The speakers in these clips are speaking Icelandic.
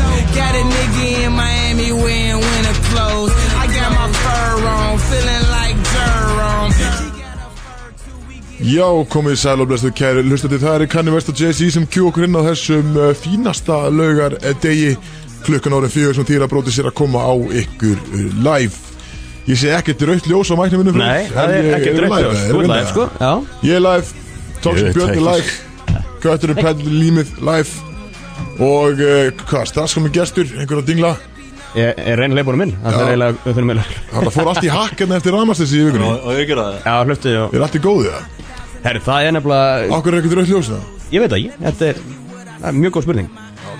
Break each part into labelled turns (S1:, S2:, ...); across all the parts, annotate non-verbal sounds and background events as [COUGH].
S1: a nigga in Miami wearing winter clothes. I got my fur on, feeling like Durham. She got a fur too, we get
S2: Já, komið sæl og blessuð kæri Hlustandi, það er Kanye West og Jay-Z sem kjú okkur inn á þessum uh, fínasta laugar eh, degi klukkan árið fjögur sem þýra bróti sér að koma á ykkur uh, live Ég sé ekkert rautt ljós á mæknum minnum
S3: Nei, það er ekkert rautt ljós Þú er live, sko Já,
S2: Ég er live, Tóksin
S3: Ég veit
S2: Björn er
S3: ekki.
S2: live Köttur er pæll límið live og uh, hvað, starfskomi gestur einhverja dingla,
S3: ég er reynilega búin minn Það er eiginlega, við finnum eiginlega
S2: það fór allt í hakkarni eftir ramastessi í vikunni,
S4: Og ég gera það
S3: Já, hlöftu og
S2: er allt í góðu það
S3: Herri, það er nefnilega
S2: Akkur er ekkert rautt ljós það,
S3: Ég veit það ekki, þetta er það er Mjög góð spurning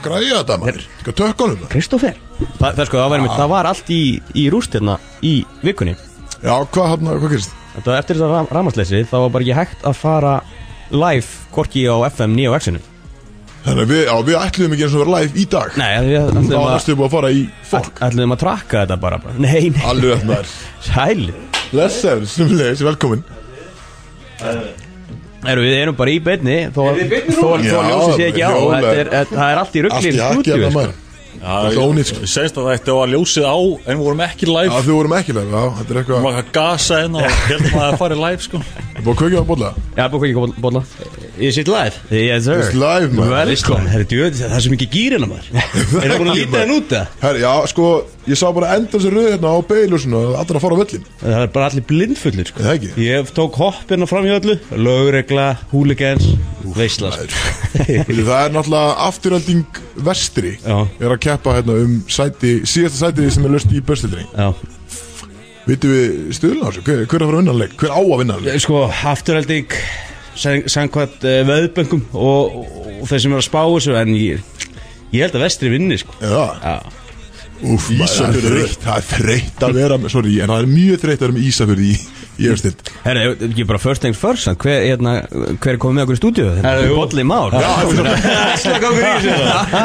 S2: græja þetta maður Skal tökka honum það
S3: Kristófer Þa, Það sko, það var, einmitt, það var allt í, í rúst hérna Í vikunni
S2: Já, hvað hann, hvað gerist?
S3: Þetta var eftir þetta ram, ramasleysi Þá var bara ekki hægt að fara Live, hvorki á FM 9 og X-inu
S2: Þannig að við, já, við ætluðum ekki eins og að vera live í dag
S3: Nei, það er
S2: Þá
S3: allir
S2: erstu búið að fara í fokk
S3: Fuck Ætluðum að trakka þetta bara, bara Nei, nei,
S2: Alveg að maður
S3: sæl
S2: Blessaður, snumilegis, velkomin
S3: Erum við erum bara í beinni Þó að
S2: Já,
S3: ljósi sé ekki á og
S2: hljóðlega.
S3: þetta er, þetta- Það er allt í sko.
S2: Allt í
S3: ruglið
S2: hakki að
S5: sko.
S2: maður
S4: Það
S2: er ónýtt, sko.
S4: Senst að þetta var ljósið á En við vorum ekki
S2: Já,
S4: live
S2: þú vorum ekki live, já, þetta er
S4: Við
S2: eitthvað
S4: vorum að gasa hérna Og heldum að það farið live sko
S2: Búið að kveikja á bolla
S3: Já, búið ekki koma bolla
S5: Is it live?
S3: Yes sir
S2: It's live, maður.
S5: Velkom, herri djöð, það er svo mikið gýrina
S3: [LAUGHS]
S5: maður Er það búin að líta henn út það?
S2: Herri, já, sko, ég sá bara enda sér rauð hérna á beilusinu Allra að fara á völlin
S5: Það er bara allir blindfullir sko
S2: Er það ekki?
S5: Ég tók hoppina fram hjá öllu Lögregla, húligans, veisla sko.
S2: Því Það er náttúrulega afturölding vestri
S5: Já.
S2: Er að keppa hérna um sæti, síðasta sæti sem er löst í börstildri
S5: [LAUGHS] Já.
S2: Vitum við stuðlun á þessu? Hver, hver er að fara að vinna hann leik? Hver á að vinna hann leik?
S5: Sko, afturhalding Sankvæmt uh, veðböngum og, og, og þeir sem er að spá þessu En ég, ég held að vestri vinni sko
S2: Já,
S5: Já.
S2: úf, það er
S4: Ísafjörður.
S2: þreytt Það er þreytt að vera með, sorry, en það er mjög þreytt að vera með Ísafjörði í, í öfstild
S3: Herra, ég- ekki bara first things first sant? hver, hérna, hver er komið með okkur í stúdíu?
S5: Herra, jú.
S3: Bolli Már Já,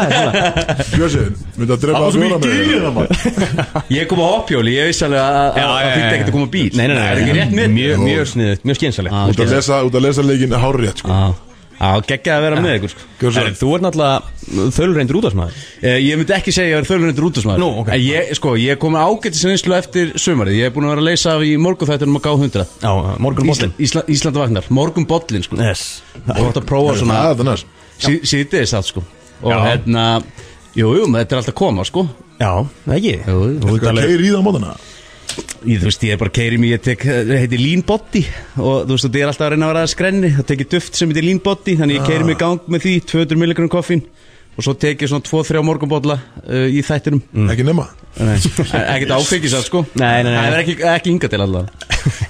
S2: Björnsson, myndi að drepa að fjóra með þér.
S5: Ég kom á hoppjóli, ég vissi alveg að að- að það þýtti ekkert að koma á bíl
S3: Nei, nei, nei,
S5: Er ekki rétt Ah,
S3: mjög,
S5: mitt?
S3: mjög, mjög sniðut, mjög skynsalegt
S2: Út að lesa, út að lesa leikin hárrétt sko.
S5: Já, Já, geggjað að vera með ykkur sko
S2: Björnsson,
S3: Herra, þú ert náttúrulega þölreindur út af smaður
S5: Eh, Ég myndi ekki segja að ég er þölunendur útastmaður
S3: Nú, ok.
S5: En ég, sko, ég kom ágættis einslu eftir sumarið Ég er búin að vera að leysa af í morgunþættunum að gá 100
S3: Já, morgun bollin
S5: Ísla, Ísland vagnar, morgun bollin
S3: [LAUGHS]
S5: sko
S3: Yes
S5: Það er að prófa
S2: það
S5: svona
S2: er það næst
S5: sí, síðdegis allt sko Og
S3: Já.
S5: hérna, jú, jú, maður, þetta er alltaf að koma sko
S3: Já, ekki
S5: Jú, jú,
S2: Hvað
S5: alveg-
S2: keir í það á mótana?
S5: Ég, þú veist, ég er bara keiri mig, ég tek, það heitir lean body og þú veist, þetta er alltaf að reyna að vera að skrenni það tekið duft sem heitir lean body, þannig ég keiri mig í gang með því, 200 milligram koffín og svo tekið svona 2-3 morgunbólla uh, í [LAUGHS] þættinum,
S2: Ekki nema
S5: Nei, ekkert áfengis að sko
S3: Nei, nei, nei.
S5: það er ekki, ekki ynga til allavega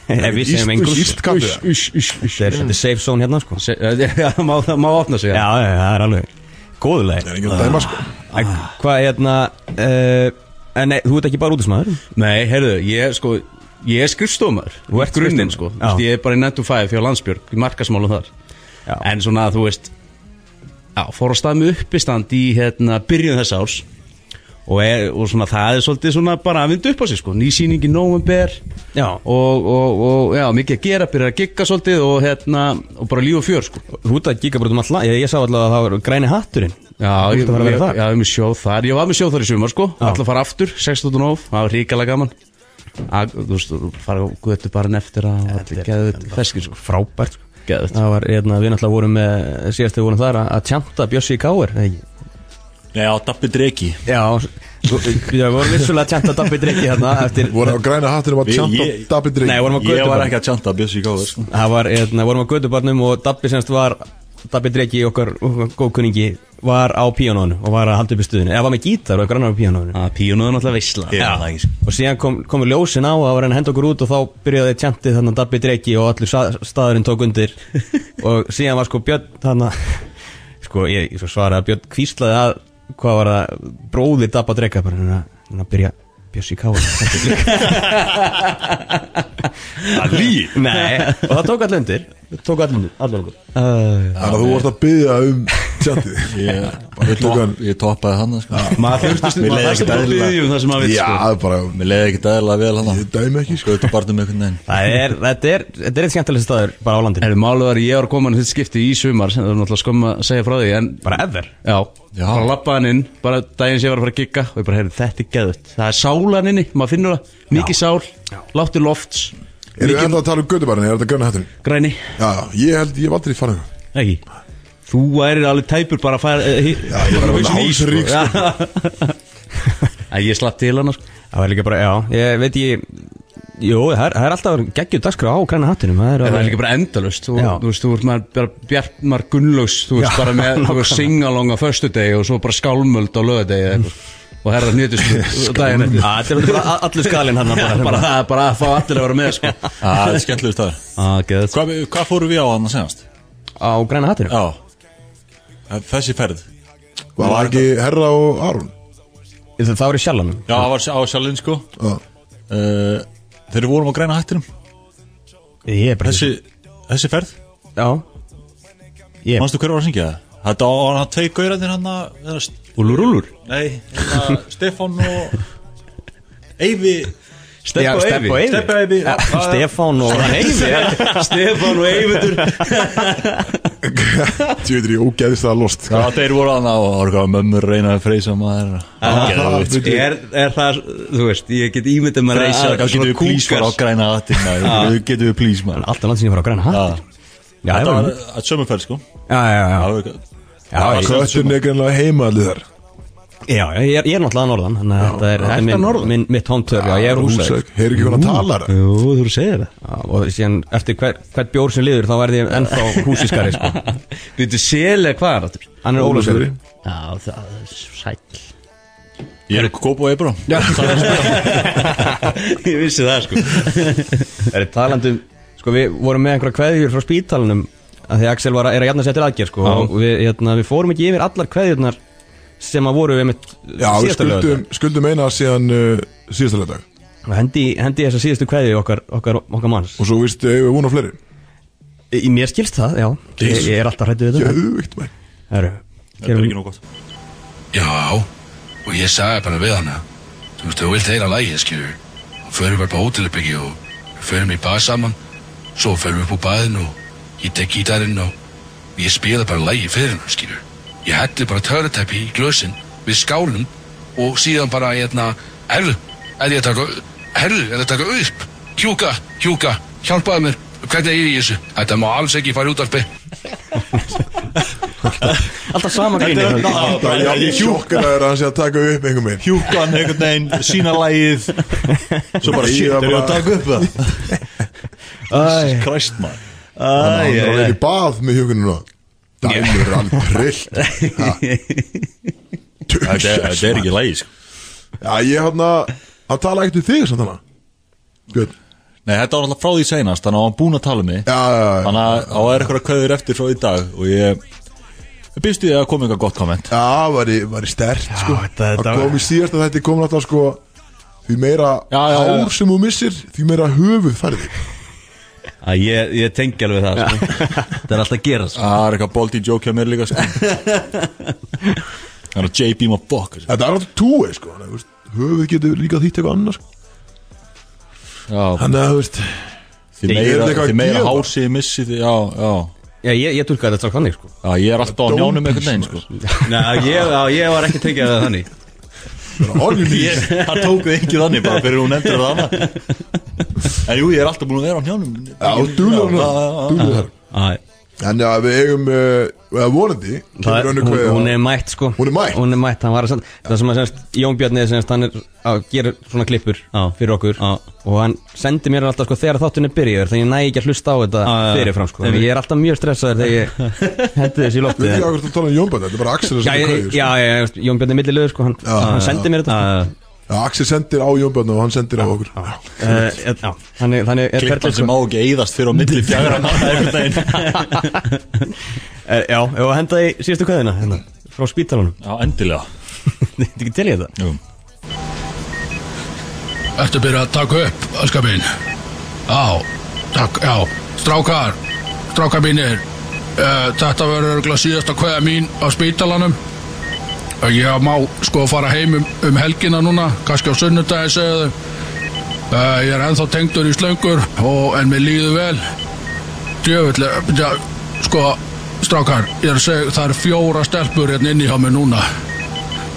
S3: Ef við segjum
S2: Íst-
S3: engur
S2: Íst kaffi það.
S5: ush, ush, ush
S3: Þetta er- þetta er safe zone hérna sko Já,
S5: Se- [LAUGHS] eh, Já, það má, það má opna sig
S3: já,
S5: já.
S3: já, það er alveg
S2: Það
S3: Góðuleg
S2: er ekki að dæma sko
S5: Ah.
S3: Hvað, hérna uh, En nei, þú ert ekki bara út af smaður
S5: Nei, heyrðu, ég sko Ég er skrifstómar,
S3: Þú ert
S5: grunninn sko
S3: skrifstofumaður.
S5: Þú veist, Ég er bara í 9 to 5 hjá Landsbjörg, í markasmálum þar
S3: Já.
S5: En svona, þú veist Já, fór að stað með uppistand í hérna, byrjun þess árs og, er, og svona, það er svolítið svona bara að vinda upp á sig sko, nýsýning í november
S3: Já
S5: og, og, og já, mikið að gera, byrja að gigga svolítið og hérna, og bara líf og fjör sko
S3: Þú ert að gíka bara út um allan Ég, ég sá allavega að það var græni hatturinn
S5: Já,
S3: Þú
S5: ég,
S3: ert að fara að vera
S5: ég,
S3: þar
S5: já, ég er með sjóð þar Ég var með sjóð þar í sumar sko
S3: Já.
S5: Alltaf fara aftur, 16. nóf, það var ríkala gaman Að, Þú veist, þú fara á gutu bara eftir að Þetta er geðveit feskir sko
S3: Frábært sko
S5: Geðveit
S3: Það var, hérna, við náttúrulega vorum með, síðast við vorum þar að, að tjanta Bjössi í Káir
S4: Nei, á Dabbi Dreki
S3: Já, við vorum vissulega að tjanta Dabbi Dreki hérna eftir
S2: Voru á græna hattinu var
S4: Ég-
S2: tjant og
S4: ég-
S2: Dabbi Drink
S3: Nei, vorum á
S4: Ég var
S3: götubarnum
S4: ekki að tjanta Bjössi í gáður sko
S3: Það var, hérna, vorum á götubarnum og Dabbi semst var, Dabbi Dreki okkar okkar góðkunningi var á píanónu og var að halda upp í stuðinu, eða var með gítar og grannar á píanónu
S5: Að píónuðan alltaf veisla
S4: Ég var það ekki sko
S3: og síðan kom, komur ljósin á að var hann að henda okkur út og þá byrjaði tjantið þannig að Dabbi Dreki og allur sa- staðurinn tók [LAUGHS] undir og síðan var sko Björn þannig að sko ég, ég svo svaraði að Björn kvíslaði að hvað var það, bróðir Dabba Dreka bara hann að- hann að byrja Bjössi [LAUGHS] Káa
S4: Það líi
S3: Nei, og það tók allir undir tók allir undir, allir undir
S2: Þannig að þú vorst að byggja um tjatti
S6: Ég, ég, topp, ég toppaði hann sko.
S5: Maður þurfti
S6: Mér
S5: maður
S6: leiði
S5: þarfti
S6: ekkert
S5: bara
S6: eðlilega.
S5: biðja um það sem maður vill,
S2: Já,
S5: sko.
S2: það er bara
S6: Mér leiði ekkert aðeinslega vel hann
S2: Ég dæmi ekki, sko.
S6: Gauta barnum einhvern veginn
S3: Það er, þetta er, þetta er eitt skemmtilegst staður bara á landinu
S5: Erðu málið var að ég var að koma hann í þetta skipti í sumar sem það er náttúrulega skömm að segja frá því en
S3: Bara ever
S5: já,
S6: Já.
S5: bara lappa hann inn bara daginn sem ég var að fara að gigga og ég bara heyrði þetta er geðut það er sálan inni, maður finnur það mikið sál, látti lofts
S2: Erum við ennþá að tala um gödubarni, er þetta gröna hættur?
S5: græni,
S2: Já, ég held, ég hef aldrei farið það
S5: ekki þú værir alveg tæpur bara að fara eh, hitt-
S2: Já, ég var
S5: bara
S2: alveg
S5: hausinn í, sko.
S2: hálsrík, sko.
S5: Já. [LAUGHS] Æ, ég slapp til hann sko.
S3: Það var líka bara, já, ég veit ég Jú, það er, það er alltaf geggjum dagskrá á græna hattinum Það er
S5: Það er
S3: alveg
S5: líka bara endalust og,
S3: Já.
S5: Þú veist, þú ert maður bara Bjartmar Gunnlaugs Þú veist,
S3: Já,
S5: bara með þú veist,
S3: nákvæmlega.
S5: singalong á föstudegi Og svo bara skálmöld á lögadegi eða eitthvað. Og herra nýtust daginn eftir.
S3: Já, Þetta er bara a- allur skalinn hann
S5: bara, bara, það er bara að fá allir að vera með sko.
S6: Það er skemmtilegur staður
S5: ah,
S6: Hvað hva fórum við á hann að segjast?
S3: Á græna hattinum
S6: Já Þessi ferð Já,
S2: Var það ekki Herra og Aron?
S3: Það það var í sjallanum
S6: það var á sjálfinn sko
S2: Já,
S6: uh, Þeir vorum á græna hættinum
S3: Ég er bara
S6: Þessi, þessi ferð
S3: Já Ég
S6: Manstu hver var að syngja það? Þetta var hann tvei gaurarnir hann að
S5: Úlur, úlur
S6: Nei, hérna, Stefan og Eyvi
S5: Steppa og Eyvi.
S6: Steppa og Eyvi,
S3: Já,
S6: já, já, já.
S3: Stefán og hann Eyvi já.
S5: Stefán og Eyvindur
S2: Tjóður ég ógeðist það lost
S6: Já, þeir voru hann að og orga mömmur reyna að freysa maður Geðveikt.
S5: er, er það, þú veist, ég get ímyndið maður
S6: Freysa,
S5: að-
S6: getur við please fara á græna hattin Getur við please maður
S3: Alltaf langt sem ég fara á græna hattin Já, ég
S6: Þetta
S3: var
S6: var að sömumferð sko
S3: Já, já, já
S6: Alveg-
S3: Já, ég-
S2: Kötturinn er greinlega heima allir þar
S3: Já, já, ég er, ég er náttúrulega að norðan Þannig að þetta er, þetta
S5: ertu
S3: er
S5: að
S3: minn,
S5: norðan?
S3: minn, mitt hóndtör Já, ég er húsæk
S2: Húsavík. Heyrðu ekki hvernig að tala það
S5: Jú, þú eru að segja það
S3: Já, Og síðan eftir hver, hvert bjór sem liður Þá verði ég ennþá húsískari sko.
S5: Býttu sel eða hvað er áttur?
S3: Hann er ólöfsverði
S5: Já, það er sæll
S6: Ég er kópa og ebró
S5: Ég vissi það sko
S3: Það er talandum Sko, við vorum með einhverja kveðjur frá spítalunum að Því að Axel var að, er að jætna sér til aðgerð sko,
S5: Já.
S3: Og við, hérna, við fórum ekki yfir allar kveðjurnar Sem að voru við mitt
S2: Já, við skuldum, skuldum eina síðan uh, síðastalega dag
S3: Hendi, hendi þessa síðustu kveðju okkar, okkar, okkar manns
S2: Og svo vist eigum við vona fleiri
S3: Í í mér skilst það, já Ég, ég er alltaf hrættu við þetta
S2: Gjöðvikt menn
S3: Herru,
S6: Það er
S3: gerum-
S6: ekki nóg gott
S7: Já, og ég sagði bara við hana Þú veist, þú vilt heyra lægið, skilur Og förum bara på hótelbyggi og við förum í bar saman Svo förum við upp úr baðinu og ég tek gítarinn og ég spila bara lægið fyrir hennar, skilur Ég hætti bara törutæpi í glösin við skálum og síðan bara, hérna, herru, er ég að taka, herru, er ég að taka upp Hjúka, hjúka, hjálpaðu mér, hvernig er ég í þessu? Þetta má alls ekki fara í útarpi
S3: Alltaf sama grínir
S2: Það er alveg sjokkar að hann sé að taka upp einhver meginn
S6: hjúkan einhvern veginn, sína lægið svo
S2: Ég
S6: bara shit,
S2: var
S6: er ég
S2: bara-
S6: að taka upp það [LAUGHS] Jesus Christ maður
S2: Þannig að hann er alveg í bað með hjókunum nú Dæmur
S6: [LAUGHS]
S2: er alveg trillt Ha.
S6: þetta er- þetta er ekki lægið sko.
S2: Já, ég hann að Hann tala ekkert við þig samt hana Björn
S6: nei, þetta var alltaf frá því seinast þannig að hann var búinn að tala um mig
S2: Já, já, já
S6: þannig að það er eitthvað köður eftir frá í dag og ég ég býst í því að koma eitthvað gott komment
S2: Já, var í, var í stert sko
S3: þetta- þetta
S2: Það
S3: var-
S2: kom í síðasta þetta kom náttúrulega sko Því meira
S6: Já, já, já.
S2: ár sem þú missir Því meira höfuð færði
S5: Æ, ég, ég tengi alveg það sko. Það er alltaf að gera sko.
S6: það er eitthvað boldi joke hjá mér líka [LAUGHS] sko. þannig að JB maður bokk
S2: Þetta er alltaf túi sko þannig að, þú veist, Höfuð getur líka þýtt eitthvað annars sko. Þannig að, þú veist
S6: því
S2: Ég er
S6: meira,
S2: eitthvað að
S6: því meira
S2: gefa.
S6: hársi ég missi því, já, já
S3: Já, ég, ég tulkaði þetta strax þannig sko
S6: Já, ég er alltaf á
S2: Don't
S6: njánum
S2: be
S6: einhvern veginn sko.
S5: Nei, ég, já, ég var ekki tengið það þannig
S2: Orðinlýs
S6: ég, Það tók þið ekki þannig bara fyrir hún endur það annað En jú, ég er alltaf búin að vera á njánum
S2: Já, dúlur Dúlur þar
S5: Æ,
S2: Þannig að við eigum uh, eða vonandi
S3: Það er-
S2: kemur önnur
S3: hún,
S2: kveðja.
S3: hún er mætt sko
S2: Hún er mætt?
S3: Hún er mætt, hann var að senda Það sem að semst Jón Björn er semst Hann er að gera svona klippur
S5: Já.
S3: fyrir okkur
S5: Já.
S3: Og hann sendi mér alltaf sko þegar þáttunni byrjaður Þannig ég næ ekki að hlusta á þetta
S5: Já, já, já.
S3: fyrirfram sko Þannig ég er alltaf mjög stressaður þegar ég hendi þessi í
S2: Við erum
S3: loftið
S2: ekki
S3: en-
S2: akkur að tala um Jón Björn Þetta er bara Axel
S3: Já,
S2: sem er
S3: ég-
S2: kveður sko.
S3: já, já, já, Jón Björn er millilöður sko Hann, hann sendi mér þetta sko.
S5: já,
S2: Já, Axel sendir á Jón Björn og hann sendir á okkur Já,
S3: sko. Eh, eh, já, Þannig þannig er
S6: Klippan
S3: ferlið,
S6: sem
S3: sko.
S6: má ekki eyðast fyrir á milli fjagra manna einhvern veginn
S3: Eh, Já, og henda í síðustu kveðina hérna, Frá spítalunum
S6: Já, endilega
S3: Þetta er ekki til ég þetta
S6: Jú.
S7: Ertu að byrja að taka upp, öskabín? Já, takk, já, strákar, strákar mínir, Eh, Þetta verður örgulega síðasta kveða mín á spítalanum. Eh, Ég má sko fara heim um, um helgina núna, kannski á sunnudagi segðu. Eh, Ég er ennþá tengdur í slöngur og, en mér líður vel. Djöfull, eh, ja, sko, strákar, ég er að segja, það eru fjóra stelpur hérna inni hjá mér núna.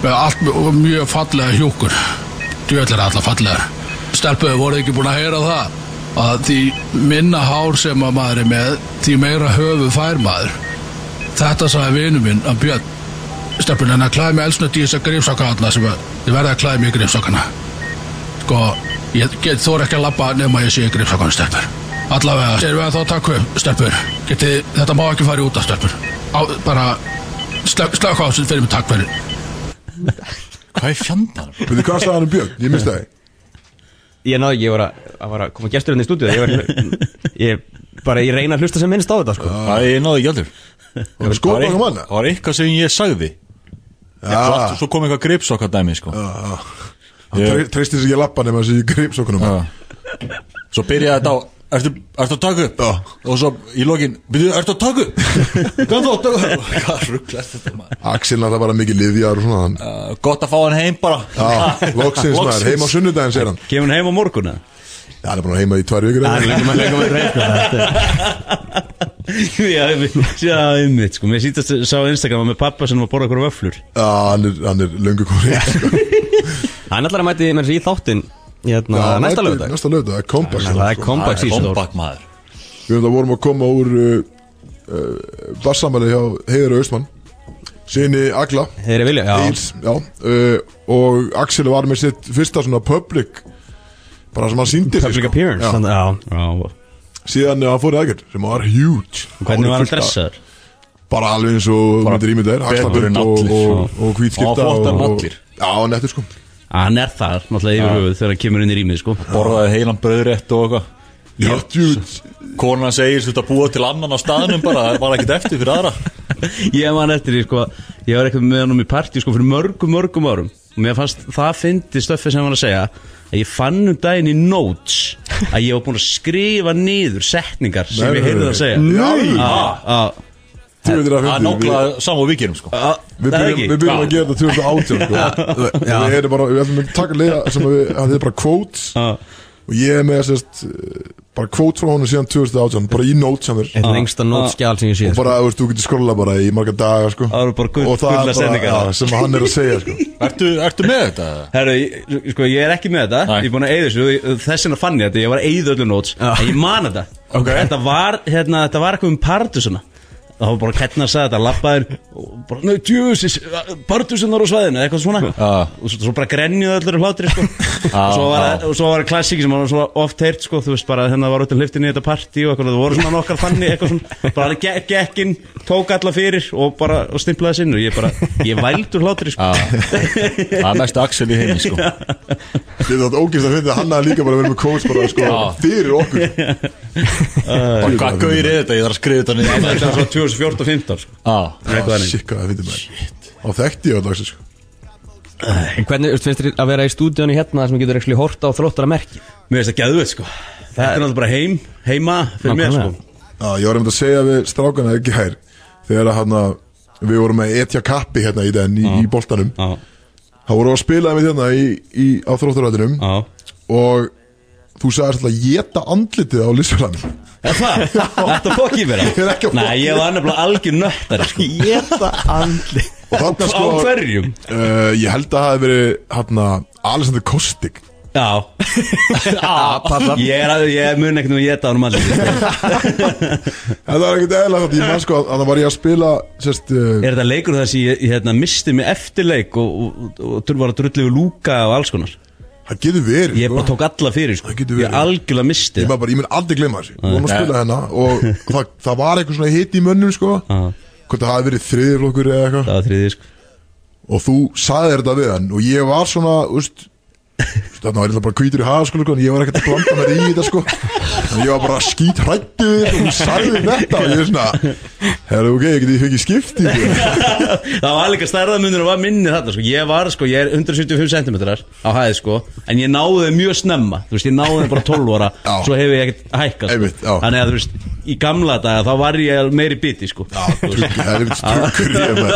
S7: Með allt og mjög fallega hjúkur. Djöfull er allar fallegar. Stelpur, voruð þið ekki búin að heyra það? Að því minna hár sem að maður er með, því meira höfu fær maður. Þetta sagði vinu minn að Björn. Stelpur, en að klæði mig elsnött í þessa grifsaka alla sem að þið verða að klæði mig í grifsakana. Sko, ég get þóra ekki að labba nema ég sé í grifsakanum, stelpur. Allavega, erum við að þá takku, stelpur. Getið, þetta má ekki fara í út af, stelpur. Á, bara, slökk slök á þessu fyrir mig takk fyrir.
S4: Hvað er fjandan?
S2: Veitu hvað sagði hann um Björn? Ég misti það
S3: Ég náði ekki, ég var að, að, var að koma gestur hérna í stúdíu Ég, var, ég bara, ég reyna að hlusta sem minnst á þetta sko.
S4: Það er náði ekki aldur
S2: Hún er skoðað um hana
S4: Það var eitthvað sem ég sagði
S2: Ah.
S4: Svo allt- Svo kom eitthvað gripsokka dæmi sko.
S2: Hann treysti sér ekki að lappa nema þessi greipsokkunum
S4: Já. Ah. Svo byrjaði þetta á Ertu, ertu að taka upp? Og svo í lokin, byrju, ertu að taka upp? Hvað þá, taka upp? Hvað rugglast þetta maður?
S2: Axel náttúrulega bara mikið liðjar og svona hann
S4: Uh, gott að fá hann heim bara
S2: Já,
S4: [LAUGHS]
S2: loksins maður, heim á sunnudaginn segir hann
S5: Kemur hann heim á morguna
S2: Já, hann er búin að heima í tvær vikur
S3: Það er
S2: eða?
S3: leikum að leikum að reyna
S5: [LAUGHS] Já, einmitt, já, einmitt sko. Mér sýttast sá á Instagram að með pappa sem var að borða okkur vöflur
S2: Já, hann er, hann er löngu kóri
S3: Hann ætlar að mæti með þessi í þáttin hérna, Næsta lögdag
S2: Næsta lögdag, kompakt
S3: Það er
S4: Það
S3: comeback
S4: er
S3: season
S4: bombak maður
S2: Við höfum það vorum að koma úr uh, uh, Bassamæli hjá Heiður og Austmann Sinni Agla
S3: Þeir vilja, já
S2: Eils, já uh, Og Axel var með sitt fyrsta svona public Bara sem hann síndi
S3: Public appearance
S2: sko. já,
S3: þannig- já.
S5: Já, og
S2: Síðan uh, hann fór í aðgjörn sem var huge
S5: hvernig
S2: Hann
S5: var hann
S2: fullt af-
S5: dressaður?
S2: Bara alveg eins og
S4: Bara
S2: myndir ímyndar
S4: betur en
S2: Axlabönd og,
S4: allir.
S2: og, og hvítskipta
S4: Og flottar en
S2: og-
S4: allir.
S2: Já, hann eftir sko
S5: Ah, Hann er þar, náttúrulega yfir höfuð þegar hann kemur inn í rýmið sko.
S4: Borðaði heilan bröðrétt og eitthvað
S2: Já, huge
S4: Konan segir þú ert að búa til annan á staðnum bara Það var ekkert eftir fyrir aðra
S5: Ég man eftir því, sko, ég var eitthvað með hann í partí sko, fyrir mörgum, mörgum árum og mér fannst það fyndi stöfið sem hann var að segja að ég fann um daginn í notes að ég var búin að skrifa niður setningar sem
S2: Nei,
S5: ég heyrði það að segja
S2: Nei.
S5: Nei
S2: Tjóðir að
S4: Það nóglaði sam og vikirum sko
S2: Við
S5: Það er
S2: byrjum,
S5: ekki
S2: við byrjum að gera þetta 2018 sko. Við erum bara, við ætlum að taka liða sem að við, að þið er bara quotes
S5: Já.
S2: Og ég er með sérst eh, Bara quote frá honum síðan 2018 Bara í notes hann er
S3: Þetta er yngsta nótskjál sem ég sé
S2: Og bara, þú veist, þú getur skrolla bara í marga daga sko.
S5: Það eru bara gull-
S2: Og það er
S5: gullnar
S2: bara,
S5: sendingar.
S2: já, sem hann er að segja sko.
S4: Ertu, ertu með þetta?
S5: Herru, ég- sko, ég er ekki með þetta
S4: Nei.
S5: Ég er búin að eyða þessu og Þess vegna fann ég þetta, ég var að eyða öllu notes En ég man þetta
S4: Ok.
S5: Þetta var, hérna, þetta var eitthvað um pardusuna Það var bara hvernig að segja þetta, labbaðir og bara, nau, djúsis, pardusunar á svæðinu, eitthvað svona
S4: Já.
S5: og svo, svo bara grenjuðu öllur um hlátri,
S4: [LAUGHS]
S5: sko og svo var, og svo var klassíki sem var svo oft heyrt, sko, þú veist bara, hérna var út að hliftinni í þetta partí og eitthvað, það voru svona nokkar þannig, eitthvað svona bara ge gekkin, tók alla fyrir og bara, og stimplaði sinnu, ég bara ég vældur hlátri, sko
S4: Það er mest Axel í heimi sko
S2: Þið er þetta ógist að finna að hann er líka bara að vera með quotes bara, sko,
S4: Já.
S2: Fyrir okkur
S4: Bara, Hvað gauðir er þetta? Ég þarf að skrifa þetta
S5: Það
S4: niður
S5: er svona 2014-15 sko.
S4: Já.
S5: Eitthvað þannig.
S2: Ah, Shit, hvað það finnir maður Og þekkti ég alltaf sko.
S3: En Hvernig þú veist, finnst þér að vera í stúdíunni hérna sem getur ekki horta á þróttara merki
S5: Mér finnst það gæðveit sko Þetta er náttúrulega bara heim, heima fyrir mér sko
S3: Nákvæmlega.
S2: Já, ég var einmitt að segja við strákana ekki hær Þegar að hann að Við vorum að etja kappi hérna í den í, í boltanum
S5: Já,
S2: Það voru að spila með þérna í, í, á þrótturræðinum
S5: já
S2: og þú sagðist alltaf geta andlitið á Lissarann
S5: Er
S2: [LAUGHS]
S5: það? Þetta fokk ég
S2: Ég er
S5: vera
S2: ekki að
S5: Nei, ég var nefnilega algjör nöttar sko Jeta andli
S2: og þarna
S5: Á
S2: sko
S5: hverjum?
S2: uh, ég held að það hefði verið hann Alexander Kostik [LAUGHS]
S5: Já Ég, er, að- ég mun ekkert um að jeta ánum allir Er
S2: en það var ekkert eðla þetta ég man sko að það var ég að spila sérst uh,
S5: þetta leikur þar sem ég, ég hérna, misti mig eftir leik og, og, og, og var að drullu við lúka og alls konar
S2: það getur verið
S5: Ég
S2: sko.
S5: bara tók alla fyrir sko
S2: Það getur verið.
S5: Ég algjörlega misti
S2: ég,
S5: það
S2: bara, bara, ég mun aldrei glemma þessu við vorum að
S4: Nei.
S2: spila hennar og það, það var eitthvað svona hitt í mönnum sko
S5: Já.
S2: hvort það hafi verið þriðirflokkur eða eitthvað
S5: Það var þriði sko
S2: og þú sagðir þetta við hann og ég var svona úst, Þannig var ég bara kvítur í hafa sko, sko en Ég var ekkert að blanda mér í þetta sko En ég var bara skýt hrættuð Og hún sagði þetta og ég er svona Herru ok, ég geti fengið skipti sko.
S5: Það var líka stærðamunur og var minni þarna sko. Ég var sko, ég er 175 cm á hæði sko En ég náði þeim mjög snemma Þú veist, ég náði þeim bara 12 ára
S2: Já.
S5: Svo hef ég ekkert hækkað sko.
S2: Einmitt, já.
S5: Þannig að þú veist, í gamla daga þá var ég meiri biti sko Já,
S2: Það er mitt trukkur ég með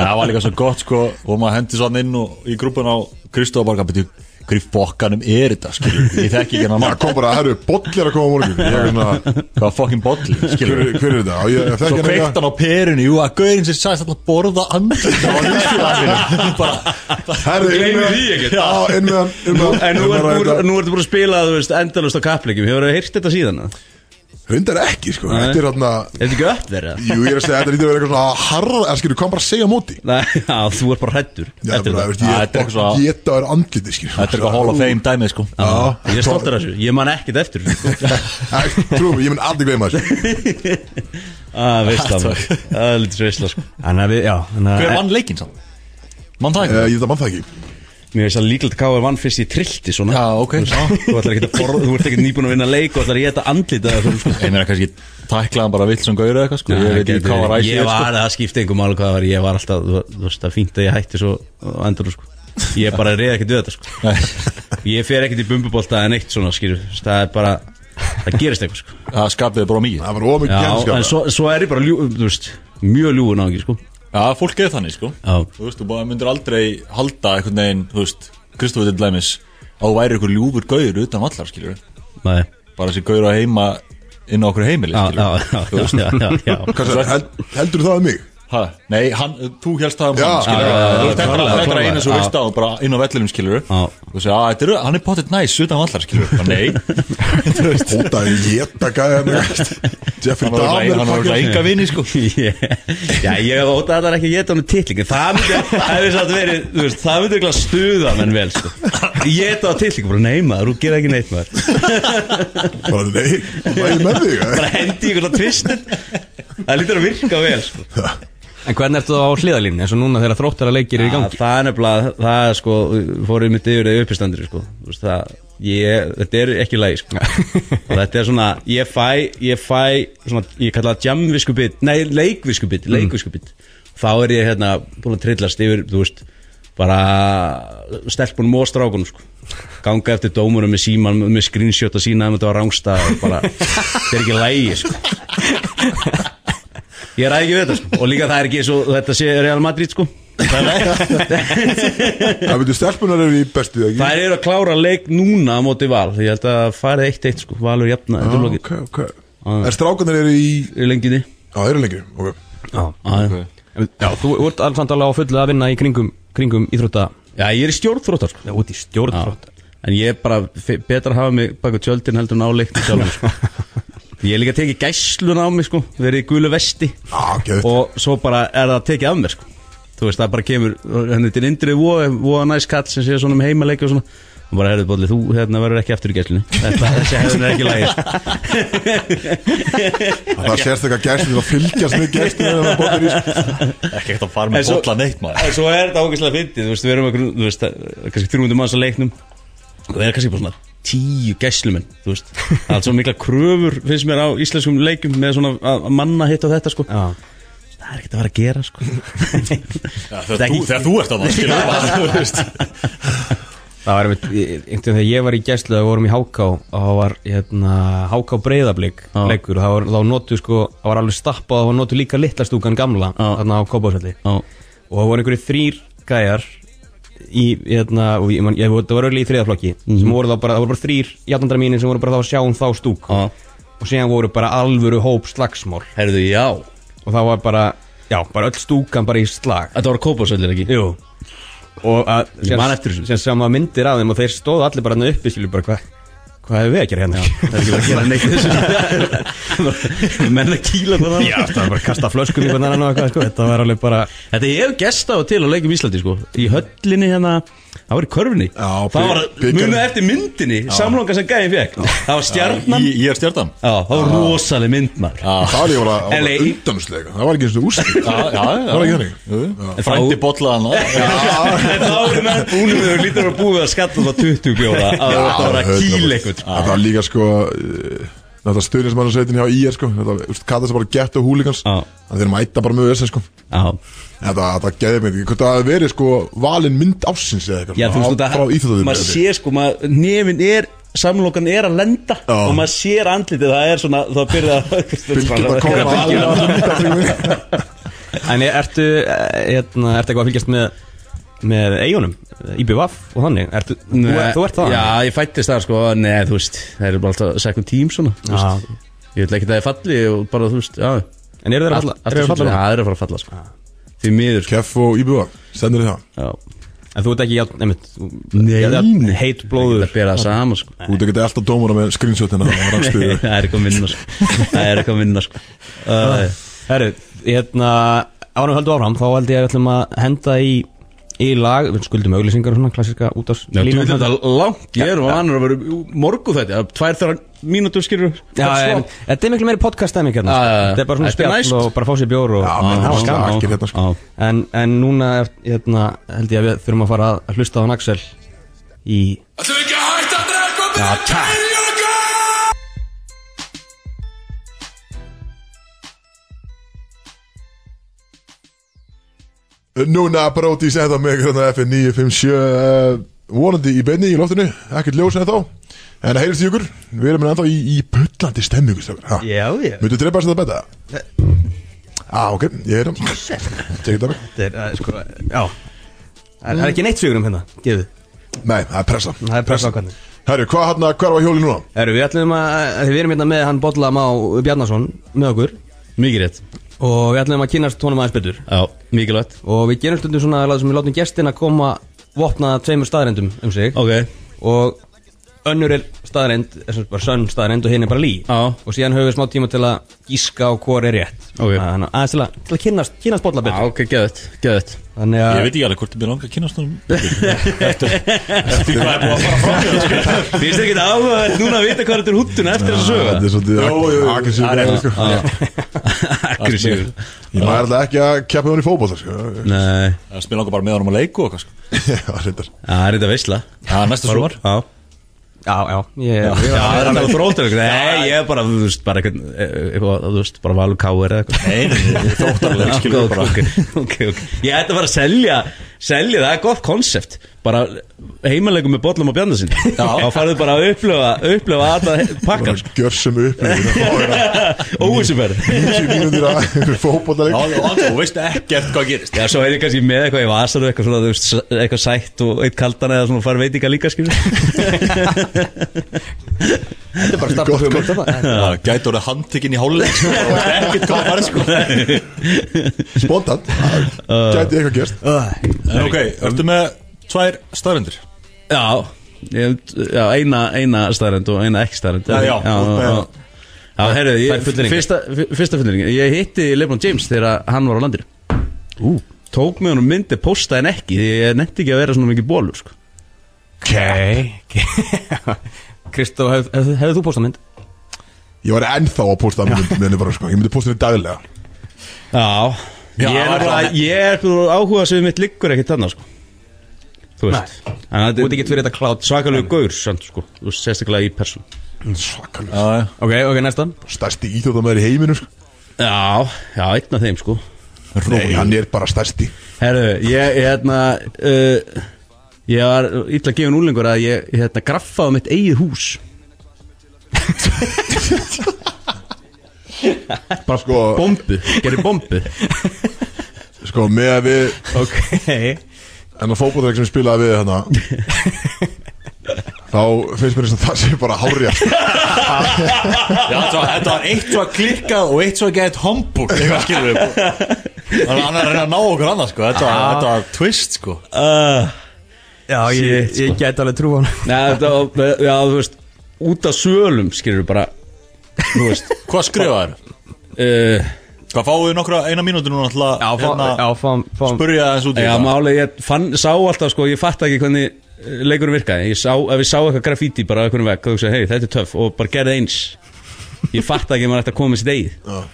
S6: Það var líka svo gott sko og maður hendi svo hann inn og, í grúpun á Kristóf bara beti hver í bokkanum er þetta skilur ég þekki ekki hann
S2: Það
S6: mann
S4: [LAUGHS]
S2: kom bara, herru, boll er að koma á morgun Ég er svona,
S6: hvað fokkin bolli
S2: hver,
S6: skilur
S2: hver er þetta? Og ég þekki
S6: Svo
S2: hann eitthvað.
S6: kveikt hann á perinu, jú, að gaurin sem sagðist alltaf borða andlið á
S2: [LAUGHS]
S6: nýstjúðaninu bara,
S2: Herru, inn með
S5: Gleymir
S2: hann.
S5: því ekkert.
S2: Já, inn með hann, inn með hann
S5: En nú
S2: Inn með hann,
S5: ertu búin-
S2: þetta-
S5: nú ertu búin að spila, þú veist, endalust á kappleikjum Hefur þú heyrt þetta síðan? eða?
S2: Hundar ekki sko, þetta er hérna
S5: Er þetta ekki upp verið?
S2: Jú, ég er að segja, þetta lítið að vera eitthvað svona harra, eða skilur, kom bara að segja á móti
S5: Nei, já, þú ert bara hrættur
S2: Já, þetta er bara, veist,
S6: Já,
S2: ég
S6: þetta er
S2: er
S6: eitthvað
S2: bara
S6: svo-
S2: geta að vera andliti, skilur
S6: þetta er eitthvað hall of fame dæmið sko
S2: Já,
S5: Ég er stoltur af þessu, ég man ekkert eftir því,
S2: [LAUGHS]
S5: sko.
S2: Trúum, ég mun aldrei gleyma þessu
S5: að veistla Ah, maður. Það er lítið veistla sko.
S3: Þannig að við, já Þannig
S6: hver
S3: að
S6: vann leikinn sann? mann það
S2: Eh,
S6: ekki?
S2: Ég þetta mann það ekki
S5: Mér veist að líklegt káður vann fyrst ég trillti svona
S6: Já, ok Já.
S5: Þú ætlar ekki að borða, þú ert ekki nýbúin að vinna leik og ætlar ég þetta andlita það sko.
S6: ég meina kannski tæklaðan bara vill sem gaur eða eitthvað sko ég veit ekki hvað
S5: Ég
S6: var ræsið sko.
S5: var, það skipti einhver mál hvað það var, ég var alltaf, þú, þú veist það er fínt að ég hætti svo á endur sko. Ég bara reyði ekkert við þetta sko. Ég fer ekkert í bumbubólta en eitt svona skýr, það er bara, það gerist eitthvað sko.
S6: það skapiði bara mikið
S2: Það var ómikið
S5: Já,
S2: genska
S5: en svo, svo er ég bara ljú, þú veist, mjög ljúin á ekki sko.
S6: já, fólk er þannig sko
S5: Já.
S6: þú veist, þú bara myndir aldrei halda einhvern veginn, þú veist, Kristofur til dæmis á væri einhver ljúfur gaur utan vallar, skilur
S5: Nei,
S6: bara þessi gaur á heima inn á okkur heimili,
S5: já, já,
S6: skilur
S5: já, já, já, já, já.
S2: Kansu, hel, heldur það um mig?
S6: ha, nei, hann, þú helst það um
S2: Já.
S6: hann, skilur
S5: Já, já, já,
S6: þú
S5: já,
S6: veist, þetta
S5: klárlega,
S6: er- þetta er
S5: klárlega.
S6: einu svo
S5: Já.
S6: veist á, bara inn á vellinum, skilur
S5: Já.
S6: þú veist, að þetta er, hann er pottet næs utan vallar, skilur, bara nei
S2: Hótaði geta gæða Jeffrey
S6: hann var
S2: Dahmer
S6: örugglega- hann
S2: fucking-
S6: var örugglega enga vini,
S5: [LAUGHS]
S6: sko
S5: Yeah. Já, ég óta að það er ekki að geta honum titlingin Það myndi, það myndi satt verið, þú veist, það myndi ekki að stuða menn vel, sko Geta á titlingin, bara nei maður, þú gera ekki neitt maður
S2: Bara nei, hvað er með þig? eh?
S5: [LAUGHS] Bara hendi ykkur það tvistin Það lítur að virka vel, sko
S3: En hvernig ertu þá á hliðalínu eins og núna þegar þróttara leikir er í gangi?
S5: Það er nefnilega, það er sko, fórum mitt yfir eða uppistandri, sko Þú veist, það, ég, þetta er ekki lægi, sko
S3: [LAUGHS]
S5: Og þetta er svona, ég fæ, ég fæ, svona, ég kalla það jamviskubit Nei, leikviskubit,
S3: Mm.
S5: leikviskubit Þá er ég hérna búin að trillast yfir, þú veist bara stelpunum og strákunum sko. ganga eftir dómurum með síman með screenshot að sína að þetta var rángsta bara, þetta er ekki lægi sko. ég ræði ekki við þetta sko. og líka það er ekki svo þetta sé Real Madrid sko.
S2: Það veitur, stelpunar eru í bestu ekki?
S5: það eru að klára leik núna á móti val ég held að farið eitt eitt sko. valur jafna
S2: Já,
S5: ah,
S2: ok, ok En strákunar eru í
S5: í lenginni
S2: Já, þeir eru lengri ok.
S5: ah, okay.
S3: En- Já, þú ert alveg alveg á fullu að vinna í kringum, kringum íþrótta
S5: já ég er í stjórnþróttar sko.
S3: Já, út í stjórnþrótt
S5: Já. En ég er bara fe- betra að hafa mig baka tjöldin heldur en á leiknum sjálfum sko. Ég er líka að tekið gæslun á mig sko, verið í gulu vesti
S2: Já, geðveikt.
S5: og svo bara er það tekið af mér sko. Þú veist, það bara kemur, henni til indri voða, voða næs katt sem sé svona um heimaleik og svona og bara, herrðu bóðli, þú hérna verður ekki aftur í gæslunni [LAUGHS] Þetta, þessi hefðin er ekki lægir
S2: Það sérst eitthvað gæstin til að fylgjast með gæstin
S6: ekki ekkert að fara
S5: En
S6: með
S5: svo-
S6: bollan eitt maður
S5: En svo er þetta ógæslega fyndið, þú veist, við erum okkur, þú veist, það er kannski 300 manns á leiknum og það er kannski bara svona tíu gæslumenn, þú veist það er svo mikla kröfur, finnst mér, á íslenskum leikum með svona að að manna hitt á þetta, sko
S3: Já,
S5: það er ekkert að vera að gera, sko [LAUGHS]
S6: Já,
S5: Það er
S6: þegar þú-
S5: ekki-
S6: þegar þú ert að það, skilur þú veist.
S3: það var einmitt, ég- einhvern veginn þegar ég var í gæslu þegar við vorum í Háká og það var hérna, Háká breyðablík
S5: Já.
S3: leikur og það var, þá notu sko, það var alveg stappað og það var notu líka litla stúkan gamla
S5: Já.
S3: þarna á Kópásvelli
S5: Já,
S3: og það voru einhverju þrýr gæjar í, hérna, og ég, man, ég það voru öll í þriðaflokki
S5: Mhm.
S3: sem voru þá bara, það voru bara þrýr játandra mínir sem voru bara þá að sjá um þá stúk
S5: Já.
S3: og síðan voru bara alvöru hóp slagsmál
S5: herðu, já
S3: og það var bara, já, bara öll stúkan bara í slag
S5: Þetta var kópásöldir ekki?
S3: Jú Og að
S5: Ég man eftir þessu.
S3: Sér sem að myndir af þeim og þeir stóðu allir bara hann uppi Skilur bara hvað Hvað hefur við að gera hérna?
S5: Það er ekki verið að gera neitt í þessu [LAUGHS] Menn að kýla bara
S3: [LAUGHS] Já, það var bara að kasta flöskum í hvernig annan og eitthvað sko. Þetta var alveg bara
S5: um Þetta hefur gest á og til á leikum í Íslandi sko Í höllinni hérna Það var í körfunni
S2: Já,
S5: Það var
S2: bygg- byggar-
S5: munið eftir myndinni Samlanga sem gæðin fekk Það var stjarnan
S4: Ég, ég er stjartan
S5: Já, það var rosaleg mynd maður
S2: Það var ég bara, það
S5: LA.
S2: var undanúsleika Það var ekki eins og úrslit
S4: Já, já, já.
S2: Það var ekki þannig
S4: Frændi botlaðan
S5: [LAUGHS] En þá erum við búinum við lítur að búið að skalla það 20 bjóða að
S2: Já,
S5: það var að
S2: höfðu
S5: kýla
S2: bara-
S5: einhvern
S2: Þetta var líka sko eh, Þetta stuðnismannarsveitin hjá IR sko Þetta var kallast bara gett og húligans
S5: Já.
S2: Þannig þeir mæta bara með þessi sko
S5: Já,
S2: Þetta, þetta geði mig ekki Hvort það hafi verið sko valin mynd ásins eða eitthvað
S5: já þú
S2: svona,
S5: veist
S2: á- Frá
S5: þetta
S2: íþjóðaður
S5: Maður sér sko, maður- nefinn er Samlokan er að lenda
S2: Já.
S5: Og maður sér andlitið, það er svona Það byrja
S2: Bylgjum að koma
S5: að
S2: alveg á þessum myndafrími.
S3: En er- ertu, eh, hérna, ertu eitthvað að fylgjast með með eigunum, IBVF og þannig ertu, þú,
S5: Nei,
S3: þú ert það
S5: Já, ég fættist það sko, nei, þú veist Það eru bara alltaf second team svona þú
S3: Já.
S5: veist. Ég vil ekki það er falli og bara, þú veist, já
S3: En eru þeir að
S5: All-
S3: falla?
S5: allt
S3: Eru þeir að
S5: svona-
S3: falla?
S5: Já, það
S3: núna?
S5: er að fara að falla sko Því miður sko
S2: Keff og Íbúa Sendur þið það
S5: Já.
S3: En þú ert ekki, jafn- einmitt þú-
S5: Nei,
S3: jafn-
S5: nei.
S3: Heit
S5: Það
S3: blóður
S5: bera það sama sko [LAUGHS]
S2: Þú ert ekki alltaf dómara með screenshotina Það var rafstuðu
S5: Það er eitthvað að vinna sko Það er eitthvað að vinna sko
S3: Ah.
S5: uh,
S3: Herru, hérna Árum við höldum áfram, þá held ég að við ætlum að henda í í lag, við skuldum auglýsingar og svona, klassíska út af
S5: Já, þú veit þetta langt Ég er vanur að vera morgu þetta Tvær þar mínútur sko. skilur
S3: Já, en þetta er miklu meiri podcast dæmi hérna
S5: Já,
S3: sko.
S5: já, já.
S3: Þetta er bara
S5: Þetta
S3: svona
S5: er
S3: spjall
S5: næst.
S3: og bara fá sér bjór og
S2: Já, menn, það
S3: og
S2: var
S3: hafa gaman.
S2: slakir hérna, sko.
S3: Já. En, en núna er, hérna, held ég að við þurfum að fara að hlusta á hann Axel í
S7: Ætlum við ekki að hætta að drekka og byrja að kæri okkur?
S2: [LAUGHS] Núna bróti ég þetta mig hérna FN957 uh, vonandi í beinni í loftinu, ekkert ljós en þá en það heyrist í ykkur, við erum ennþá í, í pullandi stemmingu strákar, ha?
S3: Já, já
S2: Myndu drepa þess að betta? Á, ok, ég er hérna. það Tekið það mig
S3: Þetta er, uh, sko, já Það er, það er ekki neitt sigurum hérna, gefið
S2: Nei, það er pressa
S3: Það er pressa ákvæmni
S2: Herru, hvað hérna, hann að hverfa hjóli núna?
S3: Herru, við ætlum að, að við erum hérna með hann Bolla Má Bjarnason með okkur
S5: Mikið rétt
S3: og við ætlum að kynast honum aðeins betur
S5: Já, mikilvægt
S3: og við gerum stundum svona að sem við látum gestina koma vopnaða tveimur staðrendum um sig
S5: Ok
S3: og önnur er staðreind, er sem sagt bara sönn staðreind og hinn er bara lí
S5: Já.
S3: og síðan höfum við smá tíma til að gíska á hvor er rétt
S5: Ok.
S3: þannig að aðeins til að, til að kynnast, kynnast bolla
S5: Já,
S3: betur
S5: ok, geðvægt
S3: [LAUGHS]
S5: Geðvægt
S3: þannig
S4: Ég
S3: að
S4: veit ekki alveg hvort þið mér langar að kynast
S6: [LAUGHS]
S4: um Eftir hvað er búið að fara frá mér sko.
S5: Finnst þér ekki áhugavert núna að vita hvað þetta er húttuna eftir þessa sögu?
S2: Þetta er svolítið
S4: Það er-
S2: aggressív sko.
S5: Aggressív
S2: Ég maður alltaf ekki að keppa hann í fótbolta sko.
S5: Nei,
S4: Það er mér langar bara með honum að leiku og eitthvað sko.
S2: [LAUGHS] Já, reyndar.
S5: það er þetta veisla
S4: Það er næsta sumar
S5: Já,
S3: já, já, ég,
S5: já það er alveg þrótur Nei, ég er bara, þú veist, bara eitthvað, eh, eitthvað Þú veist, bara valur káir eða eitthvað
S4: Nei, nei, nei, þróttarlega
S5: Já,
S4: skilur við bara
S5: ok, ok, ok Ég ætti bara að selja, selja, það er gott konsept Bara heimalegum með bollum og bjarnasinn Þá farðu bara að upplifa, upplifa alla
S4: [LAUGHS]
S5: pakkan sko.
S2: Gjörsum upp
S5: Óvissuferð
S2: 90 mínútur að [LAUGHS] fótbolta
S4: Já, já, Þú veist ekkert hvað gerist
S5: Já, svo er ég kannski með eitthvað í vasar og eitthvað svona, þú veist, eitthvað sætt og eitt kaldan eða svona fara veitinga líka, skilur
S3: þetta er bara starta
S2: Gott,
S3: hugmynd þetta.
S4: Það Gæti orðið handtekinn í hálfleik sko, og Ekkert hvað farið sko [LAUGHS]
S2: Spontant,
S3: Uh.
S2: gæti eitthvað gerst
S4: En ok, ertu með tvær staðrendir
S5: Já, ég, já eina, eina staðrænd og eina ekki staðrænd
S4: Já, já,
S5: já, já. Já, heyrðu,
S3: Tvær
S5: ég,
S3: fullyrðingar.
S5: fyrsta, fyr- fyrsta fulleringa Ég hitti Lebron James þegar hann var á landir Ú. Tók með honum myndi, postaði en ekki Því ég nefndi ekki að vera svona mikið bólur sko.
S3: ok [LAUGHS] Kristó, hef, hef, hefðu þú postað mynd?
S2: Ég var ennþá að posta að myndi minni bara sko Ég myndi posta henni daglega
S5: Já,
S4: Já,
S5: Ég er,
S4: var
S5: bara,
S4: það-
S5: ég er bara áhuga sem mitt liggur ekkit þannig sko. Þú veist
S3: Nei.
S5: Þannig
S3: Þú ert ekki fyrir þetta klátt
S5: Svakalegu gaur, sant, sko, þú veist, sérstaklega í person
S2: Svakalega
S4: Já,
S3: Ok, ok, næsta
S2: Stærsti íþjóðamæður í heiminum sko
S5: Já, já, einn af þeim sko
S2: Nei, hann er bara stærsti
S5: Herru, ég, ég, hérna uh, Ég var illa gefin úlingur að ég, ég hérna, graffaði mitt eigið hús Bara
S2: Sko,
S5: bombu, gerði bombu
S2: sko með að við
S3: Ok
S2: En á fótboltaleg sem ég spilaði við
S3: [LAUGHS]
S2: hana Þá finnst mér eins og það sé bara hárja
S4: þetta var- þetta var eitt svo að klikkað og eitt svo að geta hombúr Eitthvað skilur við Þannig að hann er að reyna að ná okkur annað sko Þetta var- þetta var twist sko
S5: uh,
S3: Já, ég,
S5: Shit,
S3: ég gæti alveg trú á hann
S5: Nei, þetta, var- já, þú veist Út af sölum, skilur bara
S4: Hvað skrifaði þér?
S5: uh,
S4: Hvað fáið þið nokkra eina mínúti núna alltaf
S3: Já, fá, já, fáum, fáum
S4: spurja þessu út í
S5: Já,
S4: þetta?
S5: málega, ég fann, sá alltaf sko, ég fatt ekki hvernig eh, leikurinn virkaði Ég sá, ef ég sá eitthvað graffíti bara á einhvern vegg og hugsaði, hei, þetta er töff og bara gerði eins Ég fatt ekki að maður ætti að koma með sitt eigið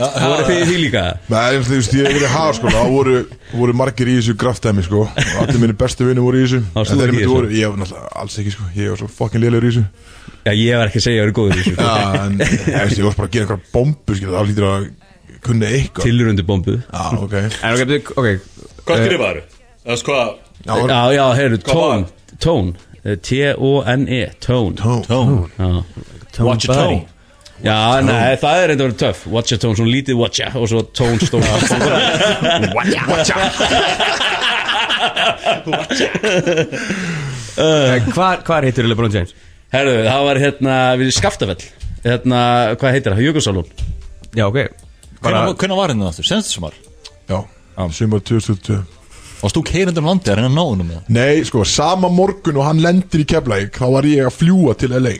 S5: Það voru því því líka
S2: Nei, en þú veist, ég hef verið hár sko, þá voru, voru margir í þessu graftæmi sko, og allir minni bestu vinni voru í þessu
S5: Á,
S2: En
S5: þú
S2: þeir
S5: ekki í
S2: myndi
S5: þessu?
S2: voru, ég var náttúrulega alls ekki sko, ég var svo fucking lélegur í þessu
S5: Já, ég var ekki að segja að ég eru góður í þessu sko.
S2: Já, en ég veist, ég var bara að gera einhverja bombu skilur, það hlýtur að kunna eitthvað
S5: Tilrundu bombu
S2: Já, ok
S3: En ok, byrju, ok
S4: Hvað skrifaður? Það er sko að
S2: Já, var,
S5: Já, já, heyrðu,
S4: Hvað var?
S5: tón, tón eh, T-O-N-E, tón
S2: tón,
S4: Tón
S5: Já.
S4: Watch your tone
S5: Já, nei, það er enda verið töff Watcha tón, svona lítið watcha og svo tón stóð
S2: watcha, watcha
S3: Eh, Hvar, hvar heitir LeBron James?
S5: Herðu, það var hérna, við skaftafell Hérna, hvað heitir það, Jökulsálun
S3: Já, ok
S4: Hvenær hvenær var hérna aftur? Senst sumar?
S2: Já, sumar 2022
S4: Varst þú keirandi um landi að reyna að ná hennum með það?
S2: Nei, sko, sama morgun og hann lendir í Keflæk, þá var ég að fljúa til LA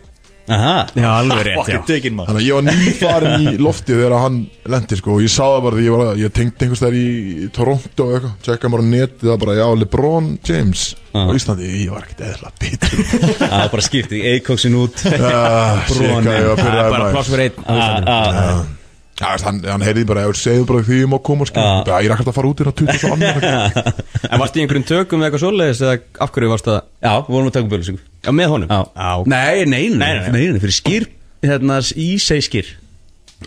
S5: Aha
S3: Já, alveg rétt, já
S4: Fucking tekin maður
S2: Þannig að ég var nýfarin í loftið þegar hann lendi sko og ég sá það bara því ég var að ég tengdi einhvers þær í í Toronto og eitthvað tjekka bara á netið það bara já LeBron James
S5: Ah.
S2: á Íslandi ég var ekkert eðla bitur
S5: Það var bara skipt í eikóksin [LAUGHS] út
S2: Ah, shit,
S5: Bron,
S2: hvað ég var að
S3: Það
S2: byrja
S3: er
S2: að
S3: bara
S2: maður.
S3: pláss fyrir einn á Íslandi.
S5: Já,
S2: Já, veist, hann, hann heyrði bara ef segðu bara því ég má koma sko
S5: Ah.
S2: Já, ég er ekkert að fara út hérna 20 og annar
S3: En varst í einhverjum tökum eða eitthvað svoleiðis eða af hverju varst það
S5: við vorum að taka bjölusingu
S3: Já, með honum? Já, ok.
S5: Nei, nei, nei, nei, nei, nei, fyrir skýr Hérna, í segi skýr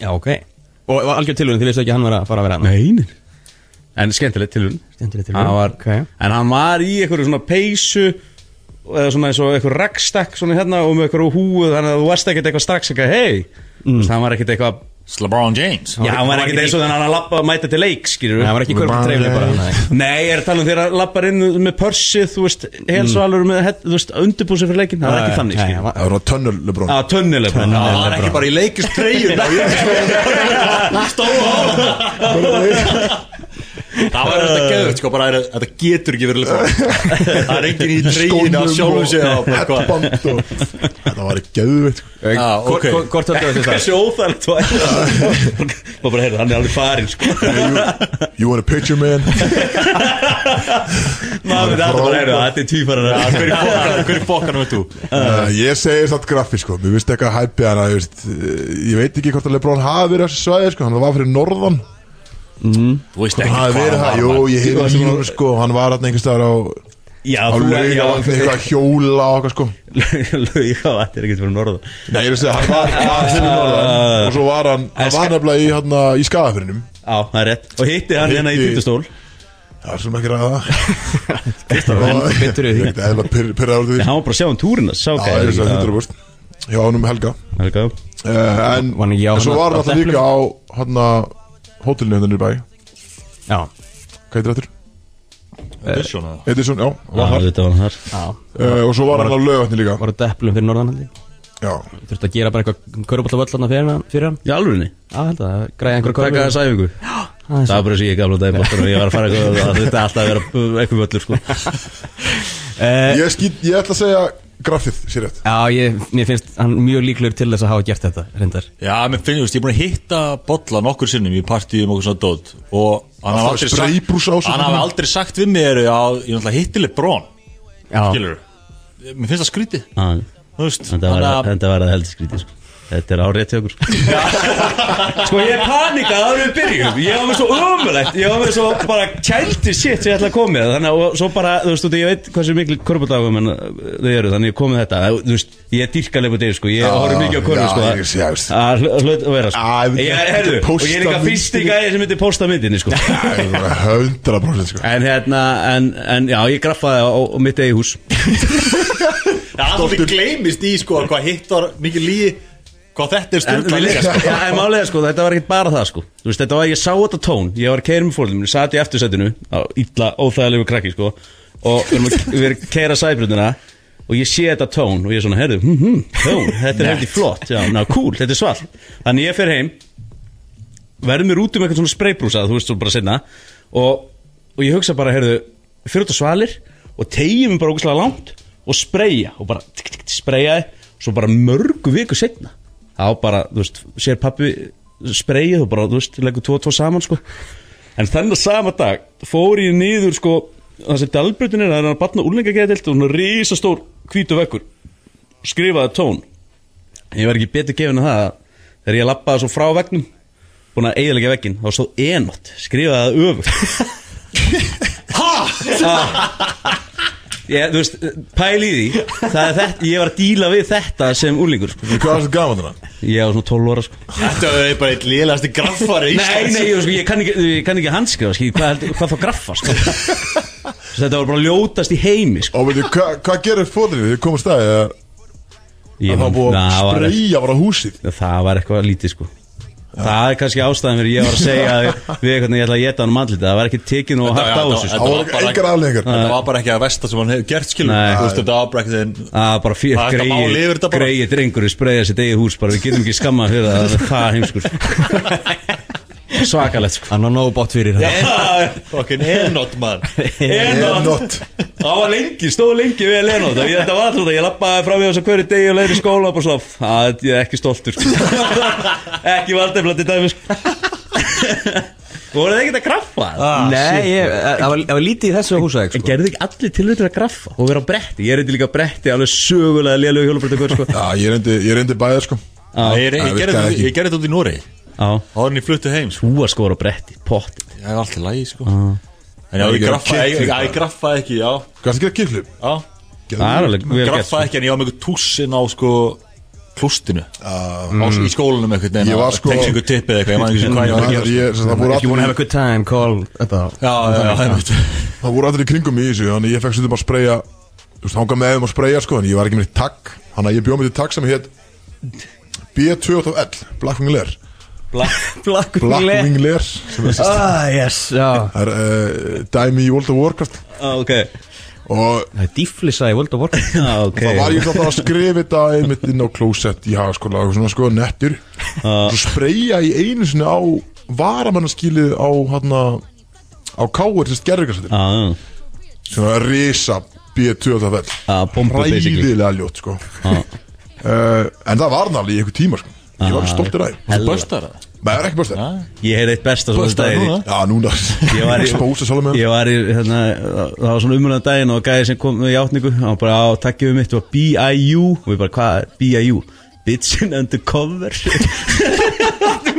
S3: Já, ok Og var algjör tilhörun, þið vissu ekki að hann var að fara að vera hann
S5: Nei, nei En skemmtilegt til hún
S3: Skemmtileg tilhugsun.
S5: Hann var,
S3: Ok.
S5: En hann var í einhverju svona peysu Eða svona eins og einhverju ragstakk Svona hérna og með einhverju húu Þannig að þú varst ekkert eitthvað strax eitthvað Hei, mm. hann var ekkert eitthvað
S4: LeBron James
S5: Já, hann var ekkert eins og þannig að hann lappa að mæta til leik, skýrur
S3: Nei, hann var ekki hverjum treyfli bara nei.
S5: Nei, ég er að tala um þegar hann lappar inn með pörsið, þú veist, helsvalur með, hett- þú veist, undirbúsið fyrir leikin, það var ekki þannig, skýrur
S2: Það var tönnur LeBron
S5: Já, tönnileg bara
S4: Það
S6: Ah,
S4: var ekki bara í leikist treyjun
S6: [LAUGHS] Nou,
S4: Stóð á Það var þetta geðvægt sko bara er- Þetta getur ekki verið LeBron Það er engin í treyjun að sjálfum sig á bara hvað.
S2: hettband og Þetta var ekki gæðveitt sko
S3: Ok,
S4: Já,
S6: Ah,
S3: hvor-
S4: ok.
S3: hvor- Hvort höldu þessi það?
S5: Þessi óþægilegt var Má bara heyrðu, hann er alveg farinn sko
S2: You want a picture [LAUGHS] man
S5: Maður þetta bara heyrðu, þetta er
S4: Já,
S5: tvífarar
S4: Hver er fokkanum, hver er fokkanum er þú?
S2: Uh, ég segi satt graffi sko, mér finnst eitthvað hæpið hana, ég veist, eh, ég veit ekki hvort að Lebron hafi verið á þessu svæði sko, hann var fyrir norðan
S4: Þú veist
S2: Hann hafi verið það, jú, ég
S5: Þú
S2: heyrði
S5: varst
S2: í
S5: búin
S2: hún sko, hann var hann einhvers staðar á,
S5: Já,
S2: á
S5: þú
S2: laug,
S5: já,
S2: hann var eitthvað að hjóla og eitthvað sko
S5: Laug á þetta er ekkert fyrir norðan
S2: Nei, ég veist það, [LAUGHS] hann var, Ah. hann var fyrir norðan og svo var hann, hann var nefnilega í, hann, í skafafyrinum
S5: Já, það er rétt Og hitti hann hérna í
S2: Hitti-
S5: tvítustól
S2: Það er sem ekki [LAUGHS] ræða
S3: enn
S2: [LAUGHS]
S3: betur í því.
S2: Ég er eða pyrraður út í því
S5: Hann var bara að sjá um túrin þess, sá
S2: Já, ég um veist það, hundur búst Já, hann um helga
S5: Það er góð
S2: Eh, En
S3: Var hann ekki á
S2: en svo
S3: hana-
S2: var
S3: á
S2: hann alltaf líka á, hann, hótelinu hennar í bæ
S3: Já
S2: Hvað heitir þetta?
S4: Edison eða?
S2: Edison, já,
S5: Já,
S2: var þar
S5: þetta var hann þar
S3: Já
S2: uh, Og svo var hann á laugatni líka
S3: Var á deplum fyrir norðan haldi
S2: Já,
S3: Þurfti að gera bara eitthvað Körbóllavöll hann fyrir hann Fyrir hann
S5: Í alvörinni
S3: Já, held að Græja einhverja
S5: Hvað gæði
S3: körbóllavöll
S5: þess æfingu? Það var bara sem ég gamla dæmi Þegar ég var að fara eitthvað það þurfti alltaf að vera eitthvað völlur sko
S2: ég, skýt, ég ætla að segja grafið, sér rétt
S3: Já, ég, mér finnst hann mjög líklegur til þess að hafa gert þetta Reyndar
S4: Já, mér finnst, þú veist, ég er búin að hitta Bolla nokkur sinnum í partíum og svona dót og hann
S2: Alltaf
S4: hafði aldrei,
S2: spraybrús á
S4: sagt-
S2: sig.
S4: hann hafði aldrei sagt við mér að ég náttúrulega hitti Lebrón,
S3: Já
S4: skilur Mér finnst það skrítið,
S5: Þetta
S4: þú veist
S5: var
S4: þannig að-
S5: þetta var að heldur skrítið sko Þetta er árið til okkur
S8: [LAUGHS] Sko ég panikaði árið við byrjum Ég var með svo ömulegt Ég var með svo bara kældi shit sem ég ætla að koma með Þannig að og svo bara, þú veist, út, ég veit hversu miklu korfbaldagum en þau eru Þannig ég kom með þetta Þú veist, ég er dýrka leifur deyr, sko Ég horfði mikið á korfu,
S2: já,
S8: sko
S2: ég sé, ég sé.
S8: Að hlut- hlut að vera,
S2: Já,
S8: sko
S2: ef þú
S8: Ég er,
S2: getur
S8: herðu, og ég er
S2: postað
S8: líka fyrsti
S2: myndinni.
S8: gæði sem myndi posta myndinni,
S2: [LAUGHS]
S8: sko
S2: Það er bara 100% sko
S5: En hérna, en, en já, ég graffaði á, á mitt eigi hús
S4: Já, alltaf gleymist í sko hvað hitt var mikið líi hvað þetta er
S5: En,
S4: styrklað
S5: vilja, já, en málega sko, þetta var ekkert bara það sko Þú veist, þetta var, ég sá þetta tón Ég var að keira með fólum, ég sat í eftirsetinu á Ítla, óþægilegu krakki sko Og við erum að- við erum að keira sæbrutina Og ég sé þetta tón og ég er svona, herðu, hm, hm, tón Þetta er hefði flott, já, ná, cool, þetta er svall Þannig ég fer heim Verður mér út um eitthvað svona spreybrúsa Þú veist, svo bara setna Og, og ég hugsa bara, herðu, fyrir út á svalir Og tegjum bara ógustlega langt Og spreyja, og bara tikk, tikk, tikk, spreyjaði Svo bara mörgu viku setna þá bara, þú veist, sér pappi spreyið og bara, þú veist, leggur tvo og tvo saman sko. en þennan sama dag fór ég niður sko, þessi dalbrutin er að hann batna úrlingagæðilt og hún er risastór hvítu vekkur skrifaði tón ég var ekki betur gefin að það að þegar ég lappaði svo frá vegnum búin að eiginlega veggin þá stóð enótt, skrifaði það öfugt Ég, þú veist, pæl í því Það er þetta, ég var að díla við þetta sem úlingur sko.
S2: Hvað er þetta gaman þarna?
S5: Ég var svona 12 ára sko.
S9: Þetta er bara eitt liðlasti graffari í
S5: Nei, nei, ég, sko, ég kann ekki, ég kann ekki handskrifa sko. hvað, held- hvað þá graffa sko. [LAUGHS] Svo Þetta var bara ljótast í heimi sko.
S2: Og veitu, hva, hvað gerir fóðinni? Þið komum stæði að
S5: ég,
S2: það var búið að
S5: það var-
S2: spreyja bara húsið
S5: Það var eitthvað lítið sko Það er kannski ástæðan fyrir ég var að segja að við hvernig ég ætla að geta hann um andlita Það var ekki tekið nú hægt á
S6: já,
S5: þessu sko.
S2: Það voru
S6: bara-
S2: engar afleggingar
S6: Þetta var bara ekki að versta sem hann hefur gert skilur
S5: Nei.
S6: Þú veist þetta var bara ekkert einn
S5: að bara fyrir
S6: Það er þetta mál yfir
S5: greið
S6: þetta bara.
S5: greið drengur spreyja sitt eigið hús bara við getum ekki skamma fyrir það það er það heimskur svakalegt sko
S3: Hann var nóg bótt fyrir það
S6: Fucking enot mann
S2: Enot.
S5: það var lengi, stóð lengi við Lenot og ég, þetta var alltaf, ég lappaði frá mig þess að hverju degi og leiði í skóla og bara svona, að ég er ekki stoltur [LAUGHS] sko. ekki valdefla til dæmi sko voruð þið ekkert að graffa?
S3: Nei, ég, það var, það var lítið í þessu húsæk
S5: Ah, en
S3: sko.
S5: gerðu þið ekki allir tilvæg til að graffa og vera á bretti, ég er eitthvað líka á bretti alveg sögulega lélög hjólubröndakör sko. [LAUGHS]
S2: Já, ég reyndi, ég reyndi bæðið sko
S5: Ah,
S6: Nei, Ég
S2: Það
S6: ég gerði
S2: virkaði
S6: þetta-
S2: ekki.
S6: ég gerði þetta út í Nóri
S5: á,
S6: Háðan ég fluttu heim sko
S5: þú að skora á bretti, pott
S6: Ég er alltaf lægi sko En já,
S2: Það er
S6: ég
S2: ekki
S6: graffaði
S2: kickflip
S6: ekki, já,
S2: bara.
S6: ég graffaði ekki, já,
S2: Hvað er þetta að gera kiflum?
S6: já
S5: það er alveg vel gert sko.
S6: Graffaði ekki en ég var með eitthvað túsin á sko klústinu á, Í skólanum eitthvað
S2: Ég var, sko-
S6: Tekst einhver tippið eitthvað, ég maður ekki sem hvað ég var að gera
S2: Ég, sem, Mm, það, voru
S3: If you
S2: allir,
S3: wanna have a good time, call Þetta
S6: Já, já, já, einmitt.
S2: það voru allir í kringum mig í þessu Þannig ég fekk stundum að spreyja Þú veist, hanga með þeim að spreyja sko En ég var ekki með neitt takk Þannig að ég bjóð með því takk sem hétt B2L, Blackwing Lair
S3: Black
S2: Blackwing Lair sem er sérst
S3: Ah, yes, já
S2: Það er uh, dæmi í World of Warcraft
S5: Ah, ok
S2: Og
S3: Það er dýflissa í World of Warcraft
S5: Ah, ok
S2: það var ég þá bara að skrifa þetta einmitt inn á klósett í hagaskóla og svona sko nettur
S3: Ah.
S2: Svo spreyja í einu sinni á varamannaskilið á hann á káur sem skerðingarsættir
S5: Já,
S2: sem var risa B2L
S5: já, pompa basically
S2: ræðilega ljótt sko uh, [LAUGHS] en það var náli í einhver tíma sko ég
S5: Ah.
S2: var stoltur að því
S6: Þú böstar það?
S2: maður er ekki búst
S5: Ég heyrði eitt besta svona
S6: Böstar
S5: daginn
S6: núna?
S2: já núna
S5: Ah. Ég var í-
S2: [LAUGHS] spósa sálega með
S5: Ég var í, hérna, það var svona umhverfum daginn og gæði sem kom í átningu og hann bara, á, takkið við mitt, það var B.I.U. og við bara, hvað er B.I.U.? Bitchin Undercover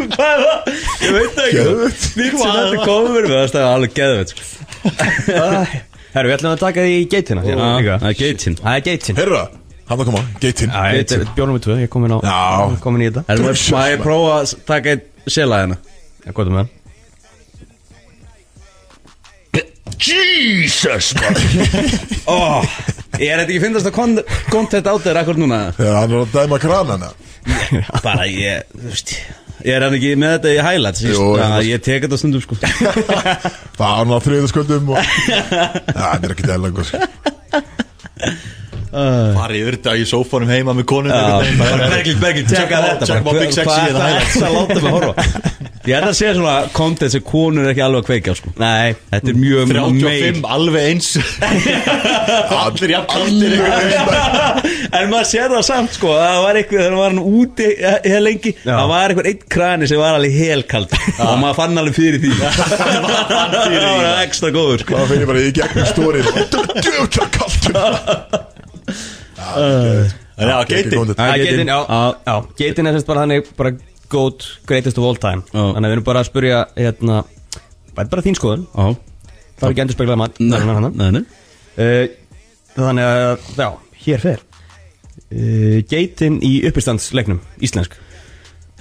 S5: Hvað er það? Ég veit það ekki
S2: Geðveikt.
S5: Bitchin Undercover, við það er alveg sko. geðvett
S3: Herru, við ætlum að taka því í geitina hérna, líka.
S5: Það er geitin
S3: Það er geitin
S2: herra hann það koma
S5: Ah.
S2: geitinn
S3: Þetta er Björnum við tvö, ég kom inn á
S2: Já.
S3: Komin í þetta
S5: Erum við að prófa að taka eitt sela hérna?
S3: Já, gott um það
S5: Oh, ég er þetta ekki fyndast að kon- content á þér akkur núna
S2: þegar hann er að dæma krana hana
S5: bara ég, þú veist Ég er hann ekki með þetta í highlights Ég,
S2: Jú,
S5: að,
S2: ég-
S5: ég tek þetta stundum [LAUGHS] sko
S2: það var hann á þriðasköldum og
S5: [LAUGHS]
S2: það er ekki dæla sko
S6: [LAUGHS] Bara yfir þetta í sófanum heima með konun
S5: Bergil, Bergil, tjekka þetta
S6: Check my
S5: bara.
S6: big
S5: Hvað
S6: sexy in the
S5: það er
S6: highlights?
S5: þetta að láta mig horfa Ég er að segja svona content sem konur er ekki alveg að kveika á, sko
S3: Nei
S5: Þetta er mjög
S6: 35,
S5: meir.
S6: alveg eins [LAUGHS] Allir jafnkvæmtir
S5: [LAUGHS] En maður sér það samt sko að Það var eitthvað þegar maður var hann úti eh, eh, lengi Það var eitthvað einn krani sem var alveg helkald Og maður [LAUGHS] fann alveg fyrir því Það var ekstra góður sko
S2: það finn ég bara í gegnum
S5: [LAUGHS]
S2: stórið djöfla kaltum
S6: En já, geiti
S2: þetta
S3: Það er
S5: geitin.
S3: geitin, já, já Geitin er semst bara þannig bara Goat greatest of all time
S5: Já.
S3: Þannig að við erum bara að spurja hérna Það er bara þín skoðun
S5: Ó,
S3: Það er ekki endur speglað mat þarna, þarna.
S5: nei, nei
S3: Eh, Þannig að, já, hér fer uh, Geitin í uppistandsleiknum Íslensk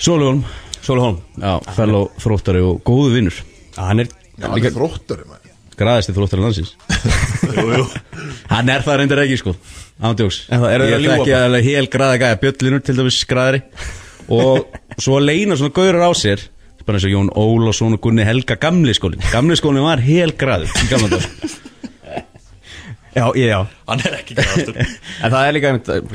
S5: Sólugum,
S3: Sólhólm
S5: já, fellow þróttari og góðu vinnur
S3: Hann er
S2: hann er þróttari maður
S5: Graðasti þróttari landsins Hann er það reyndar ekki sko Ándjóks
S3: En það eru þeir að
S5: Ég
S3: ljúga
S5: ekki
S3: bara?
S5: alveg hel graða gæja Bjöllinur til dæmis graðari Og svo leina svona gaurar á sér Bara eins og Jón Ólafsson og Gunni Helga Gamli skólin Gamli skólin var hel graður í gamla
S3: [LAUGHS]
S5: daga.
S3: Já, ég, já
S6: Hann er ekki gæðastur
S3: En það er líka,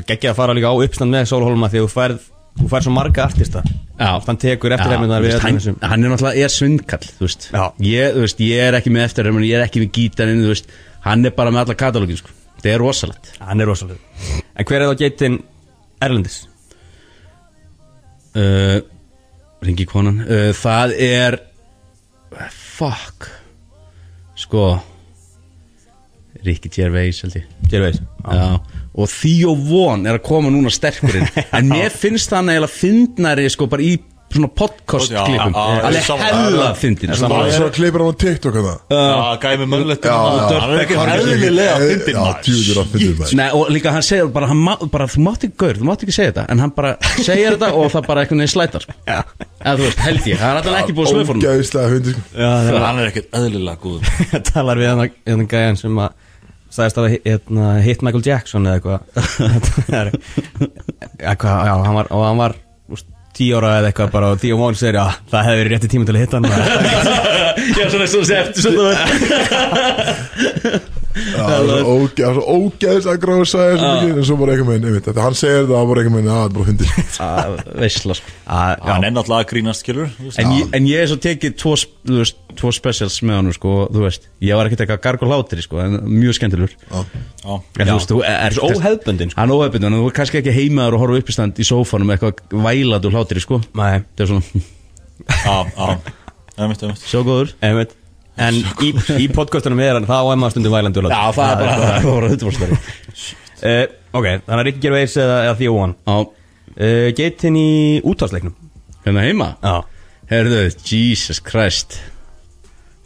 S3: geggja að fara líka á uppstand með Sólhólma Því að þú færð, þú færð svo marga artista
S5: Já.
S3: Þann tekur
S5: Já,
S3: eftirleiminnar
S5: þú
S3: við
S5: veist,
S3: öllum þessum
S5: hann, hann er náttúrulega er svindkall þú veist.
S3: Já.
S5: Ég, þú veist, ég er ekki með eftirreifin Ég er ekki með gítarinn þú veist. Hann er bara með alla katalógin sko. Það er rosalegt
S3: Hann er rosalega En hver er þá geitin Erlendis?
S5: uh, ringi konan uh, Það er Fuck Sko Ricky Gervais held ég
S3: Gervais
S5: Já, og Theo Von er að koma núna sterkurinn en mér finnst hann eiginlega fyndnari sko bara í svona podcast klipum
S6: Já, já,
S5: alveg
S6: sammála.
S5: hella fyndin
S2: Það
S5: sko.
S2: er svo að kleipir hann á TikTok að það
S6: Já, gæmi mögulegt Það er ekki eðlilega fyndin
S2: Já,
S6: maður.
S2: djúður að fyndin maður
S5: Nei, og líka hann segir bara, hann, má- bara þú mátt ekki gaur, þú mátt ekki segja þetta en hann bara segir þetta og það bara eitthvað neður slætar sko. eða þú veist, held ég, það er alltaf ekki búið að svöð fór hann
S2: Ógæðislega fyndin sko.
S4: Hann er ekkert eðlilega góð
S3: [LAUGHS] Talar við hann, hann gæjan sem að sagðist að hérna, hitt Michael Jackson eða eitthvað [LAUGHS] Það er- Já, hvað, já, hann var, og hann var úst, tíu ára eða eitthvað bara og tíu mónu segir já, það hefði verið rétti tíma til að hitta hann
S5: Já, svona svona sem eftir svona
S2: Já, það er ógæ- það er svo ógæðislega gráð að sagja svo mikið En svo bara eitthvað meginn, einmitt Þetta hann segir "Ah, þetta, það bara eitthvað meginn, að það er bara fyndin
S5: Að Veisla, sko
S3: Já,
S6: Hann er náttúrulega að grínast, skilur
S5: En ég, en ég er svo tekið tvo, sp- þú veist, tvo specials með hann sko, og þú veist, ég var ekkert eitthvað garg og hlátir sko, en mjög skemmtilegur En þú veist, þú er
S3: Svo óhefðbundinn, sko.
S5: Hann er óhefbundin, en þú er kannski ekki heimaður og horfa uppistand í sófanum með eitthvað vælat og hlátir sko
S3: Nei,
S5: Það er svona, [LAUGHS]
S6: Já, já Það er mitt, það er mitt
S5: sjá góður
S3: einmitt En í, í podcastunum er hann, það á Emma stundum vælandi og láta.
S5: Já, það er bara, það er bara hundvörstari
S3: [LAUGHS] Eh, Ok, þannig að Ricky Gervais eða, eða Theo One
S5: Já,
S3: uh, Geitin í útvarsleiknum
S5: hérna heima
S3: Já
S5: Herðu, Jesus Christ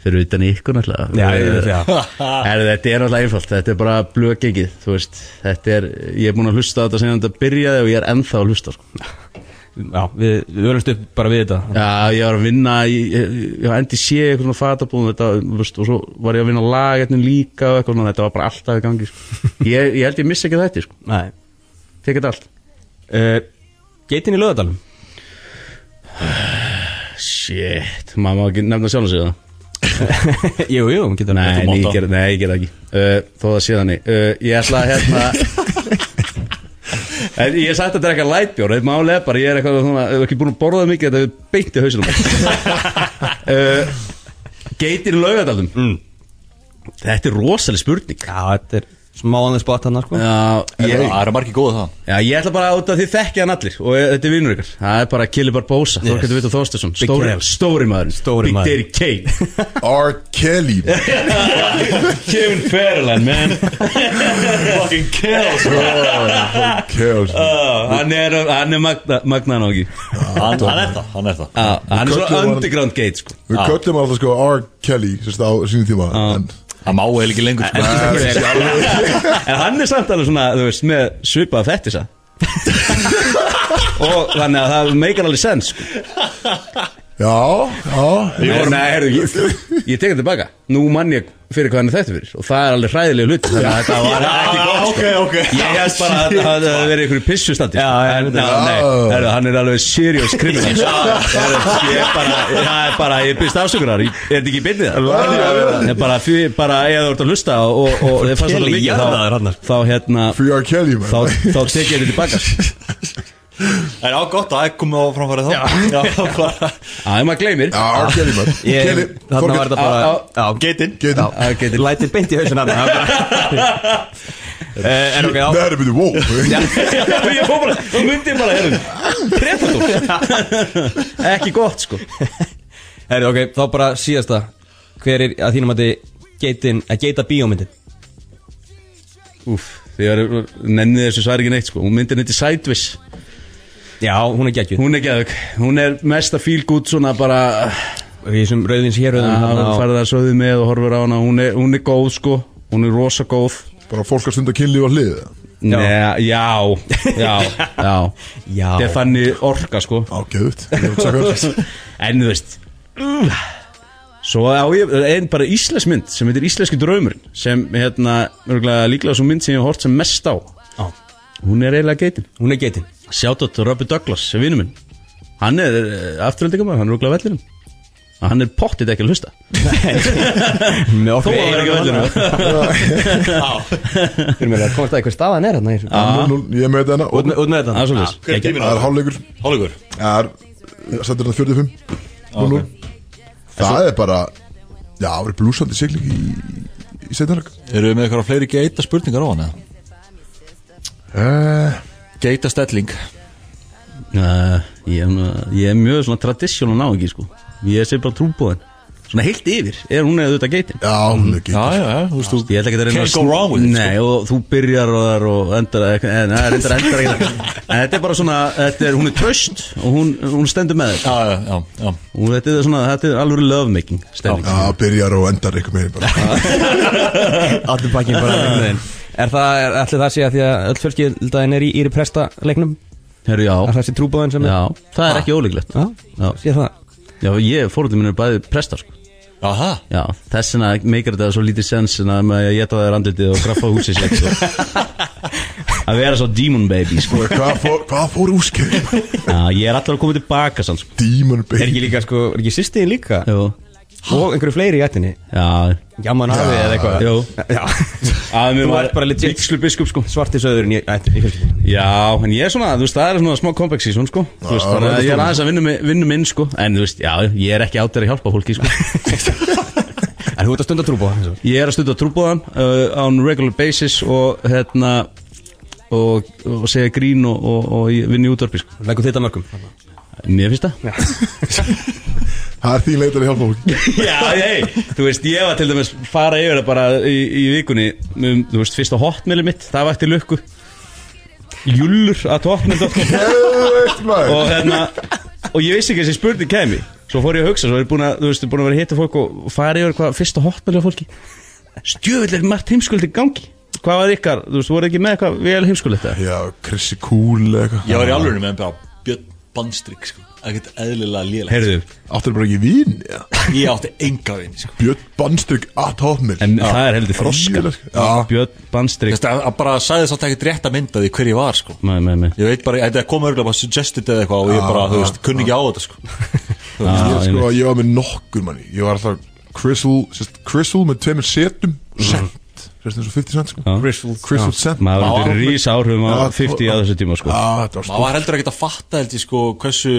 S5: Fyrir utan ykkur náttúrulega
S3: Já, ég- já.
S5: [LAUGHS] Herðu, þetta er náttúrulega einfalt Þetta er bara blökengið, þú veist Þetta er, ég er búin að hlusta á þetta sem þetta byrjaði og ég er ennþá að hlusta sko.
S3: Já, við, við völumst upp bara við þetta
S5: Já, ég var að vinna í, ég, ég var endi sé eitthvað svona fatabúðum þetta, þú veist, og svo var ég að vinna lagetnum líka og eitthvað svona, þetta var bara alltaf í gangi sko.
S3: [LAUGHS]
S5: ég, ég held ég missa ekki þetta, sko.
S3: Nei
S5: tek þetta allt
S3: uh, Geitin í lögadalum
S5: Shit, maður má ekki nefna sjálf sig það
S3: Jú, jú, getur
S5: Nei, nei,
S6: mátt
S5: ég
S6: það.
S5: ger- nei, ég ger það ekki uh, Þó það sé þannig uh, Ég ætla að hérna [LAUGHS] En ég er sagt að drekka lightbjór Þetta máli er bara, ég er eitthvað svona Ef ekki búin að borða það mikið, þetta er beint í [LAUGHS] hausinum uh, Geitir í laugadaldum mm. Þetta er rosaleg spurning
S3: Já, þetta er smá on the spot hann sko.
S5: Já, ég,
S6: Það eru margir góða það
S5: já, ég ætla bara út af því þekki hann allir Og þetta er vinnur ykkur Það er bara Kili Barbosa, yes. Þorkættu Vita Þorstesson
S3: Big
S5: Stóri,
S3: Kev.
S5: stóri maður
S3: Stóri
S5: Big
S3: maðurinn.
S5: Daddy Kane
S2: [LAUGHS]
S5: [LAUGHS]
S2: R. Kelly
S5: Kevin Fairland, man
S6: Fucking kills
S2: Chaos
S5: Já, hann er, hann er magna, magna nógi
S6: Hann hann er það, hann er það
S5: Hann er
S2: köllum
S5: svona
S2: hann-
S5: underground gate sko.
S2: Við köllum alltaf sko R. Kelly Sérst á sínum tíma En
S6: Það má eða ekki lengur sko.
S5: [LAUGHS] En hann er samt alveg svona, þú veist, með svipað fettisa Og þannig að það meikar alveg sens sko.
S2: Já, já
S5: Nei, nei, heyrðu, ég, ég tek þetta tilbaka Nú mann ég fyrir hvað hann er þetta fyrir Og það er alveg hræðilega hlut Þannig að þetta var ekki gott sko.
S6: Ah, ok
S5: Ég held bara að það hefði verið einhverju pissustandi Já, en, ná, nei,
S2: Já.
S5: herðu, hann er alveg serious criminal Herðu, Ég er bara, það er bara, ég byrst afsökunar Ég er þetta ekki byrnið það Ég er bara, fyrir, bara, ég hefði voru að hlusta Og, og, og þið fannst þetta
S3: Kelly,
S5: mikið
S3: jarðaður
S5: þá,
S3: hann.
S5: þá, hérna,
S2: Free R. Kelly man
S5: þá, þá tek ég þetta tilbaka
S6: En á gott að það er komið á framfæri þá Já, bara
S5: Það er maður gleymir
S2: Já, R. Kelly man Kelly,
S3: Ég, Þannig var
S2: Þorgeir
S3: þetta bara
S5: Á, á,
S3: Já,
S6: Getinn
S2: Geitin
S5: geti-
S3: Lætir beint í hausin hann Eh, En ok,
S2: Nei,
S3: já
S2: það er byrju, Ah, wow
S5: [LAUGHS] Ég fór bara, þá myndi ég bara, herru Predator Ekki gott, sko
S3: Herri, ok, þá bara síðasta Hver er að þínum að geitin Að geita bíómyndin
S5: Úf, því ég var, nennið þessu svar ekki neitt, sko Hún myndir neitt í sideways
S3: Já, hún er geggjuð
S5: Hún er geðug, hún er mesta feel good svona bara
S3: Í þessum rauðins hér
S5: að
S3: rauðin
S5: fara það söðu með og horfur á hana hún er, hún er góð sko, hún er rosa góð
S2: Bara fólk að stunda kynlíf á hlið
S5: já, já, já, já.
S3: Já.
S5: þetta er þannig orka sko
S2: Ágæðut Þetta
S5: en þú veist svo á ég einn bara íslensk mynd sem heitir Íslenski draumurinn sem hérna, örugglega líklega svo mynd sem ég hef hort sem mest á
S3: Já.
S5: hún er eiginlega geitin
S3: Hún er geitin
S5: Shoutout to Robert Douglas, vinnu minn Hann er afturöldingamæður, hann er rúglega vellinum Og Hann er pottið ekki að hlusta [LAUGHS]
S3: Með
S5: Þó að
S3: okkur
S5: það er ekki vellinum [LAUGHS]
S3: Fyrir mér að komast að eitthvað staðan er hann
S2: Ég er með þetta
S3: Út
S2: hérna
S3: með- út með þetta
S5: Það er svolítið
S6: Hver er tíminn
S2: Það
S6: á
S2: er
S6: það?
S2: hálfleikur
S6: Hálfleikur
S2: Það er Sættir hann 45
S6: ok.
S2: 0-0. Það er bara Já, það er blúsandi sigling í Í setjarlag
S4: Eru við með eitthvað fleiri geita spurningar á hann eða?
S2: Það
S4: Geita stelling
S5: Uh, ég, er svona- ég er mjög svona traditional náungi sko Ég sé bara trúbóðin Svona heilt yfir, er hún eða auðvitað geitin
S2: Já, hún er ekki
S4: Já, já, já, þú veist þú
S5: Ég ætla ekki að reyna
S4: Can't go wrong with it, sko.
S5: Nei, og þú byrjar og þar og endar eh, Nei, reyndar endar
S4: [LAUGHS]
S5: ekki En þetta er bara svona, þetta er, hún er tröst Og hún, hún stendur með þér
S4: Já, já, já, já
S5: Og þetta er svona, þetta er alveg lovemaking stemning
S2: Já, byrjar og endar ykkur meginn bara
S3: Allir bakinn bara einhvern veginn Er það, er, ætli það sé að því að öll fjölskyldaðin er í íri presta leiknum?
S5: Herru,
S3: Er
S5: já,
S3: það sé Ah. trúbóðin sem er?
S5: já, það er ekki ólíklegt
S3: Já,
S5: Já,
S3: sé það
S5: já ég, fórhundin minn er bæði prestar sko
S4: Aha,
S5: Já, þess vegna meikar þetta svo lítið sens en að maður geta það randlitið og graffa húsið sér
S3: [LAUGHS]
S5: svo. að vera svo demon baby sko.
S2: Hvað fór, hvað fór úskeið?
S5: Já, ég er alltaf að koma tilbaka sann sko.
S2: Demon
S3: Er ekki
S2: Baby
S3: líka sko, er ekki sýstiðin líka?
S5: Jú,
S3: Og einhverju fleiri í ættinni
S5: já,
S3: Jamman hafið eða eitthvað
S5: jú
S3: Já,
S5: að mér
S3: Þú
S5: var
S3: ert bara legit.
S5: vígslu biskup sko
S3: svarti söðurinn í ættinni í fjölskyldinni.
S5: Já, en ég er svona, þú veist, það er svona smá comeback season sko Þú veist,
S2: það er
S5: þannig að ég er
S2: stórt.
S5: aðeins að vinna, mi- vinna minn sko En þú veist, já, ég er ekki átt að hjálpa fólki sko
S3: En þú ert að stunda trúbóða eins og.
S5: Ég er að stunda trúbóðan uh, on regular basis og hérna og, og segja grín og, og, og ég vinn í útvarpi sko
S3: Leggur þetta mörgum
S5: Mér finnst það
S2: Það er þín leitar að hjálpa fólk
S5: Já, hei, þú veist, ég var til dæmis fara yfir það bara í, í vikunni um, Þú veist, fyrsta hotmaili mitt, það var eftir lukku Júllur að hotmail.com
S2: Geðveikt, maður.
S5: og hérna og ég vissi ekki að þessi spurning kemi svo fór ég að hugsa, svo er ég búin að, þú veist, búin að vera að hitta fólk og fara yfir hvað fyrsta hotmæli á fólki stjöfileg margt heimskuldi gangi hvað var ykkar, þú veist, voru ekki með eitthvað vel heimskuldið þetta?
S2: Já, Chrissy Cool eða eitthvað
S4: ég
S5: Ah.
S4: var í alvörinu með bara Björn Bandstrik, sko Ekkert eðlilega lélega
S5: Heyrðu,
S2: Áttur bara ekki vín já.
S4: Ég átti enga vinn, sko
S2: Björn Bandstök at hotmail
S5: en það er heldur froska
S2: Já,
S5: Björn Bandstrik
S4: Þetta að bara sagði þess að ekki rétt að mynda því hver ég var, sko
S5: Nei, nei, nei
S4: Ég veit bara, þetta kom örgulega bara suggested eða eitthvað
S5: Ah,
S4: og ég bara, þú veist, kunni ekki á þetta, sko
S5: Já,
S2: ég,
S5: einmitt.
S2: sko, ég var með nokkur manni Ég var alltaf Crystal, sérst, Crystal með tveimur setum Cent, sérst eins og 50 cent sko. Crystal, Crystal cent
S5: Maður var
S2: Já,
S5: undir rís áhrifum á
S2: Já,
S5: 50 á þessu tíma sko
S2: Ah, þetta var
S4: Maður
S2: stórt
S4: var heldur ekki að fatta, held ég, sko, hversu,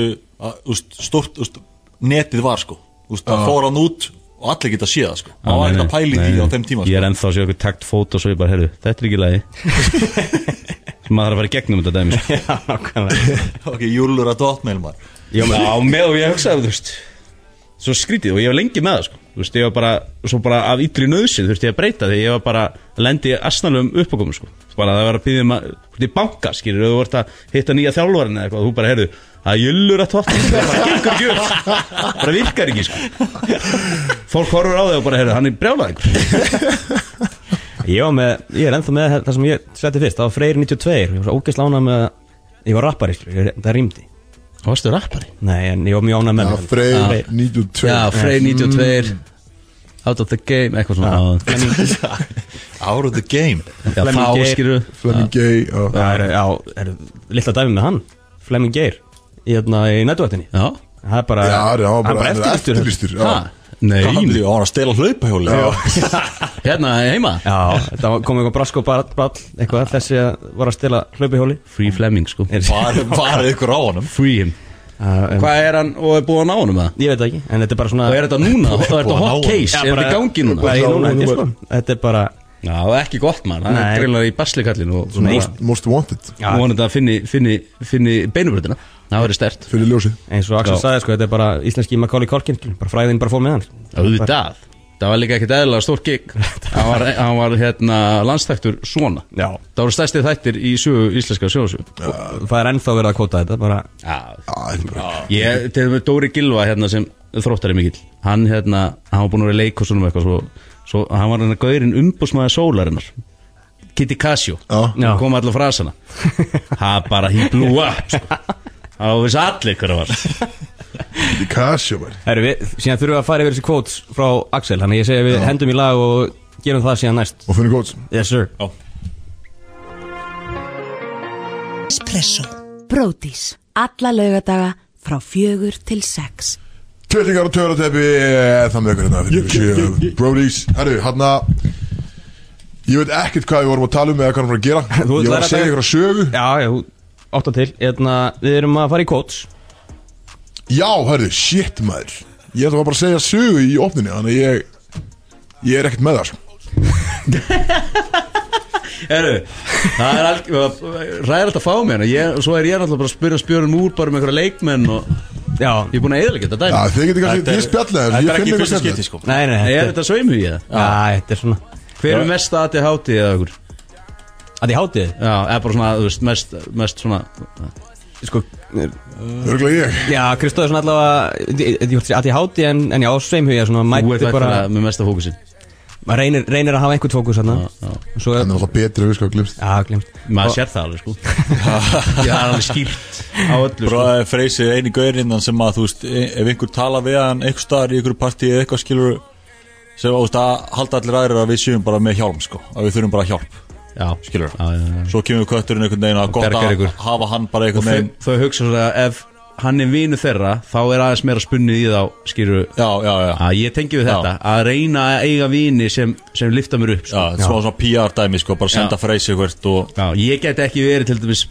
S4: að, þú veist, stort, þú veist, netið var, sko Þú veist, það fór hann út og allir geta séð það, sko
S5: Já,
S4: Maður var
S5: Ah. nei,
S4: ekki
S5: nei,
S4: að pæli
S5: nei,
S4: því á
S5: nei.
S4: þeim tíma,
S5: Ég er
S4: sko
S5: ennþá að sjá ykkur takt fót og svo ég bara, heyrðu, þetta er ekki í lagi Svo Maður þarf að fara í gegnum þetta dæmi sko.
S4: [LAUGHS] Ok, júlur að dotmail, maður
S5: Já, með og ég hugsaði, þú veist Svo skrítið og ég var lengi með það, sko Þú veist, ég var bara, svo bara af ytri nöðsyn Þú veist, ég að breyta því ég var bara að lendi asnalum uppákomum, sko Bara það var að býðum að, þú veist, í banka, skilur Þú vart að hitta nýja þjálfarinn eða eitthvað og Þú bara, heyrðu, það er jullur að tótt Það bara gengur ekki upp, bara virkar ekki, sko Fólk horfur á þig og bara, heyrðu, hann er brjálað einhver
S3: Ég var með, ég er ennþá með það sem ég setti fyrst Það var Freyr 92 Ég var svo ógeðs lánað með Ég var rappari, skilur, ég- það rýmdi
S5: Varstu rappari?
S3: Nei, en ég var mjög ánað með
S2: Já,
S3: mig.
S2: Freyr 92
S5: Já, Frey
S2: Mm.
S5: 92 Out of the game, eitthvað svona
S4: Out of the game
S5: Já, þá
S3: Geir.
S5: skilur
S2: Fleming Gay já.
S3: Það eru, já, er Lilla dæmi með hann Flemming Geir Í, hérna, í nættuvættinni
S5: Já,
S3: Það er bara
S2: Já, það var bara
S3: hann er bara eftirlýstur
S2: eftirlýstur já.
S5: Ha, nei
S4: Hvað hafði ég á hann að stela hlaupahjóli?
S5: Hérna heima
S3: Já, þetta var- kom eitthvað brask og bara- brall Eitthvað þessi að var að stela hlaupihjóli
S5: Free Fleming sko
S4: Var, var ykkur á honum?
S5: Free him
S3: Uh, um,
S5: Hvað er hann og er búið að ná honum það?
S3: Ég veit það ekki, en þetta er bara svona
S5: Og er þetta núna? Og er þetta
S4: Búið að ná
S5: hot
S4: honum.
S5: case?
S3: Já,
S5: Er
S3: bara-
S5: þetta í gangi núna?
S3: Bara í núna, held ég,
S2: Númer-
S3: sko. Þetta er bara
S5: Já, ekki gott mann Það
S3: Nei.
S5: er greinlega í baslíkallinu og svona
S2: Most, most Wanted
S5: Og hann þetta finni, finni, finni beinubröðina Það verður stert
S2: Fyrir ljósið
S3: eins og Axel
S5: Já.
S3: sagði sko, þetta er bara íslenski Macaulay Culkin skilur, bara fræðin bara fór með hann skilur.
S5: Auðvitað Það var líka ekkert eðlilega stór gig Hann var, hann var hérna landstæktur svona
S3: Já.
S5: Það voru stærsti þættir í sögu, íslenska sjóðsögu
S3: það er ennþá verið að kóta þetta bara,
S5: Já,
S2: Já, þetta er bara
S5: Ég, til og með Dóri Gilva hérna sem þróttari mikill Hann hérna, hann var búin að vera í leikhúsunum eitthvað Svo, svo hann var hérna gaurinn umbúsmaði sólarinnar Kitty Casio
S2: Já.
S5: Hún kom allar frasana Það bara, he blew up sko. Það var vissi allir hver að var
S2: Í Casio maður.
S3: Heru, við, síðan þurfum við að fara yfir þessi kvót frá Axel þannig að ég segi við hendum í lag og gerum það síðan næst
S2: Og finnum góðs
S3: yes sir
S10: Espresso Brótis Alla laugadaga frá fjögur til sex
S2: Töllingar og törateppi Það með ykkur hérna fyrir sjö Brodies Herru, hann Ég veit ekkert hvað við vorum að tala um eða hvað hann var að gera
S3: Þú ert
S2: Ég var
S3: læra
S2: að segja
S3: þetta.
S2: ykkur að sögu
S3: já, já, óttan til Eðna, við erum að fara í kvót
S2: Já, herru, shit maður Ég ætla bara að segja sögu í opninni Þannig að ég Ég er ekkert með það sko.
S5: Heru, það er alg, ræðilegt að fá mér hana. ég, Svo er ég náttúrulega bara að spyrja spjörun úr bara um einhverja leikmenn og
S3: Já,
S5: ég er búin að eðalega þetta
S2: Já,
S5: dæmi
S2: þið getur kannski, ég spjalla þér,
S6: Þetta
S2: ég finn
S6: er ekki
S2: eitthvað
S6: fyrsta
S2: sem
S6: skipti
S2: þetta.
S6: sko
S3: nei, nei,
S5: Er
S3: þetta
S5: þetta sveimu í það?
S3: Já, þetta er svona
S5: Hver er mest aðti hátið eða okkur?
S3: Að ég háti þið
S5: Já, eða bara svona, þú veist, mest, mest svona
S3: Sko,
S2: Örgulega ég.
S3: já, Kristóð er svona allavega ég- ég- ég ætla Að ég háti en, en já, sveimhugja Svona
S5: Þú
S3: mæti
S5: ert
S3: bara
S5: bara með mesta fókusin
S3: maður reynir, reynir að hafa einhvern fókus hérna Svo
S2: Þannig
S3: er
S2: að það er betri að við sko að glimst.
S3: Já, glemt
S5: Maður sér það alveg, sko Já, það er alveg skýrt á öllu, sko
S6: Bara freysið eini gaurinnan sem að þú veist e- ef einhver tala við hann einhver staðar í einhverju partí eða eitthvað skilur sem þú veist að halda allir aðrir að við séum bara með hjálm sko að við þurfum bara hjálp
S5: Já,
S6: skilur
S5: já, já, já.
S6: Svo kemur kötturinn einhvern veginn að gott
S5: Bjargar
S6: að
S5: ykkur.
S6: hafa hann bara
S5: Og
S6: einhvern
S5: þau,
S6: veginn
S5: þau hugsa svo að ef hann er vinu þeirra þá er aðeins meira spunnið í þá skýru
S6: Já, já, já
S5: að ég tengi við
S6: Já.
S5: þetta að reyna að eiga vini sem, sem lifta mér upp
S6: Já,
S5: sko.
S6: þetta er svona svona PR dæmi sko bara senda freysið hvert og
S5: Já, ég get ekki verið til dæmis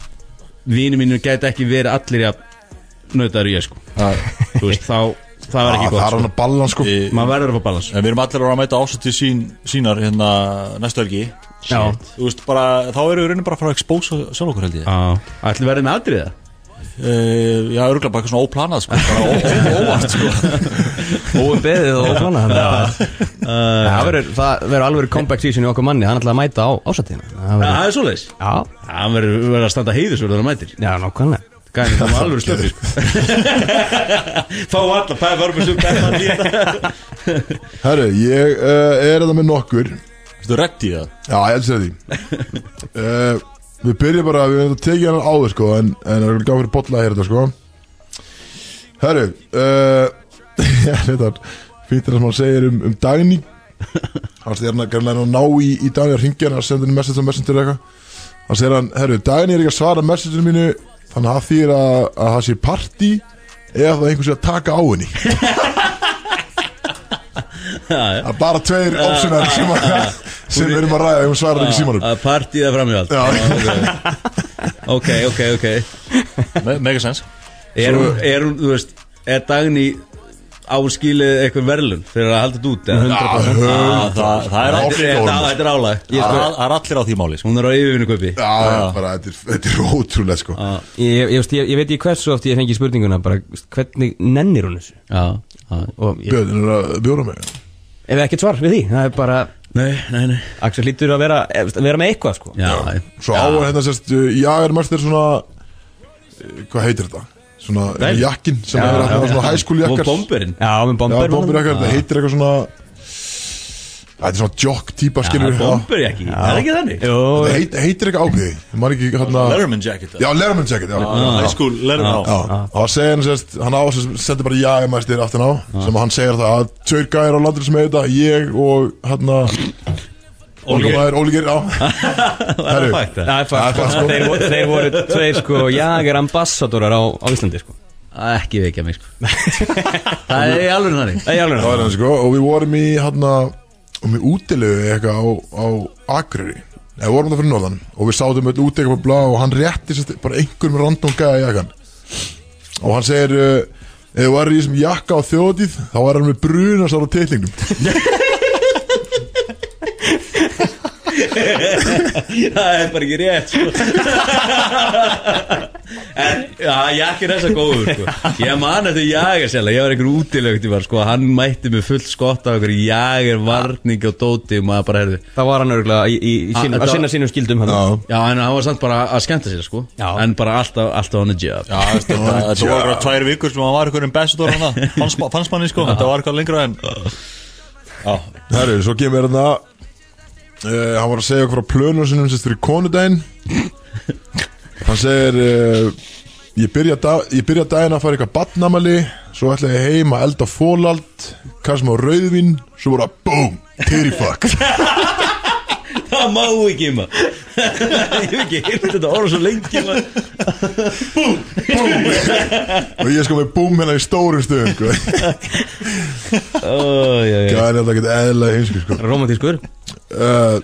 S5: vini mínu get ekki verið allir að nöðar ég sko þú veist þá það var
S2: Já, Það
S5: ekki
S2: er
S5: gott
S2: hann
S5: sko.
S2: að balla sko.
S6: Í-
S5: maður verður að fá balans
S6: e, En við erum allir að vera að mæta ásætti sín, sínar hérna næstu helgi
S5: Já.
S6: Þú veist bara, þá erum við raunin bara að fara að expósa sjálf okkur held
S5: Ah.
S6: ég
S5: ætlum verðið með aldrei það
S6: Uh, já, örgulega bara eitthvað svona óplanað sko, bara ó- óvart sko
S3: Óum beðið og óflana Það verður það verður alveg comeback season í okkur manni Hann ætlaði að mæta á ásatíðina Það
S5: Já,
S3: verður-
S5: það er svoleiðis
S3: Já,
S5: það verður verður að standa heiðis verður að mætir
S3: já, nákvæmlega
S5: gæði það var [LAUGHS] alveg slöfri sko. fá alla pæða varum við svo
S2: Herru, ég uh, er þetta með nokkur
S6: Þú reddi það
S2: Já, ég elsa því uh, Við byrjum bara, við erum að tekið hann áður sko En, en það er gaf fyrir bolla að heyra þetta sko Herru uh, [LAUGHS] Ég veit að Fýttir að maður segir um, um Dagný Hann segir hann að greinlega ná í, í Dagný að hringja hann að senda henni message á messenger eða eitthvað Hann segir hann, herru, Dagný er ekki að svara messageinu mínu Þannig að það þýr að, að það sé party Eða það er einhversi að taka á henni Það er bara tveir opsunar sem, að- sem við erum að ræða ef hún svarar ekki símanum
S5: að partíða framhjóð
S2: Já,
S5: ok, ok, ok
S6: Me Megasens
S5: er hún, er hún, þú veist er Dagný á hún skilið eitthvað verðlun fyrir að halda þetta út eða?
S6: það, það, það
S2: Oft
S5: Þetta er-
S6: er
S2: árum.
S5: þetta- þetta er álæg
S6: allir það, það er allir á því máli sko.
S5: hún er á yfirvinu kaupi
S2: Já, já, bara þetta er, þetta er ótrúlega sko
S3: Ég, ég, veist, ég, ég veit ekki hversu oft ég fengi spurninguna bara, veist, Hvernig nennir hún þessu?
S5: já, já.
S3: Og ég,
S2: Björn er að bjóra mig
S3: ef ekkert svar við því Það er bara
S5: nei, nei, nei
S3: Axel hlýtur að vera, eh, veist, að vera með eitthvað sko
S5: já, já.
S2: Svo á er hérna sérst uh, Jager Master svona uh, Hvað heitir þetta? Svona
S5: Nei.
S2: jakkin sem já, er hérna svona hæskúli
S5: og
S2: jakkar
S5: bomberinn
S3: Já, með
S2: Já,
S3: bomber
S2: bombir jakkar, þetta heitir eitthvað svona Þetta er svona jock típa skilur
S5: bomber ekki, það er ekki þannig
S3: Jó,
S2: Það heit, heitir eitthvað ákveði Ég man ekki hérna
S6: Letterman jacket
S2: Já, Lerman jacket, já
S6: High school Letterman
S2: Já, og hann segir hann sérst, hann á sem sendir bara jaga mæstir aftan á sem hann segir það að tveir gæðir á landur sem heita ég og hann að Ólíkir Ólíkir, já Herru,
S5: fakt, það?
S3: það
S2: Það er
S3: er fakt
S2: fakt,
S3: sko.
S2: sko.
S3: Þeir voru- Þeir voru tveir sko Jager ambassadorar á, á Íslandi sko
S5: Að ekki vekja mig sko það er alveg þannig
S3: Það er alveg
S2: það er hann sko og við vorum í hann að um í útilegu eitthvað á, á Akureyri Nei, við vorum það fyrir norðan og við sátum öll út eitthvað blá og hann rétti sérst bara einhverjum random gæða jakkan og hann segir uh, ef þú er í þessum jakka á þjóðtíð þá er hann með brunasar á titlingnum
S5: [LAUGHS] það er bara ekki rétt sko. [LAUGHS] en já, jakkin er þess að góður sko. ég man þetta jager sérlega ég var einhver útilögt var, sko. hann mætti mig fullt skott af einhver jager varning og dóti og maður bara herði
S3: Það var hann örgulega í, í, í sín,
S5: Ah,
S3: að
S5: þetta-
S3: sinna sínum skildum hann
S5: já, en hann var samt bara að skemmta sér sko.
S3: Já.
S5: en bara alltaf, alltaf on a job
S6: Já, veist, þetta þetta voru bara tvær vikur sem hann var einhverjum bestur hana Fannsma- Fannsmanni sko, þetta var eitthvað lengra en
S2: Herru, svo kemur hérna uh, Hann var að segja okkur á plönum sinum sérst fyrir konudaginn Hann segir uh, ég, byrja dag, ég byrja daginn að fara eitthvað badnamali Svo ætla ég heim að elda fólald Kansi maður rauðvin Svo bara BOOM, titty fuck
S5: það má ekki maður [LAUGHS] ég hef ekki heyrt þetta orða svo lengi maður
S2: Og ég er sko með BOOM hérna í stórum stöðum sko.
S5: oh, já, já.
S2: Það er alltaf ekki eðla heimsku sko.
S3: Romantískur
S2: uh,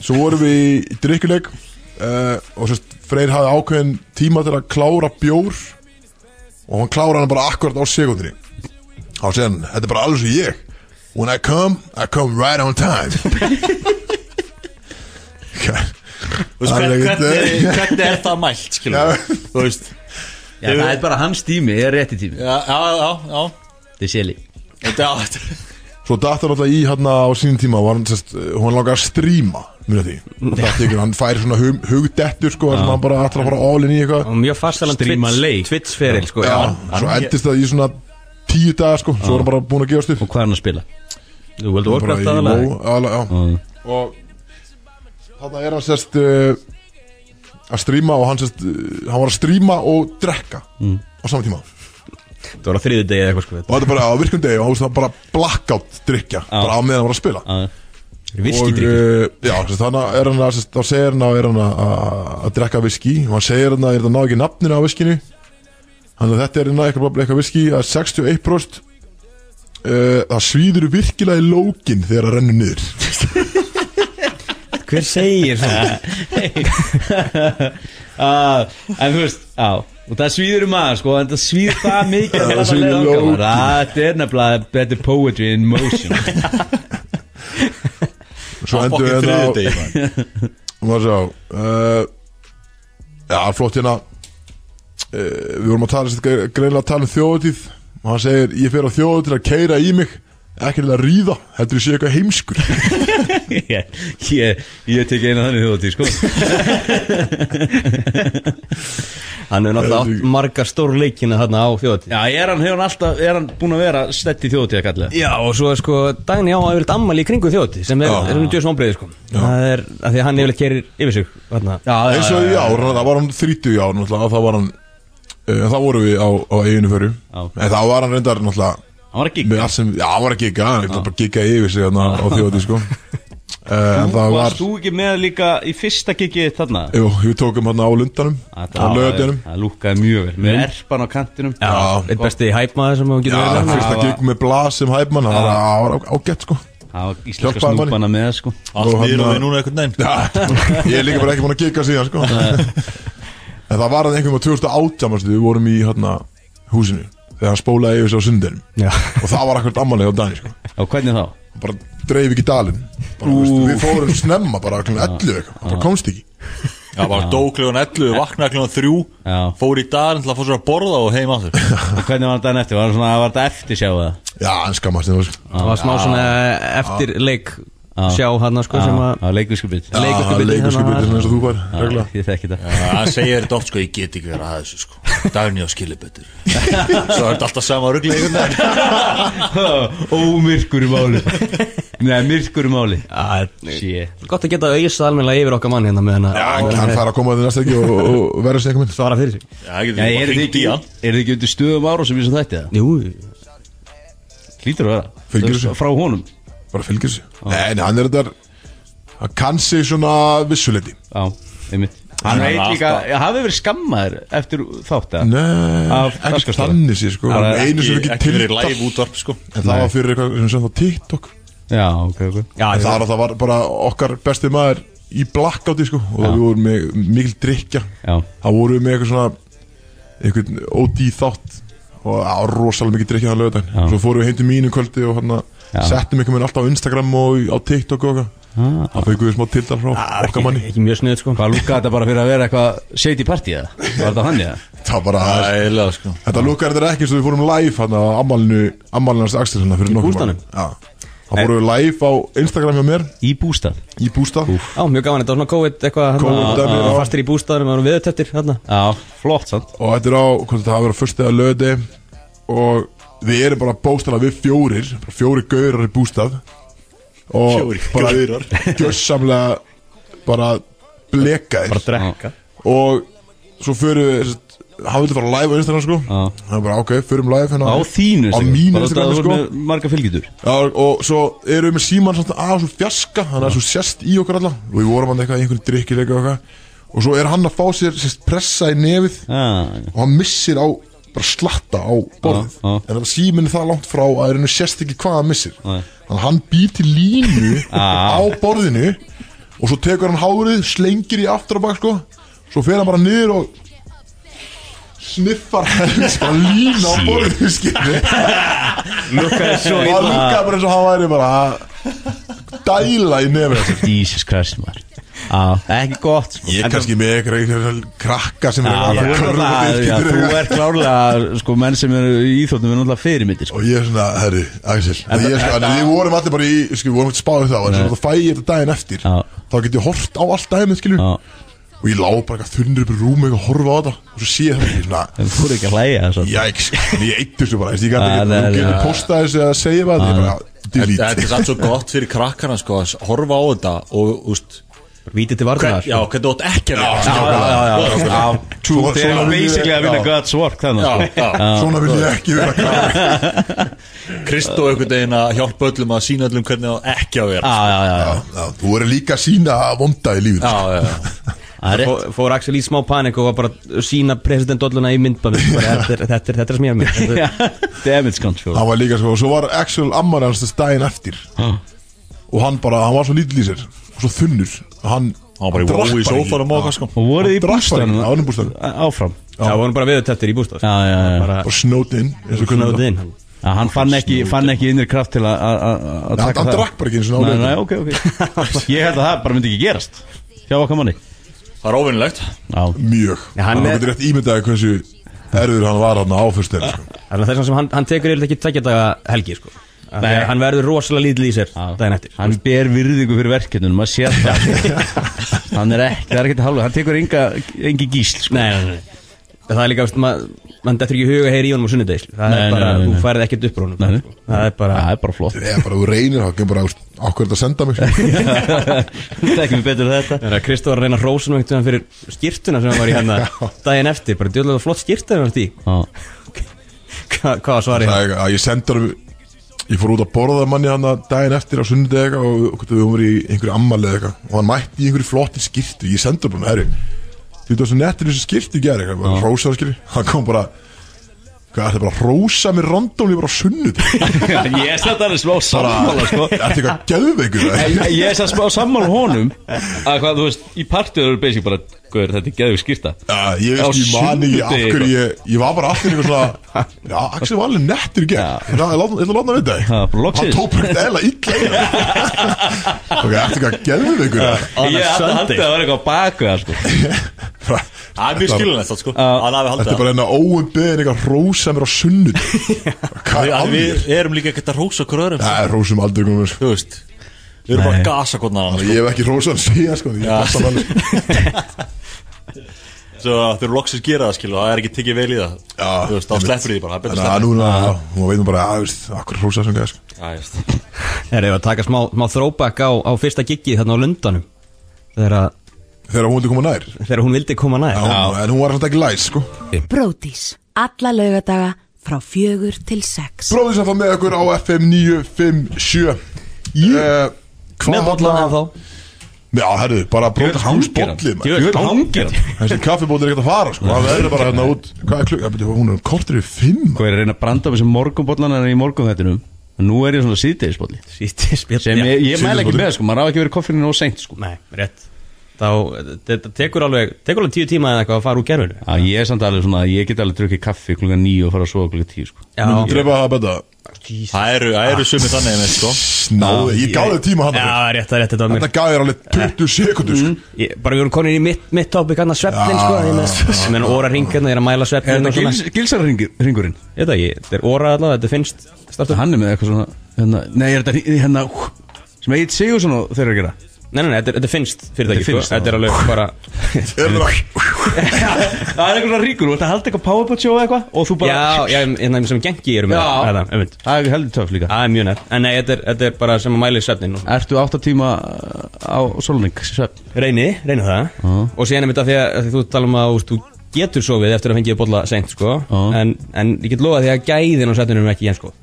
S2: Svo vorum við í drikkuleik uh, Og sérst Freyr hafði ákveðin tíma til að klára bjór Og hann klára hann bara akkurat á sekundinni Þá segir hann, þetta er bara alveg svo ég When I come, I come right on time Hvað-
S6: Þú veist,
S2: Alveg
S6: hvern-
S2: veit.
S6: hvernig hvernig er það mælt, skilur við? Þú veist
S5: Já, það er bara hans tími, ég er rétti tími
S6: Já, já, já, já
S5: Þetta er seli
S6: Þetta er allt
S2: [LAUGHS] Svo datt hann alltaf í hann á sínum tíma var hann, sest, Hún langar að stríma Muna því Datt ykkur, Hann fær svona hug, hugdettur sko, þar sem Hann bara ætlar að fara all in í eitthvað
S3: og mjög fastalan
S5: Streama leik.
S3: Twitch, Twitch feril sko,
S2: Já,
S3: já.
S2: Svo endist það í svona tíu daga sko Svo er hann bara búin að gefast upp
S5: Og hvað er hann að spila? Þú veldur
S2: Bara í
S5: orkvæmt aðalega
S2: WoW, aðalega, já
S5: Mm.
S2: Og Þarna er hann sérst uh, Að stríma og hann sérst uh, Hann var að stríma og drekka Á sama tíma Og
S3: Það var á þriði degi eða eitthvað sko
S2: þetta er bara á virkum degi Og hann var bara blackout drikja Bara á meðan hann var að spila
S3: Viski
S2: Og,
S3: drikki
S2: eh, Já, sérst, hann er hann að sérst, Þá segir hann að er hann að- að að drekka viski Og hann segir hann að er það ná ekki nafninu á viskinu Þannig að þetta er hérna eitthvað, eitthvað viski að 61% uh, það svíður virkilega í lókin þegar það rennur niður
S3: Hver segir
S5: [LAUGHS]
S3: það?
S5: Ah, En þú veist, á Og það svíður um aðeins sko, en það svíður það
S3: [LAUGHS]
S5: mikið að
S2: Það
S5: það
S2: svíður
S5: leiða okkar,
S2: lókið.
S5: maður. Þetta er nefnilega Þetta er poetry in motion [LAUGHS]
S6: [LAUGHS]
S2: Svo endur
S6: Fokkin
S2: við hérna á
S6: þriðið degi
S2: maður sjá uh, Já, flott hérna uh, Við vorum að tala sér greinlega að tala um þjóðutíð og hann segir, ég fer á þjóðu til að keira í mig ekki til að ríða, heldur ég sé eitthvað heimskur
S5: [LAUGHS] Ég, ég, ég tek eina þannig þjóðatíð sko
S3: [LAUGHS]
S5: [LAUGHS]
S3: Hann hefur náttúrulega átt marga stór leikina þarna á þjóðatíð
S5: Já, er hann, hefur hann alltaf, er hann búin að vera stett í þjóðatíð að kalla
S3: Já og svo er sko Dagni á að yfirleitt ammali í kringu þjóðatíð sem er, er um djöðs vonbreiði sko Það er að því að hann yfirleitt kerir yfir sig þarna.
S5: Ah,
S2: eins og í ár, það var hann 30 ár náttúrulega, og það var hann uh, það vorum við á, á eiginu fyrir
S5: Ah,
S2: en það var hann reyndar náttúrulega
S5: Hann var að gigga
S2: með allt sem, já, hann var að gigga hann
S5: Ah.
S2: var bara að gigga yfir sig hérna á þjóti
S5: [LAUGHS]
S2: sko. uh, en það var
S5: Varst þú ekki með líka í fyrsta gigið þarna?
S2: jú, við tókum hérna á lundanum á lögadunum
S5: Ah, Það lúkaði mjög vel Með erpan á kantinum
S2: Já.
S3: Eitt besti hæpmaður sem hún
S2: Já,
S3: getur verið með.
S2: fyrsta
S5: það var-
S2: gig með Blas sem hæpmann það var- það var á- ágætt sko
S5: Það var íslenska
S2: Hjálpaði manni.
S5: snúpana með það, sko
S6: Allt
S2: Og
S6: nýður
S2: hann-
S6: og við núna einhvern veginn
S2: hérna- Já, ég er líka bara ekki búin að gigga síðan sko en það var hann einhverjum á 2018 manstu, við vorum í hérna húsinu þegar hann spólaði yfir sig á sundinum
S3: Já.
S2: og það var akkurat ammalið á Dani sko
S5: Og hvernig þá?
S2: bara dreif ekki dalinn bara, veist, við fórum snemma bara klukkan 11 eitthvað, hann bara komst ekki
S6: Já, bara dó klukkan 11, vaknaði klukkan 3
S5: Já.
S6: Fór í daginn til að fá sér að borða og heim aftur
S2: [LAUGHS]
S5: Og hvernig var þetta eftir? Var það svona, var þetta eftir sjáu það?
S2: já, hann skammast þér sko.
S3: Það var smá svona eftir leik sjá hann sko sem að
S5: Það var leikvískupið
S3: Leikustu bitinn
S2: leikuskubiti
S3: hérna.
S2: eins og þú var regla
S5: Ég þekki þetta
S6: Já, Eh, Hann segir þetta oft sko, ég get ekki verið að þessu sko Dagný á skilibettur Svo er þetta alltaf sama ruggli einhvern veginn
S5: [LAUGHS] Ómyrkur í máli
S3: [LAUGHS]
S5: Nei, myrkur í máli Shit
S3: Gott að geta auðvitað almennilega yfir okkar mann hérna með hana
S2: hann hann fær að koma til næsta ekki og, og verða sér eitthvað
S3: svara fyrir sig
S6: Já,
S5: Já,
S6: ég
S5: er
S6: bara
S5: þið
S6: hringt
S5: ekki,
S6: í hann
S5: er þið ekki undir stöðum ára sem ég sem þætti það?
S3: Jú,
S5: Hlýtur að vera
S2: Fylgir
S5: Þú veist,
S2: þessu.
S5: Frá honum
S2: minn bara fylgir sér nei, nei, hann er þetta hann kann sig svona vissuleiti
S5: Já, einmitt Hann veit líka, hafið verið skammaður eftir þátt að
S2: nei,
S5: Af
S2: ekki
S5: dagskrárstjóra.
S2: stanni sér sko
S5: Bara
S2: Hann einu sem
S6: Ekki
S2: ekki
S6: ekki verið
S2: tilta
S6: live útvarp sko
S2: en það var fyrir eitthvað sem sem það TikTok
S5: Já, ok, ok
S3: já,
S2: en það var, það var bara okkar besti maður í blackouti sko og við vorum með mikil drikja
S5: Já,
S2: það voru við með eitthvað svona eitthvað OD þátt og það var rosalega mikið drikkið hann lögðan
S5: Já.
S2: svo fórum við heim til mínu kvöldi og hann
S5: Já.
S2: settum einhvern veginn alltaf á Instagram og í- á TikTok og eitthvað það fengið við smá tildar frá okkar manni
S3: ekki mjög sniðið sko
S5: hvað lúkaði þetta bara fyrir að vera eitthvað Seiti partí eða? Var þetta hann eða?
S2: það bara
S6: Það er eiginlega sko
S2: þetta lukkar þetta ekki eins og við fórum live hann á ammalinu ammalinans Axel hann fyrir nokkuð
S3: bústaðnum?
S2: það fórum við live á Instagram hjá mér
S5: Í bústað
S2: í bústa
S3: Já, mjög gaman, þetta var svona COVID eitthvað hérna,
S2: COVID dæmi,
S3: við erum
S2: já.
S3: Fastir í bústæðanum, við erum viðutöftir hérna.
S5: Já, flott sant
S2: og þetta er á hvort þetta hafa verið á fyrstu eða löði og við erum bara bóstala við fjórir bara fjóri gaurar í bústað og
S6: Fjórir
S2: bara
S6: gaurar.
S2: gjörsamlega bara blekaðir
S5: Bara drekka
S2: og svo förum við sem sagt, hann vildi fara live á Instagram sko hann er bara ok, förum live hérna
S5: Á þínu
S2: á
S5: Instagram.
S2: mínu
S5: Bara út af
S2: Instagram
S5: að þú
S2: sko
S5: ert með Marga fylgjitur
S2: Já, og svo erum við með síman samt að svo fjaska hann er svo sérst í okkur alla og við vorum hann eitthvað í einhvern drikkileika og eitthvað og svo er hann að fá sér sérst pressa í nefið
S5: Já,
S2: og hann missir á bara slatta á borðið
S5: Já, já.
S2: en það síminn er það langt frá að er henni sérst ekki hvað hann missir
S5: Nei.
S2: þannig að hann býr til línu á borðinu og svo tekur hann hárið, slengir í aftur á bak sko, svo fer hann bara niður og sniffar [LAUGHS] helst bara línu á borðinu skilni
S5: lúkaði svo
S2: og hann
S5: illa
S2: líka bara eins og hann væri bara að dæla í nefnir
S5: Jesus Christ maður Á, ekki gott sko.
S2: Ég er
S5: En
S2: kannski með eitthvað krakka sem er
S5: Já,
S2: að
S5: þú ert
S2: körfa
S5: náttúrulega-
S2: til,
S5: já,
S2: skilurðu.
S5: þú ert klárlega sko, menn sem eru í Íþróttum er náttúrulega fyrirmyndir sko.
S2: Og ég er svona, herru, Axel en, ég, sko, en Við vorum allir bara í, sko, við vorum ekki spáðið þá En svo þá fæ ég þetta daginn eftir
S5: Já.
S2: Þá get ég hort á allt daginn, skilur
S5: Já.
S2: Og ég lá bara eitthvað þunnur upp í rúmi eitthvað að horfa á þetta Og svo sé ég það, ég er svona,
S5: En þú eru ekki að hlæja þess að
S2: jæks En ég eittu þessu bara, veist, ég gæti
S5: Já,
S2: ekki
S5: það er-
S2: Ég gæti
S5: já.
S2: posta þessu að segja bara Ég bara,
S6: Þetta er
S2: delete
S6: samt svo gott fyrir krakkana sko að horfa á þetta og úst
S3: Vítið til varnar
S6: hvern, Já, hvernig þú átt ekki að
S5: Já,
S6: sko. leika
S5: já, já, já, já, já.
S2: Svo-
S5: Þeir eru
S2: svona vil ég-
S5: basically að vinna God's work þannig sko.
S6: Já, já.
S2: Svona vil ég ekki vera krakka
S6: Kristó einhvern veginn að hjálpa öllum að sína öllum hvernig það ekki að vera
S5: Já, já, já, já.
S2: Já, já, Þú verður líka að sína vonda í lífinu
S6: Já, já, já.
S5: Það er rétt.
S3: Fór, fór Axel í smá panik og var bara að sína presidentolluna í myndbæmi
S5: [LAUGHS]
S3: þetta, er- þetta, er- þetta er sem ég hef mynd
S5: Já, Damage control
S2: Hann var líka sko, og svo var Axel ammar hans þess daginn eftir Og hann bara, hann var svo lítill í sér Og svo þunnur Og hann,
S6: Hann var bara í
S2: drakk
S6: vói í sófanum
S2: Já.
S6: og okkar sko
S5: Og voruð í
S2: Hann drakk bara ekki,
S5: bústanum
S2: á öðrum bústaðnum.
S5: Áfram
S3: Það vorum bara viðutættir í bústaf
S5: Já, já, já.
S3: bara
S2: Bara snót inn eins og kunnum
S3: knöðuð
S2: það.
S3: inn
S5: Já, hann fann ekki, fann ekki innri kraft til að- að að-
S2: Nei,
S5: að
S2: hann-
S5: taka
S2: Hann
S5: það
S2: drakk bara ekki eins og
S5: Nei, nei,
S2: nálega
S5: ok, ok Ég held að það bara myndi ekki gerast Hjá okkar manni
S6: Það er óvinnilegt
S5: Já,
S2: Mjög
S3: Já, hann
S2: Hann
S3: er-
S2: getur rétt ímyndaði hversu erður hann var hann á fyrst þeirra sko.
S3: Þannig að þess að hann, hann tekur yfirleitt ekki tveggja daga helgi sko. Af því að Hann verður rosalega lítill í sér daginn eftir sko.
S5: hann ber virðingu fyrir verkefnunum maður sér það [LAUGHS] Hann er ekki, það er ekki halvað, hann tekur enga, engi gísl sko.
S3: Nei, nei, nei, nei Það er líka, veist, maður mann dettur ekki í huga heyri í honum á sunnudegi sko. Það
S5: Nei,
S3: er bara,
S5: nei, nei,
S3: þú
S5: nei.
S3: færið ekkert upp úr honum
S5: Nei, nei.
S3: sko. Það er bara
S5: Það er bara
S3: [LAUGHS]
S5: flott
S2: Eða bara þú reynir þá kemur bara Akkur þetta að senda mig sko.
S5: Það er ekki betur en þetta
S3: Það er að Kristóð var að reyna að rósa mig einhvern veginn fyrir skýrtuna sem hann var
S5: [LAUGHS]
S3: í hérna daginn eftir Bara djóðlega flott skýrta hann vart í
S5: Já, [LAUGHS]
S3: Hva, Hvað var svarið?
S2: Það er að ég senda hann Ég fór út að borða manni hann daginn eftir á sunnudegi og hvort við höfum verið í einhverju ammalið eitthvað og hann mætti í einhverju flotti skýrtu ég senda hann bara, herri þú veit það svo nettir þessu skýrtu gera eitthvað bara rósa skýrtu, hann kom bara hvað er þetta bara, rósa mér randómli bara á sunnudegi,
S5: [LAUGHS] ég er samt alveg smá sammála sko.
S2: þetta er eitthvað geðveikur
S5: En
S2: eða?
S5: Ég er samt smá sammála honum Að hvað, þú veist, í partuður eru basic bara Guður, þetta er geðvig skýrta
S2: Já, ég
S5: Á
S2: veist ekki, ég mani ekki af
S5: sunnudegi
S2: hverju ég, ég var bara allir eitthvað svona
S5: [LAUGHS]
S2: Já, Axel var alveg nettur ekki Ég ætla ég ætla að láta hann vita það.
S5: Já, bara loksins.
S2: Hann tók bara eitthvað eða illa í
S5: [LAUGHS]
S2: það Ok, eftir eitthvað gelðum ykkur
S5: Ég er alltaf haldið að það var eitthvað á baku það sko
S6: Það er mjög skilunlegt það sko Hann hafi
S2: Þetta
S6: haldið
S2: er bara enna óumbeðin eitthvað rósa mér á sunnut
S5: [LAUGHS]
S2: Hvað er
S6: það
S2: að þér?
S6: Við erum líka ekkert að rósa kröðurum
S2: Það er rósum aldrei komið mér, sko.
S6: Þú veist Við erum bara að gasa hvernig hann
S2: Ég hef ekki rósað hann síðan sko Ég passa hann
S5: [LAUGHS]
S2: alveg, sko.
S6: Svo að þau eru loksins gera það skilu Það er ekki tekið vel í það
S2: Já,
S6: Þú veist, þá
S2: einmitt.
S6: sleppur því bara Það er betur
S2: Þannig að núna, hún veitum bara, að veist, akkur rósað sem gæði sko
S6: sleppur
S3: Þegar ég var að taka smá, smá throwback á, á fyrsta giggi þarna á Lundanum Þegar, að-
S2: Þegar hún vildi koma nær Já,
S3: þegar hún vildi koma nær
S2: En hún var samt ekki læs sko
S10: Brótis. Alla laugadaga frá fjögur til sex.
S2: Bróðis að það með okkur á FM 957 yeah. uh,
S3: Með bollan af þá
S2: Já, herru, bara bróðis hans bolli maður.
S5: Ég vil hangir hann
S2: Þessi kaffibóti er ekkert að fara sko. Það verður bara hérna út Hvað er klukk? Já, byrju, Hún er um kortir yfir fimm maður.
S5: Hvað Sko, er að reyna að branda á þessum morgunbollanarinn í morgunþættinum En nú er ég svona síðdegisbolli
S3: Sýtti spjall
S5: Sem ég, ég mæla ekki
S2: Síðdegisbolli.
S5: með sko, maður á ekki verið koffinu nóg seint sko
S3: Nei, rétt Þá, þetta tekur alveg, tekur alveg tíu tíma eða eitthvað að fara úr gerfinu
S5: Já, ég er samt alveg svona, ég get alveg drukkið kaffi klukka nýju og fara að sofa klukka tíu sko
S3: Já,
S2: Drepa það betra
S6: Það eru, það eru sumið þannig einmitt sko
S2: Náði, ég gáði tíma hann
S3: já, Mhm. rétt, það er rétt, þetta var mér
S2: Þetta gaf ég alveg 20 sekundur sko.
S3: ég, Bara við vorum konin í mitt, mitt topic annars svefnin,
S2: Já,
S3: sko Ég með- ég meina óra ring hérna, ég er að mæla
S5: Er
S3: svefnin og
S5: þetta
S3: svona
S5: gils, gilsarringurinn?
S3: Ég veit ekki, þetta er óra allavega, þetta finnst startup
S5: Hann er með eitthvað svona, hérna, nei, er þetta hring- hérna, hú, sem Egil Sigursson og þeir eru að gera
S3: Nei, nei, nei, þetta, er- þetta finnst fyrirtæki,
S5: Þetta
S3: sko
S5: finnst, já.
S3: Þetta er alveg bara
S2: Er það-
S5: Það er eitthvað svona ringur, þú ert að halda eitthvað powerpoint show eða eitthvað og [LAUGHS] þú bara
S3: Já, já, en það sem gengi eru með
S5: Já.
S3: það einmitt.
S5: Það er heldur töff líka
S3: Það er mjög nært En nei, þetta er, þetta er bara sem að mæli svefnin og-
S5: Ertu átta tíma uh, á solning, svefn?
S3: Reyni, reyni það Og síðan er þetta því að af því þú tala um að úst, þú getur sofið eftir að fengið bolla seint sko.
S5: Já.
S3: en, en ég get lofað því að gæðin á sætunum er ekki eins sko.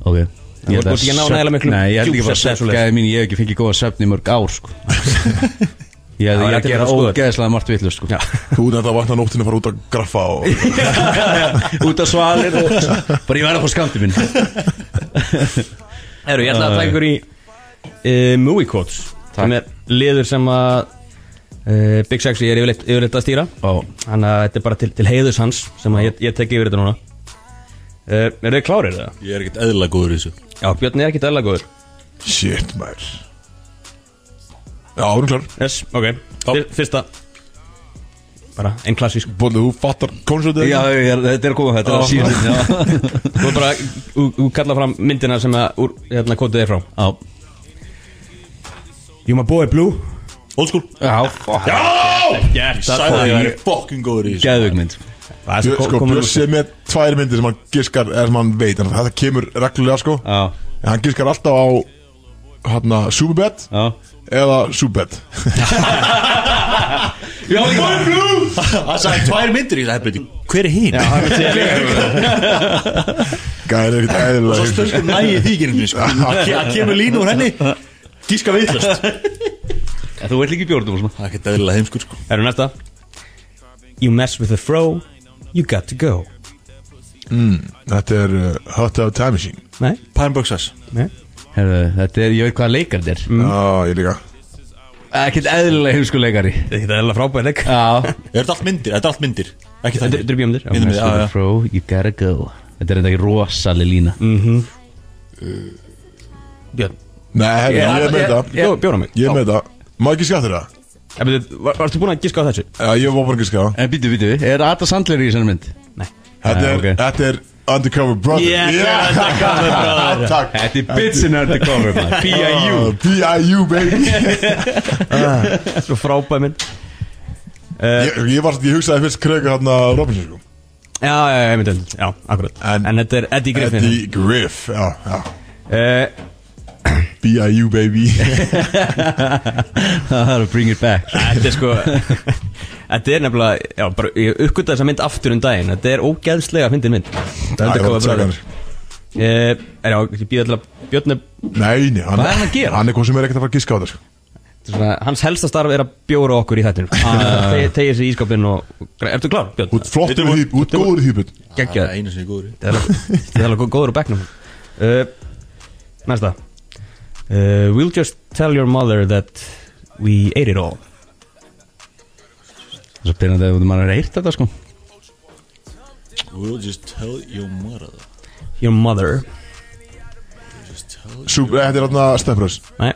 S5: Ok
S3: Þú ert búin að ná nægilega miklum
S5: Nei, ég held ekki bara
S3: djúpsvefn eða
S5: svefn
S3: svoleiðis.
S5: Gæði mín, ég hef ekki fengið góða svefn í mörg ár [LAUGHS] sko. Ég hef
S3: Já,
S5: ég er
S3: þetta
S5: að
S3: er
S5: gera
S3: bara skoðun.
S5: ógeðslega margt vitlu sko.
S2: Þú ert að vakna nóttinu að fara út að graffa og
S5: Út af svalir og [LAUGHS]
S3: [LAUGHS]
S5: Bara ég verða på skamti minn
S3: Heru, Ég ætla að taka ykkur í uh, Movie Quotes sem er liður sem að uh, Big Sexy er yfirleitt, yfirleitt að stýra
S5: Ó.
S3: Þannig að þetta er bara til, til heiðus hans sem að ég, ég tek yfir þetta núna uh, Er þið klárir það?
S6: Ég er ekkert eðla góður í þessu
S3: Já, Björn er ekkit eðla góður
S2: Shit, maður Já, erum klar
S3: Yes, ok Fyr, Fyrsta Bara einn klassísk
S2: Bóðið, þú fattar konsertið
S5: Já, ég er, þetta er að koma, þetta er að síðan Já,
S3: [LAUGHS]
S5: [LAUGHS]
S3: Þú bara Þú þú kallar fram myndina sem að Úr hérna kótið þig frá
S5: já.
S3: You my boy blue
S6: Old school
S3: Já fuck.
S6: Já Sæði ég er fucking góður í þessu
S5: geðvögg mynd
S3: Það er
S2: Björ,
S3: svo
S2: sko,
S3: komið
S2: Björns er með tvær myndir sem hann giskar eða sem hann veit, en þetta kemur reglulega sko
S5: Já,
S2: en hann giskar alltaf á hérna, Superbad
S5: já
S2: eða Superbad
S6: [LAUGHS] Það sagði tvær myndir í þessu Það betur Hver er hinn?
S2: gæðir ekkert
S6: Og svo
S2: eðlilega
S6: stöldur nægir því
S2: [LAUGHS]
S6: ekki einhvern veginn sko. Það ke- það kemur línu úr henni Gíska veitlast Það
S5: En Þú ert líka í bjórnum og svona
S6: er ekkert eðlilega heimskur sko
S3: Erum næsta You mess with the fro You got to go
S2: þetta er uh, Hot Out Time Machine
S3: Nei,
S6: Pine Boxers
S3: nei
S5: Herðu, þetta er, ég veit hvaða leikar þetta er
S2: já, ég líka
S5: Ekkert eðlilega heimsku leikari
S3: Þetta er eða frábæð leik
S5: Já,
S6: Er þetta allt myndir? Er þetta allt myndir? Ekki
S3: Þetta
S6: það
S3: er bjómyndir
S6: Myndum við,
S5: Mess with
S6: já,
S5: a
S6: já.
S5: fro, you gotta go Þetta er þetta ekki rosaleg lína
S3: Björn
S2: nei, herri,
S5: Ég-
S2: ég er með það
S3: Bjó- Bjóra mig
S2: ég er með það Má ekki skatta það?
S3: Já, betur, var, Varstu búin að giska á þessu?
S2: Já, ég var bara að giska það
S5: En býtu, býtu, er Ada Sandler í þessari mynd?
S3: Nei
S2: Þetta
S5: Já,
S2: er,
S5: ok.
S2: þetta er Undercover Brother
S3: Yes,
S2: Undercover Brother [LAUGHS] Takk
S5: Þetta er Bitsin Undercover, [LAUGHS] maður B.I.U.
S2: Ah, B.I.U. baby
S3: Svo frábæð mynd
S2: Ég, ég, var, ég hugsaði fyrst kröku hérna Robinson sko
S3: Já, já, já, ég myndi held Já, akkurat
S2: En-
S3: En, þetta er Eddie Griffin Eddie
S2: Eddie Griff Já, já
S3: [LAUGHS] uh,
S2: B.I.U. baby
S5: Það er að bring it back
S3: Þetta er sko Þetta er nefnilega Já, bara Ég uppgötta þessa mynd aftur um daginn Þetta er ógeðslega fyndin mynd Þetta
S2: Æ,
S3: er
S2: Robert
S3: komið bráður
S2: Sagan.
S3: Eh, Er já, ég býð alltaf Björn er
S2: Nei, nei hann,
S5: Hvað er hann að gera?
S2: Hann er hvað sem er ekkert að fara að giska á þetta sko.
S3: svona, Hans helsta starf er að bjóra okkur í þættinu Te- Tegir sér í ískapin og Ertu klár, Björn?
S2: Út flottur í því, út góður í því björn.
S6: Það
S3: Gekkja
S6: er einu sem ég góður í
S3: Þetta er alveg- þetta er alveg gó- góður úr bekknum uh, Næsta uh, We'll just tell your mother that we ate it all
S5: Það er svo byrjandi að maður er heyrt þetta sko
S6: We'll just tell your mother
S3: Your mother
S2: Sú- eh, Þetta er hérna stefnbröðs
S3: Nei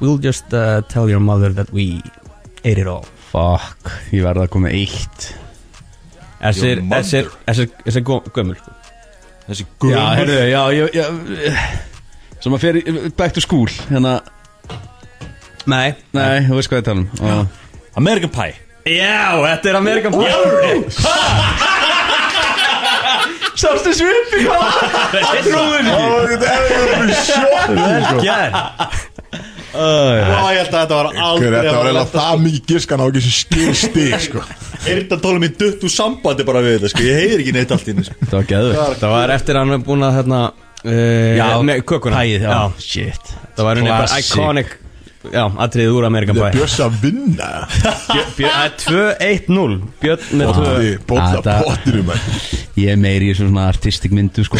S3: We'll just uh, tell your mother that we ate it all
S5: Fuck, ég verði að koma með eitt
S3: Þessir,
S6: Your mother.
S3: þessir, þessir, þessir gó- gömul sko.
S6: Þessi
S5: Já,
S6: góður
S5: heyrðu, já, já, já Svo maður fer í- back to school Hérna,
S3: Nei
S5: nei, þú veist hvað ég tala um Og-
S6: American Pie
S3: Já, þetta er Amerikan Pie
S5: Sástu
S3: [LAUGHS]
S5: svipi
S2: Þetta er eitthvað sjokk
S6: Vá, ég held að þetta var aldrei
S2: Þetta var eiginlega það mikið giskan á ekki sem skil
S5: [LAUGHS]
S2: stig sko.
S6: Erta tólum minn dutt úr um sambandi bara við þetta sko Ég heyri ekki neitt allt í henni sko
S5: Það var geðvegt
S3: Það var eftir að hann er búin að hérna uh,
S5: Já,
S3: með kökuna
S5: Hæð, já,
S3: já
S5: shit
S3: Það var henni bara
S5: Classic.
S3: iconic Já, atriðið úr Amerikan
S2: Þetta
S3: Pie
S2: er björs að vinna
S3: Björn, eh, það er 2-1-0 Björn með 2
S2: Bótti, bótta
S5: Þetta-
S2: pottirum maður.
S5: Ég er meiri í svona artistik myndu sko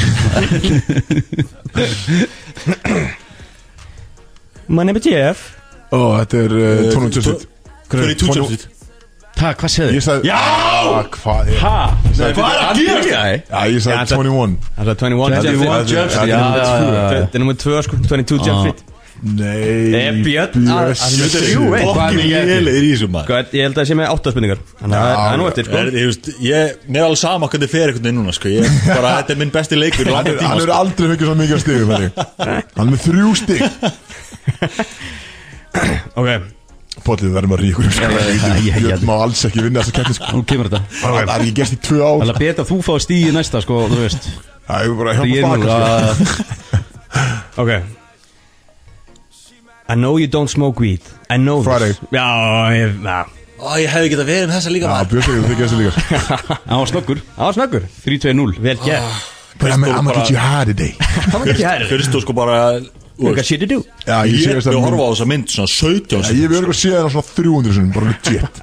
S3: My name is Jeff
S2: Ó, þetta er uh, Tónum Tjörsvít
S6: Hver er túsjóðsitt?
S5: Ha, hvað segðu?
S2: Ég sagði Já Hvað er
S5: Ha, hvað er að gera það?
S2: Já, ég
S3: Já,
S2: sagði
S3: þetta-
S2: 21
S3: Það er 21
S2: Þetta er
S5: Jeff
S3: Jeff Fritt.
S5: Fritt, já,
S2: númer
S5: já,
S2: tvö.
S5: já, já.
S3: Þetta er nummer 2 sko 22 Jeff
S5: Ah.
S3: Fritt
S2: Nei
S3: Eh, Björn, að- að- þetta er þrjú, eitt.
S2: Hvað
S6: Fokkin
S2: er ég?
S6: lélegir í þessu maður
S3: Sko, ég held að það sé með 8 spurningar Þannig að það er nú eftir sko
S6: Er, ég, veist, ég, mér er alveg sama hvernig fer einhvern veginn núna sko. ég, bara, þetta er minn besti leikur í
S2: Hann
S6: langan
S2: er-
S6: tíma,
S2: hann er
S6: sko.
S2: aldrei fengið svo mikið stig um þetta. Hann er með þrjú stig
S3: Ok
S2: Bóttið verður maður ríkur sko.
S5: já, já.
S2: Björn má alls ekki vinna þessa kætti sko.
S5: Nú kemur þetta
S2: Það það er ekki gerst í tvö ár
S5: Það er betra að þú fáið stíði næsta sko, þú veist
S2: Það er bara að
S5: Ég er
S2: hjálpa
S5: nú
S2: baka sko.
S5: að
S3: Ok I know you don't smoke weed I know
S2: Friday.
S3: this Já, ég, na
S6: Ó, ég hefði getað verið um þessa líka
S2: Já,
S6: maður.
S2: Björn segir það þessi líka sko.
S5: Það var snöggur
S3: Það var snöggur
S5: 3-2-0
S3: Vel gert
S2: But I'm, I'm gonna get you high today
S3: Það var ekki hæri
S6: Ah. Fyrst og sko bara þú
S3: You got
S6: veist,
S3: shit to do
S2: Já, ég
S6: Ég
S2: sé
S6: er
S2: þess
S6: að
S2: að
S6: horfa á þessa mynd svona 17
S2: Ég
S6: sinnum,
S2: hef örgulega séð það svona 300 sinum Bara legit
S3: En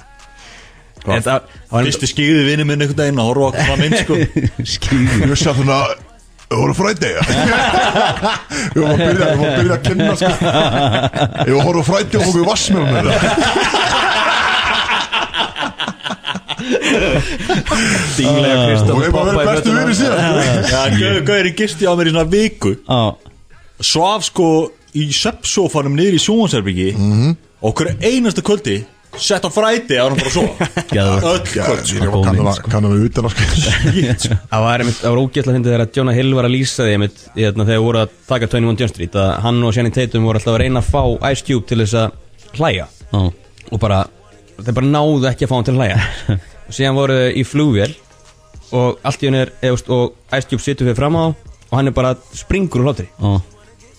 S3: Það það var
S6: Fyrsti skýði vinnu minn einhvern daginn að horfa á svona mynd
S2: [LAUGHS]
S6: sko.
S5: Skýði
S2: Ég sé þannig að Það voru frændi Ég var að byrja, ég var að byrja að kynna sko. Ég var að horfa á frændi og fókuð vassmjörn með það
S3: Stinglega Kristó
S2: Og ég bara verið bestu vinni síðan
S3: Oh.
S6: Já, Gaurin gisti á mér í svona viku
S5: Já,
S6: Svaf sko í seppsófanum niður í sjónvansherbyggi
S2: Mhm.
S6: okkur einasta kvöldi sett á fræti að hann bara svo
S2: [LAUGHS]
S6: öll kvöld sko.
S2: Ég kannan að kannan við utan á
S6: Shit, sko.
S3: Það var, einmitt- það var ógætla hindi þegar að Jonah Hill var að lýsa því einmitt, í þarna, þegar voru að taka 21 Jump Street að hann og Shannon Tatum voru alltaf að reyna að fá Ice Cube til þess að hlæja
S8: Já.
S3: og bara, þeir bara náðu ekki að fá hann til
S8: [LAUGHS]
S3: að hlæja og síðan voru þau í flugvél og allt í henni er eða, þú veist, og Ice Cube situr fyrir fram á og hann er bara springur úr hlátri
S8: Já.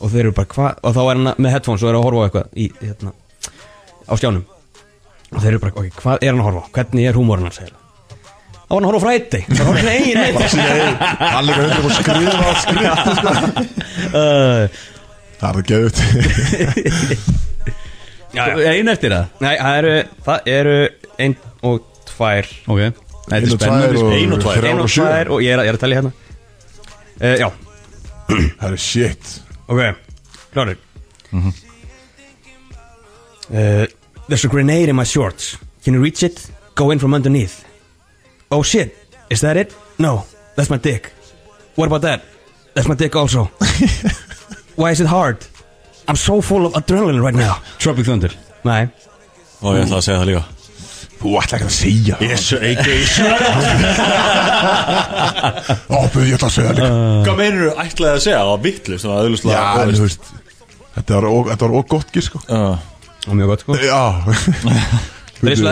S3: og þeir eru bara hvað og þá er hann með headphones og er að horfa á eitthvað í, hérna, á skjánum og þeir eru bara, ok, hvað er hann að horfa á hvernig er húmórinn hans heila þá var hann að horfa á fræti það var hann eigin neitt
S2: Allir er hundur hérna og skrifa á skrifa Það er geðut
S8: Einn eftir það
S3: nei, það eru, það eru ein og tvær
S8: Ok Þetta er spennandi
S2: Ein og tvær
S3: ein og
S2: sjö.
S3: tvær og ég er, að- ég er að tellja hérna uh, já,
S2: Það er shit
S3: ok, klárir Mhm. uh, there's a grenade in my shorts can you reach it? go in from underneath oh shit, is that it? no, that's my dick what about that? that's my dick [LAUGHS] also why is it hard? I'm so full of adrenaline right now
S8: Tropic Thunder
S3: nei,
S6: og ég ætla að segja það líka
S2: Þú ætla ekki að segja það.
S6: yes, AK
S2: Ó, buð, ég ætla að segja það líka
S6: hvað meinur þú ætlaði að segja það var vittlust það var
S2: Já,
S6: auðvitað
S2: en þú veist Þetta var ó- þetta var óg gott gísk sko.
S6: Ah.
S3: og mjög gott sko
S2: Já
S3: Brísla,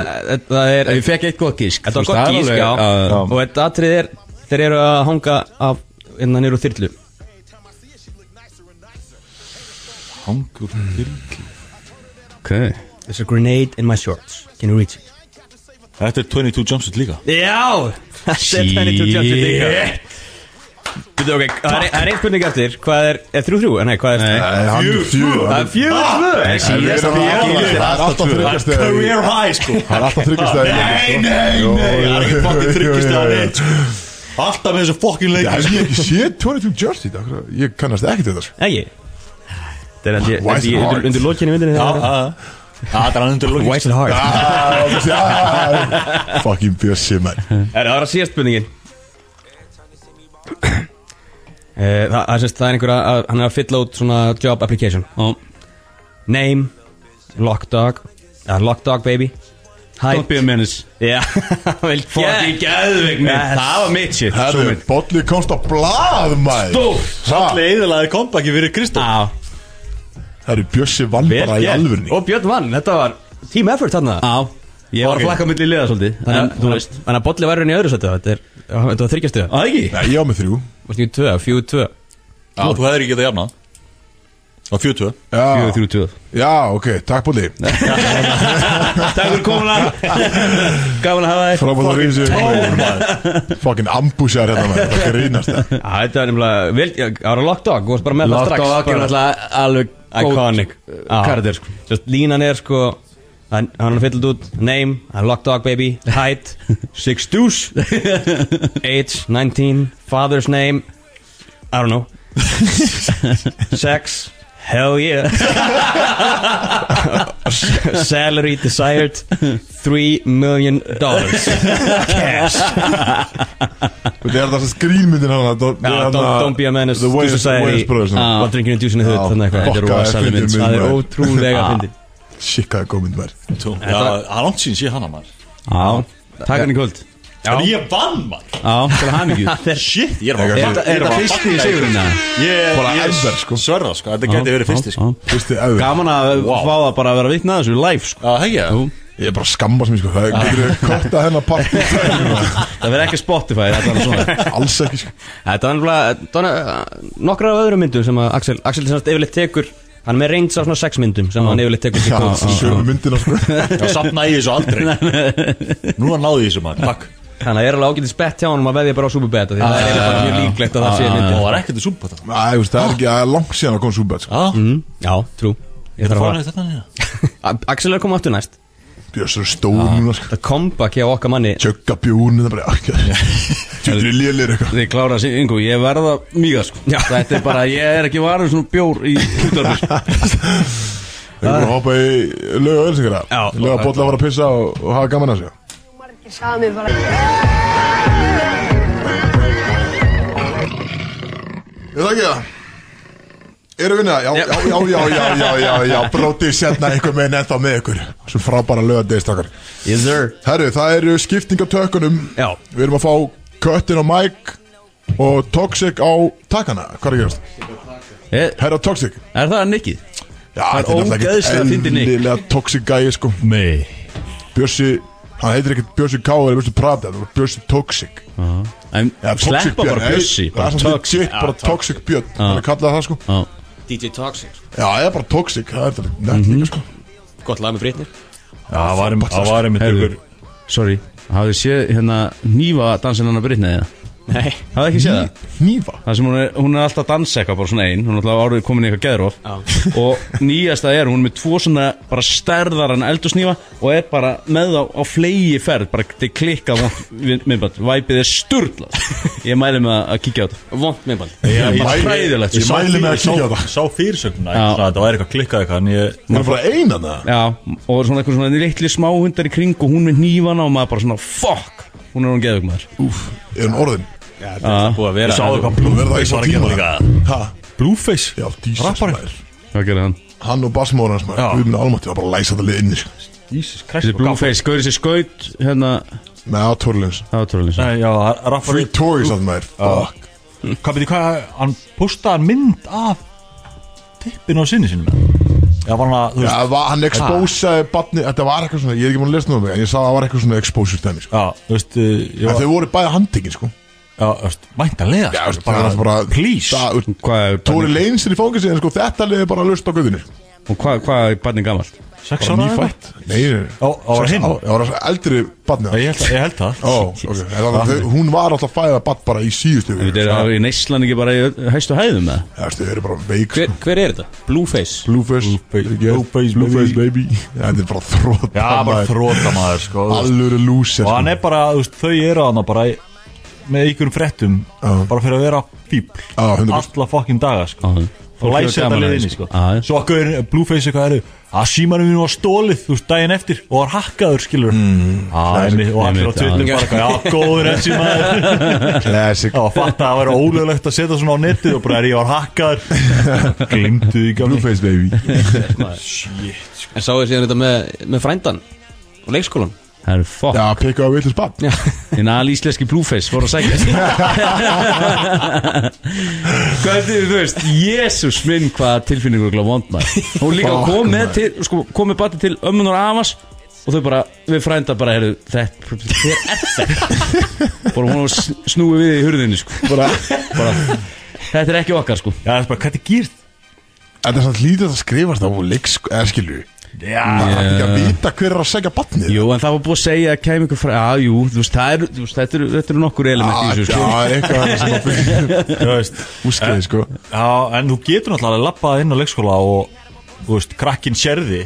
S3: það er
S8: Ég fekk eitt gott gísk
S3: Þetta var gott gísk, já Og þetta atrið er Þeir eru að hanga af innan eru þyrlu
S6: hangur
S8: Ok
S3: There's a grenade in my shorts Can you reach it?
S6: þetta er 22 jumpsuit líka
S3: Já! [LAUGHS] Þetta er henni 22 Býtu ok, það er- það er einn spurning eftir Hvað er, er þrjú þrjú? Nei, hvað er
S2: Nei, hann er fjögur
S3: Það er fjögur
S6: Ah.
S3: tvö
S2: Það er alltaf þryggast
S6: career high sko
S2: Það er alltaf þryggast sko.
S6: Nei, nei, nei, það er ekki fucking tryggist að neitt sko. Alltaf með þessu fucking
S2: Já,
S6: leik
S2: ég hef ekki séð 22 Jersey dag Ég kannast ekkert þetta sko.
S3: Ægi Þetta er held ég-
S2: Why is
S3: held
S2: it
S3: ég
S2: hard?
S3: undir- undir lokinni myndinni þegar-
S6: Það er hann undir
S3: Why
S6: lókin
S3: is it hard?
S2: Ah, þú veist, ah, Fucking Bjössi man
S3: Herra, Það var að síðast spurningin Eh, Það það er semst, það er einhver að hann er að fylla út svona job application
S8: Já.
S3: Name Lock dog uh, Lock dog baby Height
S8: Don't be a menace
S3: Já, [LAUGHS] vel
S8: Fucking
S3: gert
S8: geðveik mér
S3: Yes.
S8: Það var mitt shit Svo
S2: Herru,
S8: mitt.
S2: Bolli komst á blað maður
S6: Allir eðalaði kompaki fyrir Kristof
S3: Já,
S2: Herru, Bjössi vann
S3: vel
S2: bara í alvurni
S3: gert Og Björn vann, þetta var team effort þarna
S8: Já Ég var
S6: Ok.
S8: að flakka á milli liða svolítið
S3: Þannig
S8: En
S3: að-
S8: þú veist
S3: Þannig að Bolli var raunin í öðru sættu Þetta er, þetta var þryggjastuða
S8: Það ekki
S2: Nei, ég á með þrjú
S3: Varstu í tvö, fjú tvö
S6: Þú hefðir ekki getað jafnað Á 40
S2: Já,
S8: 4-3-2
S2: já ok, takk Bolli
S8: Takk fyrir komuna Gaman að hafa þér
S2: Frábæð að reysa Fucking ambusjar hérna maður Það grínast það
S3: [LAUGHS] Já, þetta var nefnilega vel, já, Það var locked dog, þú varst bara með það
S8: Látt á
S3: strax
S8: aðgjörn
S3: bara-
S8: alltaf alveg góð
S3: Iconic
S8: uh, karakter, sko.
S3: Just, Línan er sko Hann hann er fyllt út Name I'm locked dog baby
S2: [LAUGHS]
S3: Height 6 deuce Age 19 Father's name
S2: [LAUGHS]
S3: I don't know Sex Hell yeah [LAUGHS] Salary desired 3 million dollars
S2: [LAUGHS]
S3: Cash
S2: Það er það sem skrínmyndin hann Don't,
S3: Já, Ah, don't, don't be a menace
S2: hérna, The
S3: to
S2: Wayans
S3: society
S2: Wayans Brothers
S3: Ah. What drinking a juice in the hood
S2: Já,
S3: Þannig eitthvað
S2: fokkaði
S3: Þetta er rosaleg
S2: fyndin
S3: mynd.
S2: mynd,
S3: Það er
S2: maður.
S3: ótrúlega
S8: Ah.
S3: fyndið
S2: Sikkaði gómynd maður
S6: Það er langt sín sé hann að maður
S8: Já Takk hann í kvöld
S6: En ég vann maður
S8: Já,
S3: [LAUGHS]
S8: til [LAUGHS] hamingju
S6: Shit, ég er bara
S8: Er þetta fyrsti í sigurinn eða?
S2: Bara
S6: Ég
S2: ever, sko.
S6: sverða sko, þetta geti verið fyrsti sko
S2: Fyrsti eður
S8: Gaman að fá það bara að vera vitna að þessu live sko
S6: Já, hegja
S2: Ég er bara að skammast mér sko Það getur korta hennar partí
S8: Það verður ekki Spotify þetta er svona
S2: Alls ekki sko
S3: [LAUGHS] Þetta var nefnilega donna, nokkra af öðrum myndum sem að Axel, Axel sem sagt yfirleitt tekur hann er með reyns á svona sex myndum sem hann yfirleitt tekur til
S2: Já,
S3: kóðs.
S2: Sjöfum myndina sko
S6: Já, safna í þessu aldrei Nú er náði þessu maður, takk
S3: Þannig að ég er alveg ágætið spett hjá hann og maður veðja bara á Superbet af því það er eiginlega bara mjög líklegt að það sé
S6: Og
S3: myndin
S6: það er ekkert í súpa þetta
S2: Æ, þú veist, Það er ekki það er langt síðan að koma súbæð sko
S6: Já,
S3: Já, trú Ég þarf að
S6: farin þetta nýja
S3: fara A- Axel er að koma aftur næst
S2: Björs eru stórum núna sko
S3: Það komba ekki á okkar manni
S2: Tjögga bjúnu Það bara ekki Tjöggur lélir eitthvað
S8: Þið klára að segja, yngu, ég verða mýga sko Þetta er bara, ég er ekki varur svona bjór
S3: [LAUGHS]
S8: í útvarfis
S2: Það er bara að hoppa í lög og ölsingara
S3: Já.
S2: Lög að bolla að fara að pissa og, og hafa gaman að sig Ég þakki það Eru við neða? Já, já, já, já, já, já, já, já Brótið sérna einhver meginn ennþá með ykkur Svo frábæra lögadeinstakar
S11: Yes sir
S2: Herru, það eru skipting af tökunum
S11: Já.
S2: Við erum að fá köttin á Mike Og Toxic á takkana Hvað er að gerast?
S5: Eh.
S2: Herra Toxic
S5: Er það nikkið?
S2: Já, það
S5: er ógeðslega fyndið nick.
S2: Endilega Toxic gæi, sko
S5: Nei
S2: Bjössi, hann heitir ekkert Bjössi K Það er Bjössi Prada, það er Bjössi Toxic
S5: En
S2: Eða Toxic
S5: sleppa
S2: Björn,
S5: bara
S2: nei,
S5: bjössi
S2: Það
S5: Bara
S2: er
S5: tök
S2: svona shit, bara Toxic Björn Það er kallað það, sko
S3: DJ Toxic
S2: Já, það er bara Toxic, það er þetta nefnt líka, sko
S3: Gott lag með frétnir
S6: Það var einmitt- það var einmitt
S5: Heyrðu.
S6: ykkur
S5: Sorry Hafið séð hérna Nýva dansin hennar Brittany eða?
S3: Nei
S5: Hafið ekki séð það?
S2: Nýfa
S5: Það sem hún er, hún er alltaf að dansa eitthvað bara svona ein Hún er alltaf árið komin í eitthvað geðróf
S3: Já.
S5: [LAUGHS] Og nýjasta er hún er með tvo svona bara stærðar en eldursnýfa Og er bara með þá á flegi ferð Bara til klikkað vond minnbætt Væpið er sturglað Ég mæli með að kíkja á þetta
S3: Vont minnband
S5: Það er bara
S2: mæli-
S5: hræðilegt
S2: Ég
S5: sko.
S2: mæli með að kíkja á það
S6: Sá fyrirsögnuna
S5: Já.
S6: Það var eitthvað klikkað eitthvað En ég
S2: Það er bara einan það
S5: Já, og svona eitthvað svona litli smáhundar í kring og hún með nýfana og maður bara svona fuck, hún er hún geðug maður
S2: Er hún orðin?
S6: búið að vera
S2: Sá eitthvað Blueface var að gera líka
S6: Blueface
S2: Já, dísast maður
S5: Hvað gerir hann?
S2: Hann og Basmóður hans maður Guð minn almátti var bara að læsa þetta lið inni sko.
S5: Þessi Blueface, gauður þessi skaut hérna,
S2: Með aðtorlins
S5: það var trúlega
S6: Nei, já, Rafa
S2: Free Tories að maður Fuck
S6: Hvað veit ég hvað Hann postaði mynd af Tippinu á sinni sínum Já, var hann að Þú
S2: Já,
S6: veist
S2: það var- hann expósaði badni Þetta var eitthvað svona Ég er ekki múin að lesa nú um mig En ég sagði að það var eitthvað svona exposure dæmi sko.
S6: Já, þú veist uh, ég
S2: En
S6: var-
S2: þau voru bæði handtekinn sko
S6: Já, þú veist Væntanlega
S2: Já,
S6: sko,
S2: veist, það er bara
S6: Please
S2: Það, þú veist,
S5: Hvað er
S2: Tóri
S5: barnið-
S2: Leins er í fangins En sko þetta lið er bara löst á göðunir
S5: og hvað hva er barnið gamalt?
S6: Sex ára eða
S2: Nei,
S6: eitthvað?
S2: nei, nei.
S6: Á, á var hinn
S2: Á, Já, það var eldri badni
S6: Já, Ég held- ég held það
S2: Ó, ok, En þannig að þau- hún var alltaf að fæða bad bara í síðustu viku.
S5: Þetta er það í neyslan ekki bara í ö- hæstu hæðum með
S2: Já, veistu, þau eru bara veik
S3: hver, hver er þetta? Blueface
S2: Blueface
S6: Blueface,
S2: Blueface baby Þetta er bara þrótt
S6: Já, bara þróta maður sko þú veist.
S2: Allur er lúsir
S6: Og hann er bara, þú veist, þau eru hann bara í- Með ykkurum fréttum
S2: Já.
S6: Bara fyrir að vera fíbl
S2: Já, 100%
S6: Alla fokkin daga sko Og læsa
S5: hefur
S6: þetta
S5: gaman af því,
S6: liðinni
S5: sko.
S6: sko
S5: Já, já.
S6: Svo að gauðin, Blueface eitthvað eru Að símanum mínu var stólið, þú veist, daginn eftir Og var hakkaður, skilur mm, Og hann er á
S5: einmitt, já.
S6: tvittum bara eitthvað, Já, góður eftir
S5: [LAUGHS]
S6: maður
S2: Classic
S6: Já, fatt að það væri ólöglegt að setja svona á netið Og bara er ég var
S5: [LAUGHS]
S6: hakkaður Glimtu því gamli
S2: Blueface baby
S3: En sáu þið síðan þetta með, með frændan Og leikskólan
S5: Það er fuck,
S2: Já, pekka á villis bann
S3: Já
S5: þinn alísleski Blueface voru að
S6: [LAUGHS]
S5: segja Hvað er þetta, þú veist Jésús minn hvað tilfinningur og vond maður Hún líka
S2: Fuck,
S5: kom með,
S2: maður.
S5: til, sko, kom með barnið til ömmun og afas og þau bara, við frænda bara heyrðu, þetta, þér er þetta bara hún var sn- snúið við í hurðinni sko. bara, bara, þetta er ekki okkar sko.
S6: Já, það er bara, hvað er gýrt?
S2: En það er samt lítið að það skrifast á leiks Eða skilju
S6: Já,
S2: Það er ekki að vita hver er að segja bannið
S5: Jú, en það var búið að segja að kemur ykkur frá Já, jú, þú veist, það er, þú veist, þetta, eru, þetta eru nokkur element í
S2: Já,
S5: þessu sko.
S2: það er eitthvað sem að byrja
S6: þú veist
S2: Úskiði sko
S6: Já, en þú getur náttúrulega að lappað inn á leikskóla og, þú veist, krakkin sérði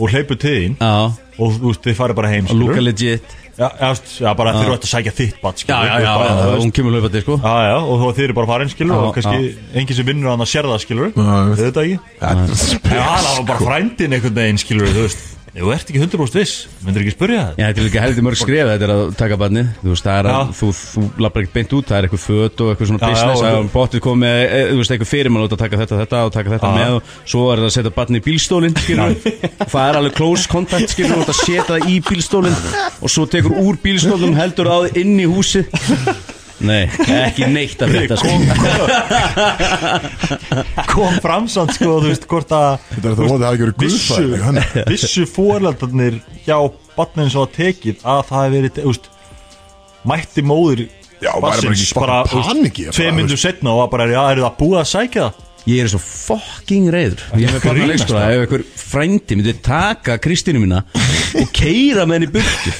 S6: og hleypur til þín
S5: Já,
S6: og, þú veist, þið farið bara heim,
S5: og lúka
S6: skilur.
S5: legit
S6: Já, já, veist, já, bara þeir eru ætti að sækja þitt, bat,
S5: Já,
S6: skilur.
S5: já,
S6: Þú
S5: já,
S6: veist, bara, þú veist.
S5: hún kemur hlaupandi, sko
S6: Já, já, og þú þeir eru bara farin, skilur,
S5: Já,
S6: og kannski enginn sem vinnur hann að sér það, skilur.
S2: Já,
S6: Þið þetta ekki?
S2: Þetta er
S6: Já,
S2: spes
S6: það var bara frændin einhvern veginn, skilur, þú veist. Þú ert ekki 100% viss, myndir ekki spurja það.
S5: Já, þetta er líka heldur mörg skref þetta er að taka barnið Þú veist, það er að
S6: Já.
S5: þú, þú labbar ekkert beint út Það er eitthvað föt og eitthvað svona
S6: Já, já,
S5: business
S6: og
S5: Það
S6: þú-
S5: er bóttið komið, e, þú veist, eitthvað fyrir mann út að taka þetta, þetta og taka þetta
S6: Já.
S5: með og Svo er það að setja barnið í bílstólinn, skilur Það er alveg close contact, skilur Það setja það í bílstólinn Og svo tekur úr bílstólinn, heldur það inn í húsið Nei, ekki neitt að þetta, sko
S6: Kom fram samt, sko, þú veist, hvort að...
S2: Þetta er þetta voðið að það hafi ekki verið guðfræðing hann.
S6: vissu, vissu fóreldarnir hjá barnin svo að tekið að það hefði verið, þú veist, mætti móðir
S2: Já, væri bara ekki í fucking paniki, bara,
S6: tvei
S2: þú
S6: myndu setna og var bara, já, eru það búið að sækja það?
S5: Ég er svo fucking reyður Ég er með sko. barna
S6: grínast
S5: leikskóla Ef einhver frændi myndi taka Kristínu mína Og keira með henni í burtu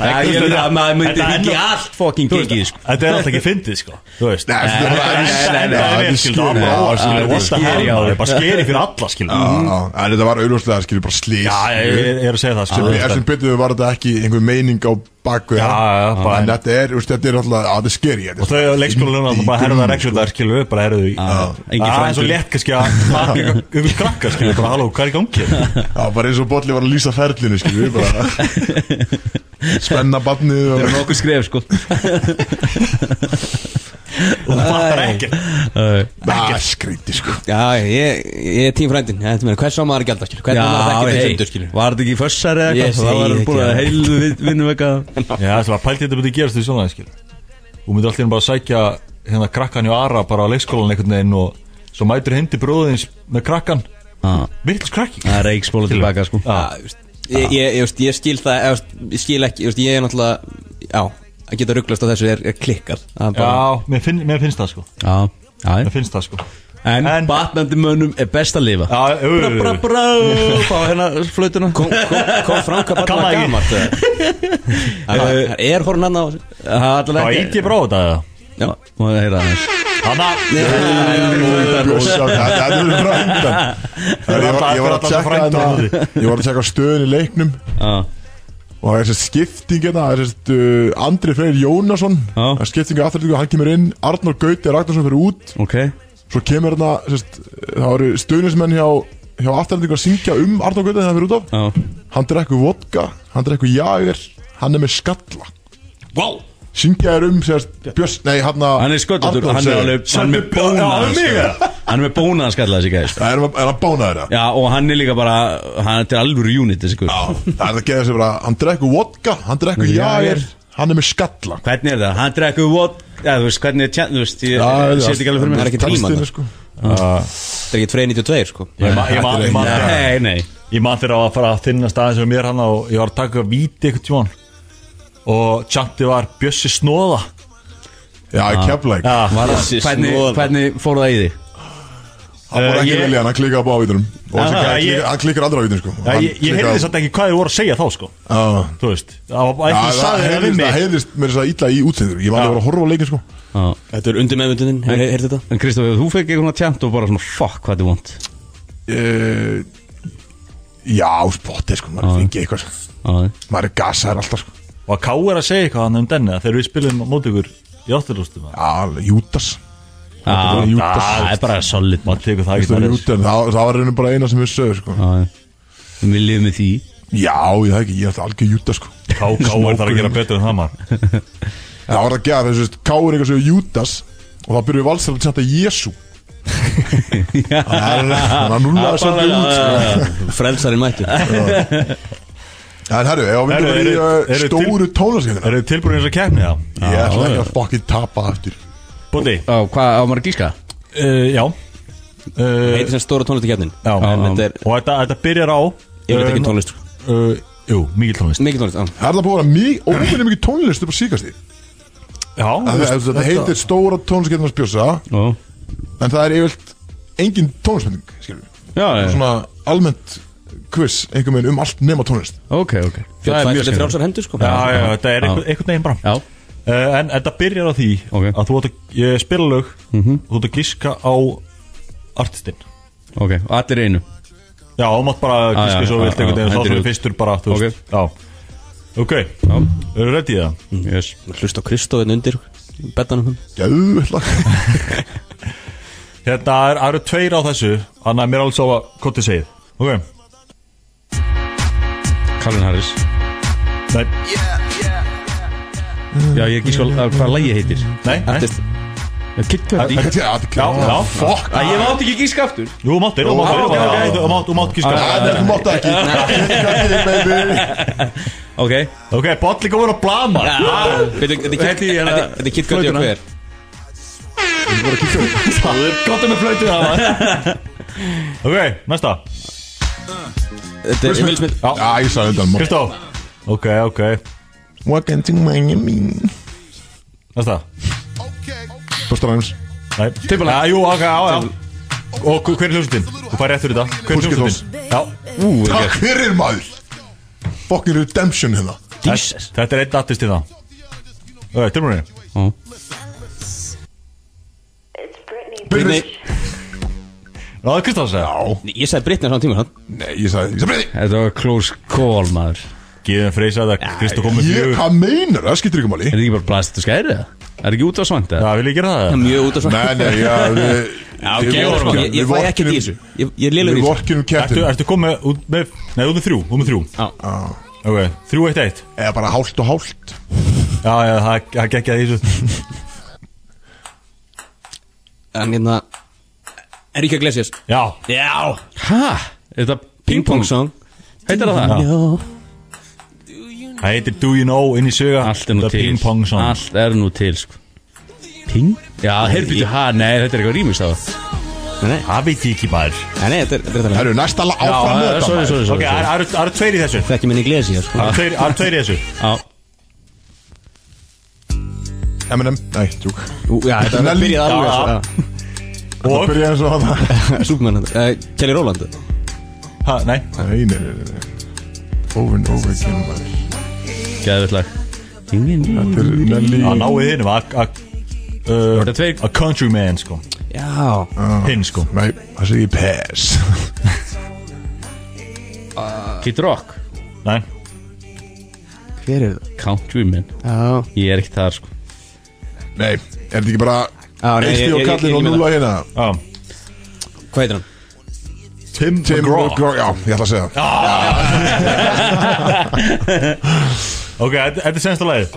S5: Það er ekki að maður myndi
S6: Þetta er
S5: ekki
S6: enn-
S5: allt fucking gengið sko.
S6: Þetta er alltaf ekki fyndið, sko, þú veist.
S2: Nei, þetta er-
S6: En-
S5: nei, nei,
S6: en-
S5: nei,
S6: en-
S2: þetta
S6: en-
S2: er
S6: skilur, það
S2: skeri,
S6: er
S2: já, skeri,
S6: bara- skilur, what the
S5: skeri,
S6: hell,
S5: já.
S6: maður, bara skeri fyrir alla, skilur.
S2: Já, já. En þetta var auðvitað skilju bara slís
S6: Já, ég ég er að segja það, skilur.
S2: Ég er sem betur var þetta ekki einhver meining á bakvið
S6: Já, já, bara-
S2: En þetta er, veist, þetta er alltaf, að þetta er skeri þetta er
S6: Og þau leikskólanum alltaf bara herða reglundar, skilur, bara herðu því.
S5: engin
S6: Það er svo
S5: frændi.
S6: létt kannski að makka ykkur krakkar, skilur, bara halló, hvað er í gangi? hérna?"
S2: Já, bara eins og Bolli var að lýsa ferlinu, skilju,
S6: [LAUGHS]
S2: bara Spenna barnið og
S5: Það er nokkuð skref sko
S6: og bara ekkert
S5: Já,
S2: Það er skreiti sko
S3: Já, ég, ég er tímfrændin Hvers á maður að gælda, skilur? Hvernig á maður að þekki
S5: hey,
S3: þessum undur, skilur?
S5: var þetta ekki fössar eða
S3: Ég
S5: eitthvað? Það
S3: segi
S5: var
S3: ekki
S5: búin að
S3: það.
S5: heilu vin- vinnum eitthvað
S6: Já, það var pælt þetta myndi gerast því svona skil. og myndir alltaf bara sækja hérna krakkan hjá Ara bara á leikskólan einhvern veginn og svo mætur hindi bróðins með krakkan
S5: Já.
S6: vittlust krakki
S5: Það er reikspóla tilbaka sko
S6: Já.
S3: Já, þú veist, Ég, ég, ég, veist, ég skil það ég, veist, ég skil ekki, ég, veist, ég er náttúrulega Já, að geta rugglast á þessu er, er klikkað Það er bara-
S6: Já, mér, finn, mér finnst það sko
S5: Já, já
S6: Mér finnst það sko
S5: En,
S6: En-
S5: batnandi mönnum er best að lifa
S6: Já, jú, jú, jú.
S5: Brá, brá, fá hérna flautuna
S3: Kom, kom, kom fram hvað bara
S6: Kann það
S3: var
S6: ekki.
S3: gamalt eða? [LAUGHS] Það er- það Er horn hann á þessu?
S5: Það er
S6: Það
S5: allavega
S6: ít ég bróða þetta eða?
S5: Já, má það heyra aðeins
S6: Hanna
S2: Sjá, það- Þetta er frændan
S6: [LAUGHS]
S2: Ég var- ég var að tjekka hana Ég var að tjekka stöðun í leiknum
S5: Já.
S2: Og það er þessi skipting hérna Það er þessi uh, Andri Freyr Jónasson
S5: Já.
S2: Það er skipting afturlíku, hann kemur inn Arnór Gauti Ragnarsson fyrir út
S5: Ok
S2: Svo kemur hérna sérst, Það eru stöðnismenn hjá Hjá afturlíku að syngja um Arnór Gauti þegar hann fyrir út af
S5: Já
S2: Hann drekku vodka, hann drekku jager Hann er með skalla
S6: Wow
S2: Syngja er um sérst, Björns, nei hann að
S5: Hann er sköldlóttur,
S2: Arnór
S5: hann er
S2: segir.
S5: alveg Hann er með
S6: Já, hann er
S5: bónaðan
S6: mig,
S5: skalla. Hann er með bónaðan skalla þessi gæði sko.
S2: Það er, er hann bánaður það
S5: Já, og hann er líka bara Hann er til alvöru unit þessi guð
S2: Það er það að geða sér bara Hann drekku vodka, hann drekku jager Hann er með skalla
S5: Hvernig er það? Hann drekku what Já, þú veist, hvernig er tjent Þú veist, ég sé þetta ekki alveg fyrir
S3: Það
S5: mér
S3: er ekki tíma
S2: textinn,
S3: þarna.
S2: sko.
S3: Það er ekki Frey 92 sko
S6: Ég man- ég man- ég man þegar-
S5: Nei, nei
S6: Ég man þegar að fara að finna staðin sem mér hann og ég var að taka víti eitthvað tjón og tjanti var Bjössi Snóða
S2: Já, ég kefla ekki
S5: Hvernig, hvernig fór það í því?
S2: Hann voru ekki
S6: ég-
S2: vilja hann að klika upp á ávítunum Og
S6: Aha,
S2: þessi gæði
S6: ég-
S2: klika- hann klikkar aldra ávítunum sko
S6: Já, Ég, ég heyrði samt ekki hvað þið voru að segja þá sko
S2: satt
S6: Þú veist, það var
S2: Já,
S6: eitthvað
S2: það
S6: sagði það við
S2: heyrðist, það
S6: mig
S2: heyrðist mér þess að illa í útsendur Ég var alveg að horfa á leikin sko
S3: Þetta er undir meðmynduninn, hefur heyrt þetta?
S5: En Kristof, þú fekk eitthvað tjent og bara svona Fuck, hvað þið vond
S2: Eh, Já, spotti sko, maður fengi eitthvað sko.
S5: Já,
S2: Maður er gasaður alltaf sko
S6: Var Ká er að segja eitthvað hann um denni þegar við spilum á móti ykkur í átturlústum
S2: Já, alveg, Júdas
S5: það
S2: Júdas
S5: það er bara solid
S6: Maður tekur það ekki
S2: Það
S6: með þess
S2: var reynum bara eina sem við sögum sko
S5: Já, Við lifum með því
S2: Já, ég það ekki, ég er alltaf algjör Júdas sko
S6: Ká, Ká er það að gera betur en það maður
S2: Það var að gera þessu, veist, Káur eitthvað sem Júdas Og þá byrjuðu valsar að tjanta
S6: [LAUGHS]
S2: Jésu Þannig að núna er svolítið út sko.
S3: Frelsarinn mættur
S2: En herru, ef við byrjuðum
S6: Herru,
S2: í
S6: eru-
S2: uh,
S6: eru til-
S2: stóru tónlaskendina
S6: Eru þið tilbúin eins og keppni það?
S2: Ég ætla ekki að fokkin tapa aftur
S6: Bóndi?
S5: Á, hvað, á maður að gíska?
S6: Uh, já uh,
S3: Heitir sem stóra tónlistakefnin
S6: Já.
S3: En þetta er,
S6: Og þetta, þetta byrjar á
S3: ég veit ekki
S6: um,
S3: tónlist sko.
S6: uh,
S2: Eh,
S6: Jú, mikil tónlist
S3: Mikið tónlist, já
S2: Það er það búið að vera mjög óvinni mikið tónlist upp á síkast því
S6: Já,
S2: Þetta heitir stóra tónlaskendina spjósa
S5: Ó.
S2: En það er yfirlt engin tónlistmynding Skiljum
S5: Já, já,
S2: Svona almennt quiz einhver meginn um allt nema tónlist
S5: ok, ok
S3: Björn
S5: er
S3: fættur
S5: mjög
S3: til
S5: skemmtilegt.
S3: frjálsar hendur sko
S6: Já, já, þetta er einhvern einhvern veginn bara
S5: Já,
S6: uh, En þetta byrjar á því
S5: Ok.
S6: að þú átt að ég spila lög og þú átt að gíska á artistinn
S5: ok, og allir í einu
S6: Já, þú mátt bara
S5: já,
S6: gíska svo
S5: já,
S6: vilt
S5: já,
S6: einhvern veginn,
S5: hendur
S6: þá
S5: í
S6: fyrir
S5: út.
S6: fyrstur bara, þú veist Já, ok, eru ready í það?
S3: Mm.
S5: Yes
S3: Hlust á Kristóðin undir Bettanum
S2: [LAUGHS] Gæðvöldlag
S6: Hérna er- það eru tveir á þessu, þannig að mér er alveg sá að hvað þið segið Ok,
S5: Calvin Harris
S6: nei,
S5: Já, ég gíska á hvað lægi heitir
S6: nei, nei
S5: Kid Cudi
S2: Já, þetta er
S6: Já, já, fokk
S5: Æ, ég mátti ekki gíska aftur
S6: Jú, þú máttir, þú máttir,
S2: ok,
S6: þú
S2: ok.
S6: máttir, þú mátt- þú mátt gíska
S2: Það er mátt ekki Kallið, baby.
S5: Ok
S6: Ok, Bolli komur að blama
S3: Veitu, þetta er Kid-
S5: Þetta er hérna-
S3: þetta er- þetta er Kid Cudi og
S5: flautuna.
S3: hver
S6: Það er gott með flöytu það [LAUGHS] Ok, næsta
S3: Þetta er Will Smith
S2: [LAUGHS] Já, ég sagði undan mátt
S6: Kristó Ok, ok,
S2: Welcome to Miami
S6: næsta
S2: Busta Rhymes
S6: Nei, Timbaland Já, jú, ok, já, já Og hver er hljómsveitin? Þú fær rétt fyrir þetta Hver er
S2: Pussycat
S6: hljómsveitin? Já,
S2: Takk fyrir maður Fucking redemption hérna
S6: þetta þetta er einn artist í það Ok, tilbúinni
S2: Byrni
S6: Ráði Kristó að segja
S2: Já
S3: Ég sagði Brittany á saman tíma hann
S2: Nei, ég sagði Ég sagði Byrni
S5: Þetta var close call, maður
S6: Gíðan freysa þetta Kristó komið
S2: Ég,
S6: fjögur
S2: hvað meinar það? Skiptir ykkur máli
S5: Er þetta ekki bara blast og skæri það? Er ekki út á svand
S6: Já,
S5: eða?
S6: vil ég gera það? eða?
S3: Mjög út af svona
S2: Nei, nei, já við- við
S3: Ég-
S2: vorkunum-
S3: ég- Ég
S2: við
S3: fæ ekki
S2: vorkunum-
S3: í þessu Ég- Ég er liður í
S2: Við
S3: þessu
S2: vorkinum
S6: Ertu,
S2: kettin
S6: ertu komið út með Nei, út með þrjú, út með þrjú
S3: Já.
S6: Ok, þrjú eitt eitt
S2: Eða bara hálft og hálft
S5: [LAUGHS]
S6: Já, já, það það gekk að þessu
S3: En hérna Erika Iglesias
S6: Já,
S5: Já Hæ? Er þetta
S3: Ping Pong Song
S5: Heitir það það?
S6: það heitir Do You Know inn í söga
S5: Allt er nú
S6: The
S5: til
S6: Ping Pong Song
S5: Allt er nú til sko. Ping? Já, heyrbyttu, hæ, nei, þetta er eitthvað rýmis á það
S3: Nei, nei,
S6: Það veit ég ekki maður
S3: Nei, nei, þetta er þetta er þetta
S2: Það
S3: lag
S2: eru næsta la- áfram
S5: Já,
S2: nota, maður.
S5: sorry, sorry,
S6: Ok,
S5: sorry, sorry.
S6: það eru- það eru tveir í þessu
S3: Þekki minn Iglesias sko.
S6: Það eru tveir- það eru tveir í þessu
S5: Já,
S2: Eminem, nei, tjúk
S3: Ú, Já, þetta er
S2: Nelly.
S3: byrjað alveg svo, já.
S2: Það
S6: Og
S2: byrja eins og það
S3: Superman þetta Eh, Kelly Rowland
S6: Ha,
S2: Nei,
S6: Nei,
S2: nei, nei, nei, nei Over and over again maður.
S5: geðvitt lag
S2: Þetta er Nelly
S6: að náið hinum að- að- uh,
S5: Þetta er tveir
S6: A countryman sko
S3: Já
S6: Hinn sko
S2: Nei, það sé ég pass
S5: Kid Rock
S6: Nei,
S3: Hver er það?
S5: Countryman
S3: Já
S5: Ég er ekkert þar sko
S2: Nei, er þetta ekki bara
S3: Já, nei,
S2: Eisti
S3: ég-
S2: og
S3: ég- ég-
S2: kallinn
S3: ég-
S2: og
S3: ég-
S2: núla hérna
S6: já
S3: Hvað heitir hann?
S2: Tim
S6: McGraw.
S2: McGraw Já, ég ætla að segja það
S6: Ok, þetta þetta er sensta lagið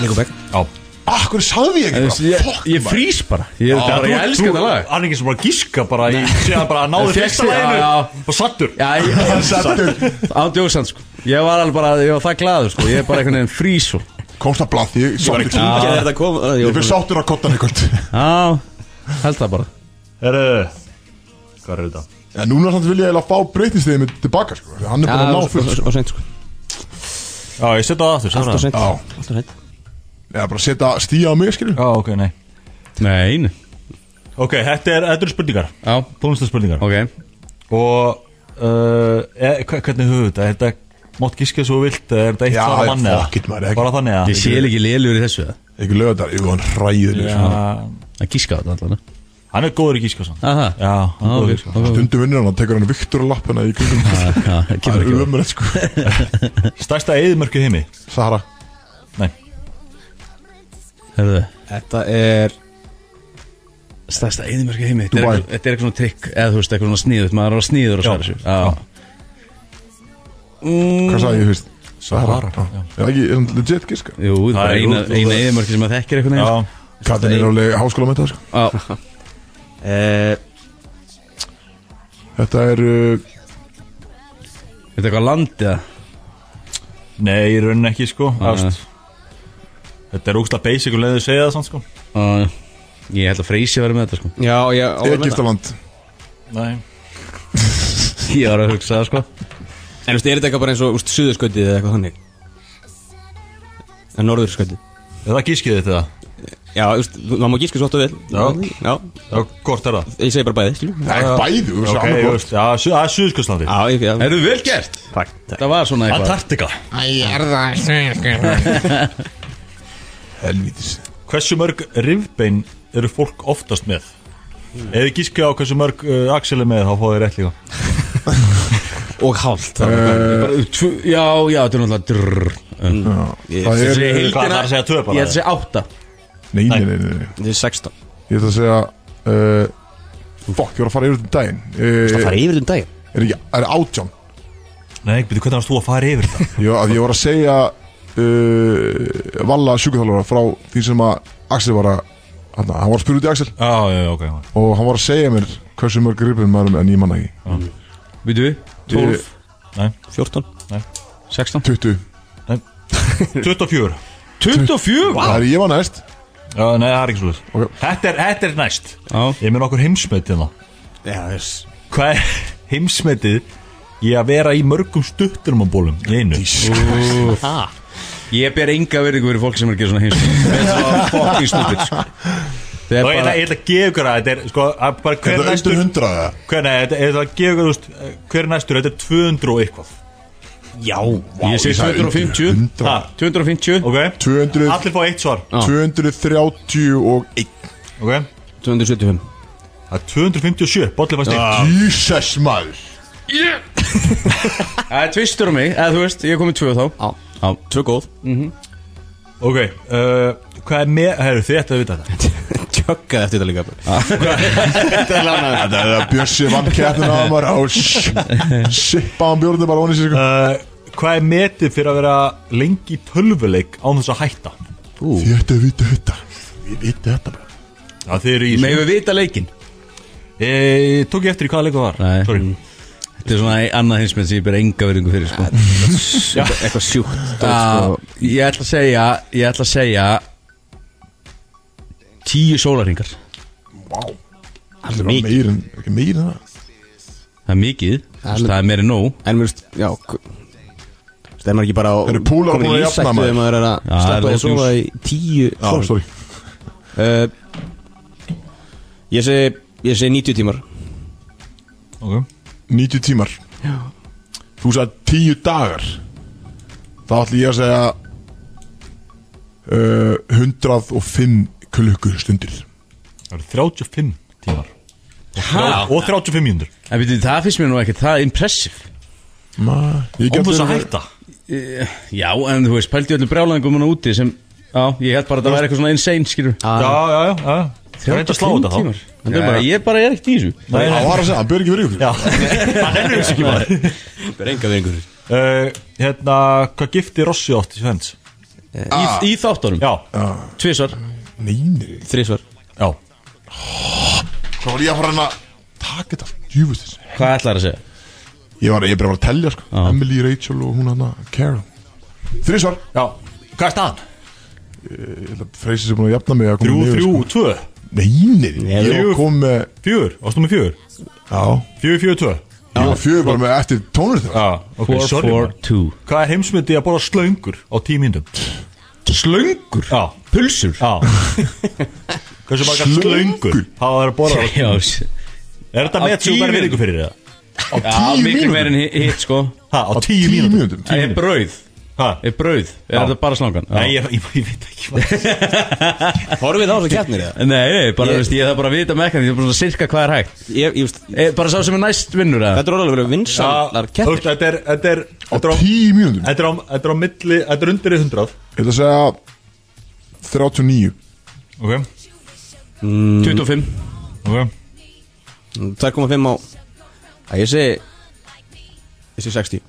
S3: Nico Beck
S6: Já
S2: Akkur Ah, sagði ég ekki bara
S5: Ég, ég frýs bara Ég,
S6: Já,
S5: bara,
S6: þú-
S5: ég elska
S6: þú-
S5: þetta lag
S6: Hann er ekki sem bara að gíska bara í Sér bara að náðu
S5: Fékkst
S6: fyrsta
S5: þig, já,
S6: læginu
S5: já.
S6: Og sattur
S5: Já, [LAUGHS] ég,
S2: Sattur
S5: ándjóðsand sko Ég var alveg bara, ég var það glaður sko Ég er bara einhvern veginn frýs og
S2: Komst að blað, ég sáttur
S3: Ekki að þetta kom að-
S2: Ég fyrir sáttur að kottan eitthvað
S5: Já, held það bara
S6: Herru Hvað er þetta?
S2: En núna samt vil ég eiginlega fá breytinstegið mitt tilbaka sko. því Hann er bara að ná fullt sko.
S3: Og seint sko
S6: Já, ég setja það aftur
S3: Alltaf seint
S2: Já.
S3: Alltaf seint
S2: Eða bara setja stíja á mig skilur
S6: Já, ok, nei
S5: Nei, nei.
S6: Ok, þetta er, þetta eru spurningar
S5: já,
S6: Tónlistarspurningar
S5: ok
S6: Og uh, e, hva- Hvernig höfðu þetta? Er þetta Mátt gíska svo þú vilt eða Er þetta eitt
S2: Já,
S6: svara mann eða?
S2: fuck it, maður, ekki-
S6: Bara þannig eða?
S5: Ég sé ekki liðljur í þessu Það
S2: Ekki löða þetta, jú, hann ræður mig, sko.
S6: Já
S5: Að gíska á þetta allan
S6: Hann er góður í gíska sann
S3: Ah.
S5: Aha.
S6: Já, hann er góður í gíska
S2: Stundum vinnur hann, hann tekur hann Viktor að lappana í kringum Það
S5: Kemur
S2: er
S5: ekki á
S2: umrætt sko
S6: Stærsta eðimörku heimi
S2: Sara
S6: Nei
S5: Herðu
S3: Þetta er
S5: Stærsta eðimörka heimi Þetta er
S2: Dubai.
S5: eitthvað- þetta er eitthvað svona trikk Eða þú veist, eitthvað svona sníðut Maður er á sníður og svara sér Já,
S2: Hvað sagði ég fyrst?
S6: Sahara,
S2: Já. Er það ekki er hann legit giska?
S5: jú, það er
S6: Það
S5: bara
S6: er
S5: eina,
S6: jú-
S5: eina eðimörki sem maður þekkir eitthvað
S6: Já
S2: Katrin er alveg háskóla með þetta sko.
S5: Já,
S3: eh,
S2: Þetta er uh,
S5: þetta er eitthvað land eða
S6: Nei, í rauninni ekki sko
S3: Ah,
S6: Ást Þetta er úksla basic og leiðu segja það sann sko
S5: Já, Ég held að Freysi verið með þetta sko [LAUGHS]
S3: Já, já
S2: Egyptaland
S6: Nei
S5: Ég var að hugsa það sko
S3: En þú veist, er þetta eitthvað bara eins og úst, suðurskautið eða eitthvað þannig? En norðurskautið?
S6: Er það gískið þetta það?
S3: Já, þú veist, þú- maður má gíska svo oft og vel
S6: Já.
S3: Já,
S6: Já, hvort er það?
S3: ég segi bara bæði, skilju
S2: Það er bæði, þú veist
S6: Ok,
S2: annað
S6: ég
S2: hvort.
S6: veist, já, su- það er Suðurskjölslandi
S3: Já, ég, já
S5: Erum vel gert?
S3: Takk, takk
S5: Það var svona eitthvað
S6: Antarktika
S2: Helvítis
S6: Hversu mörg rifbein eru fólk oftast með? Ef þið gískið á hversu mörg uh, Axel er með þá fóðu þið rétt líka
S3: Og hálft
S5: Bara, tv- eh, Já, já, þetta er náttúrulega drrrr. Um,
S2: Það er,
S5: Þessi
S6: Hvað það
S5: heildina
S6: er að segja tvö
S5: Ég
S6: bara?
S5: ætla að segja átta
S2: nei, nei, nei, nei, nei
S3: Þetta er 16
S2: Ég ætla að segja uh, Fuck, ég var að fara yfir til daginn
S3: Það
S2: uh,
S3: fara yfir um daginn
S2: Er ekki, er átján
S6: Nei, betur hvernig varst þú að fara yfir
S2: [LAUGHS]
S6: það?
S2: Ég, að ég var að segja uh, Valla sjúkvæðalara frá því sem að Axel var að hann, hann var að spyrja út í Axel
S6: Já, já, ok
S2: og hann var að segja mér hversu mörg ripin maður er með en ég manna ekki
S5: Býtu, 12,
S3: 14
S5: 16
S2: 20
S6: 24
S5: 24
S2: Það er ég var næst
S6: Já, nei, það er ekki svolítið
S2: Ok.
S6: þetta, er- þetta er næst
S5: Já.
S6: Ég með okkur heimsmetið þá
S3: Já, þess
S6: Hvað er [LAUGHS] heimsmetið í að vera í mörgum stuttunumabólum í einu?
S5: Ég ber enga verðingu fyrir fólk sem er að gera svona heimsum Þetta var fucking stupid sko. Það er
S6: Og ég ætla
S5: bara
S6: ég ætla að gefa ykkur að þetta er sko, að bara hver
S2: Þetta er
S6: næstur
S2: undir 100 eða?
S6: hver, nei, þetta- ég ætla að gefa ykkur þú veist, hver er næstur, þetta er 200 og eitthvað
S5: Já, ég segi
S2: sagði
S5: 250
S2: undir 100.
S6: Ha,
S5: 250
S6: ok,
S2: 200
S6: allir fá eitt svar
S2: 231
S6: ok,
S3: 275
S6: það er 257 bolli fannst
S2: Ah.
S6: eitt
S2: Jesus maður
S5: Það er tvistur á mig, eða þú veist, ég er komið tvö þá
S3: Já Já, tvö góð
S6: ok, uh, hvað er með, herru þið ættu að vita þetta
S3: Tjökkaði eftir þetta líka bara
S2: Þetta er að Bjössi vann keppnina á maður á Sippa hann björnum bara onni sér sko
S6: uh, hvað er metið fyrir að vera lengi í tölvuleik án þess að hætta?
S2: Þið ættu að vita þetta Við vita þetta bara
S6: Já, þið eru í
S5: Megum við vita leikin
S6: e, Tók ég eftir í hvaða leiku var?
S5: Nei.
S6: Sorry.
S5: Þetta er svona annað hinsmenn sem ég ber enga verðingu fyrir sko.
S6: [LAUGHS]
S12: Eitthvað sjúkt
S5: Já, Ég ætla að segja Ég ætla að segja Tíu sólarhingar
S2: Það er meir en, ekki meir en það
S5: Það er mikið Það er meira en nóg
S3: En mér veist, já Það er maður ekki bara
S2: Það eru púlar búin að jafna, maður.
S3: Þegar maður er að
S5: Já, það er
S3: sleppa því að
S5: ódjús.
S3: sofa í tíu
S2: Já,
S3: sólarhringa.
S2: sorry
S3: Uh, Ég segi, ég segi 90 tímar
S2: 90 tímar Þú sagði 10 dagar Þá ætlum ég að segja uh, 105 klukkustundir
S6: Það eru 35 tímar Og, og 35 mínútur
S5: En veitum, það finnst mér nú ekkert Það er impressive
S2: Ég
S6: Án
S2: gæti
S6: þess að
S2: verið-
S6: hætta
S5: Já, en þú veist, pældi öllu brjálæðingum hann úti sem Já, ég held bara að það væri eitthvað svona insane, skilur
S6: Já, já, já, já. Það er eitthvað að slá þetta þá
S5: Já, ég bara Ah. er ekkert í þessu
S6: Nei,
S2: Það
S6: nei,
S2: var að segja, það byrði ekki fyrir ykkur
S6: já Það er þessu ekki maður uh, Hérna, hvað gifti Rossi átt í Svens?
S5: Í, í þáttunum,
S6: Já,
S5: Ah. tvisvar
S2: Nei, nei
S3: Þrísvar
S6: já
S2: Hvað var ég að fara hérna að Takk þetta, djúfustis
S5: Hvað ætlar að segja?
S2: Ég var ég bara var að telja sko Emily, Rachel og hún hana, Karen Þrísvar,
S6: Já, hvað er staðan?
S2: ég held að freysi sem búin að jafna mig að koma
S6: 3,
S2: niður,
S6: 3, 2,
S2: sko. Nei, nei, nei, ég
S6: Þrjú.
S2: var kom með
S6: 4, ástum með 4
S2: Já,
S6: 4, 4, 2
S2: ég var fjögur bara með eftir tónlist
S6: Já, ok,
S5: 4,
S6: sorry
S5: 4,
S6: maður.
S5: 2
S6: Hvað er heimsmyndi að borða slöngur á tíu mínútum?
S5: Slöngur?
S6: Já,
S5: Pulsur?
S6: já [LAUGHS] Hversu margar slöngur
S2: Slöngur?
S6: hafa þær að borða?
S5: Já, s-
S6: Er
S5: Á
S6: þetta með sem
S5: tíu
S6: þú bæri
S5: mínútum?
S6: virðingu fyrir það?
S5: já
S2: tíu
S5: miklu
S2: mínútur?
S5: meir en hi- hitt, sko
S6: Ha, á tíu mínútum?
S2: mínútum
S5: Það er brauð
S6: Hæ?
S5: Er brauð? Er
S6: Já.
S5: þetta bara slangan? Já.
S6: Nei, ég, [LAUGHS] ég, ég veit ekki hvað
S3: Horfið á þessu keppnir eða?
S5: Nei, nei, bara,
S3: Ég-
S5: veist, ég þarf bara að vita mekkan Ég er bara svona sirka hvað er hægt
S3: Ég, ég veist
S5: e, Bara sá sem er næst vinnur eða?
S3: Þetta er orðið að vera
S6: Já,
S3: vinsalar
S6: þú veist,
S3: keppnir
S6: Þetta er, þetta er,
S2: Á
S6: þetta er á
S2: tíu mínútum
S6: Þetta er á, þetta er á milli, þetta er undir í hundrað
S2: Ég ætla að segja 39
S6: Ok,
S5: 25
S6: ok
S3: 2,5 á Æ, Ég segi Ég segi 60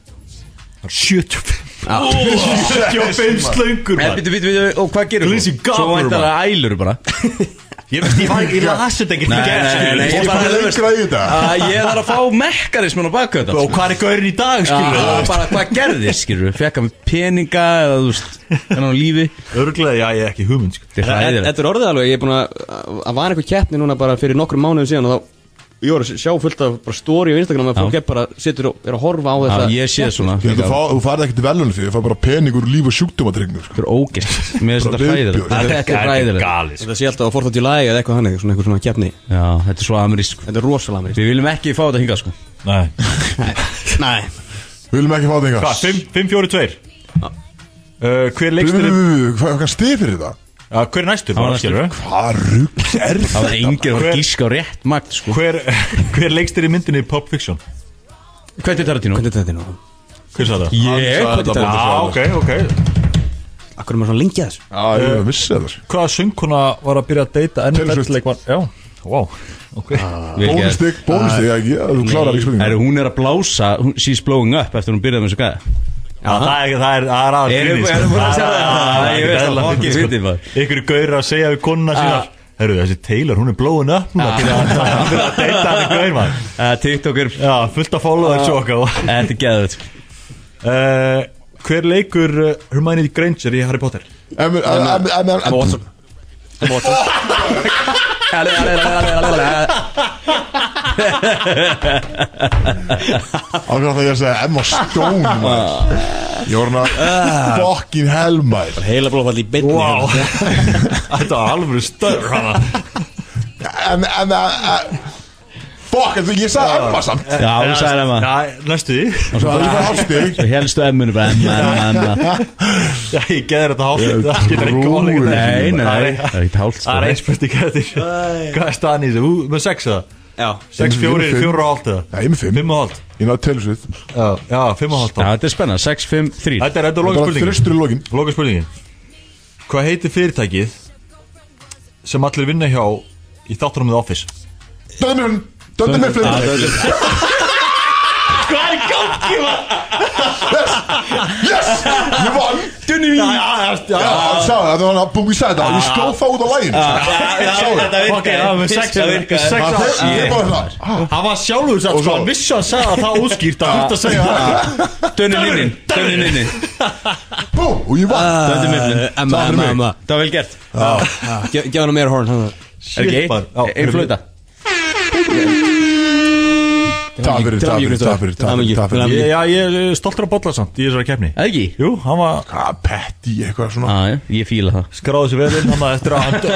S6: 75 slöngur
S5: En
S6: maður.
S5: býtu, býtu, býtu, og hvað gerum
S6: Glísi
S5: Svo
S6: gapur,
S5: væntar það ælur bara
S6: Ég veist, ég var ekki, ég las þetta ekki
S5: [LAUGHS] Nei, nei,
S6: sko.
S5: nei,
S2: Ég
S5: nei, ég bara
S2: fara lengra í þetta
S5: að Ég þarf að fá mekkarismin á baku þetta
S6: Og hvað er gaurin í dag, skilur
S5: Já,
S6: við?
S5: bara hvað gerðist, skilur við Fekka með peninga eða, þú veist, hennar á lífi
S6: Örglega, já, ég er ekki hugmynd, sko
S5: Þetta er hræðilegt
S3: Þetta er orðið alveg Ég er búin að að var einhver keppni núna bara fyrir nokkrum mánuðum síðan og þá Ég voru að sjá fullt af bara stóri á Instagram að fólk er bara situr og er að horfa á
S5: Já,
S3: þetta
S5: ég sé svona
S2: Ég held
S5: Þetta
S2: að fá- Þú farið ekkert velun fyrir Ég fær bara peningur líf og sjúkdómatrygnum sko.
S5: er ógist Mér finnst þetta
S2: Bara
S5: hræðilegt
S2: viðbjóður.
S5: Þetta er hræðilegt
S6: galið,
S3: Þetta sé alltaf á 14. lagi eða eitthvað hannig Svona einhver svona keppni
S5: Já, þetta er svo amerísk
S3: Þetta er rosalega mér
S5: Við viljum ekki fá þetta hingað, sko
S6: sko Nei
S3: Nei
S2: Við viljum ekki fá það
S6: Hvað,
S2: eitthvað Við- við-
S6: 5, 5, 4, 2 Uh, hver leikstur
S2: við- við- Hvað hvað stið fyrir þetta?
S6: uh, Hver er næstur bara,
S5: næstur.
S6: skilur við?
S2: Hvað rugg er
S5: Það var
S2: þetta?
S5: enginn að fara
S6: Hver-
S5: að gíska á rétt magt, sko
S6: Hver, hver leikstur í myndinni í Pulp Fiction?
S5: Hvernig er Tarantino?
S3: Hvernig er þetta nú?
S6: Hver sagði það?
S5: Ég, hvernig er
S6: Já,
S5: Tarantino?
S6: ok, ok
S3: Akkur er maður svona lengið þessu?
S2: Já, ég er að missa það sko.
S6: Hvaða söngkona var að byrja að deyta enn
S2: Taylor Swift.
S6: leikmann? Já, wow, ok
S5: Vel gert.
S2: Bónustig, bónustig já, ég- Þú klárar ekki
S5: Herru,
S2: spurningum
S5: hún er að blása, hún, she's blowing up eftir hún byrjaði með þessu gæða
S6: Já, það er, það er, það er aðeins
S5: Erum-
S6: grínist,
S5: erum
S6: sko.
S5: búin að sjá
S6: Það er-
S5: það?
S6: það er
S5: Ég
S6: ekkert
S5: veist það,
S6: eðla
S5: fucking
S6: fyndið, sko.
S5: fyndið, maður.
S6: Ykkur gaur að segja við konuna sínar Herru þessi Taylor, hún er blóin upp núna Fyrir að fyrir að deyta hann er gaur maður
S5: Uh, TikTok er
S6: Já, fullt að followers og okkar
S5: Þetta er sko. geðvöld
S6: Eh, Hver leikur uh, Hermione Granger í Harry Potter?
S2: Emma Emma- Emma Emma Watson Ákveðan það ég að segja Emma [LAUGHS] Stone maður. Ég var hana Ah. Fucking hell maður
S3: Heila blófall í beinni
S6: Vá. Þetta var alveg stöður hana
S2: Emma Emma Emma- Fuck, en þú- ég sagði Emma samt
S5: Já, hún sagði Emma
S6: [LAUGHS] Já, næstu því
S2: Svo það er ég fæði hálfstig
S5: Svo helstu emmunu bara Emma, Emma, Emma
S6: Já, ég geður þetta hálf Það getur ekki
S2: Trúir
S6: máli
S5: Nei, nei,
S6: Það
S5: nei Það
S6: er-
S5: er sko. ekkert hálft
S6: það er eins besti gæðir Hvað er staðan í þessu? Þú- Með sex eða?
S3: Já
S6: Sex,
S2: Fimm,
S6: fjórir,
S2: fimm.
S6: fjórir og hálft eða?
S2: Já, ég er með fimm.
S6: Fimm og hálft
S2: Ég náði telsuð
S6: Já, já, fimm og hálft
S5: Já,
S6: ár.
S5: þetta er spennan 6, 5, 3
S6: Þetta er þetta
S2: Það
S6: loka
S2: var
S6: spurningin
S2: þröstur í lokin
S6: Loka spurningin Hvað heitir fyrirtækið sem allir vinna hjá í þáttunum með Office?
S2: Ah, Döndum Döndum með flöndum
S6: Hvað er gá?
S2: Yes, ég vann Dunni Já, já, já, Ah. já Sá, það var hann að búi sæta Ég sló það út á lægin
S5: Þetta
S6: með
S5: virkaði
S6: sex-
S5: Þetta virkaði
S6: sex-
S2: Ég er bara svona ah,
S6: Hann var sjálfur satt
S2: Og
S6: sko,
S2: svo-
S6: hann vissi að sagði að það óskýrt að hægt að segja
S2: Ah.
S6: það
S5: Dönnin innin Dönnin innin
S2: Búm, og ég vann
S5: Þetta er mjöfnin
S3: Emma, Emma, Emma
S5: Það var vel gert
S3: Gef hann meira horn hann.
S5: Er ekki eitt? Einn flöta
S2: Takk fyrir, takk fyrir, takk fyrir, takk fyrir, takk fyrir
S6: Ég- Já, ég er eh, stoltur á bolla samt í þessari kefni
S5: Er ekki?
S6: Jú, hann var
S2: Hvað, Petty, eitthvað svona
S5: Já, já, ég fíla það
S6: skráði sér vel inn hann eftir að hann,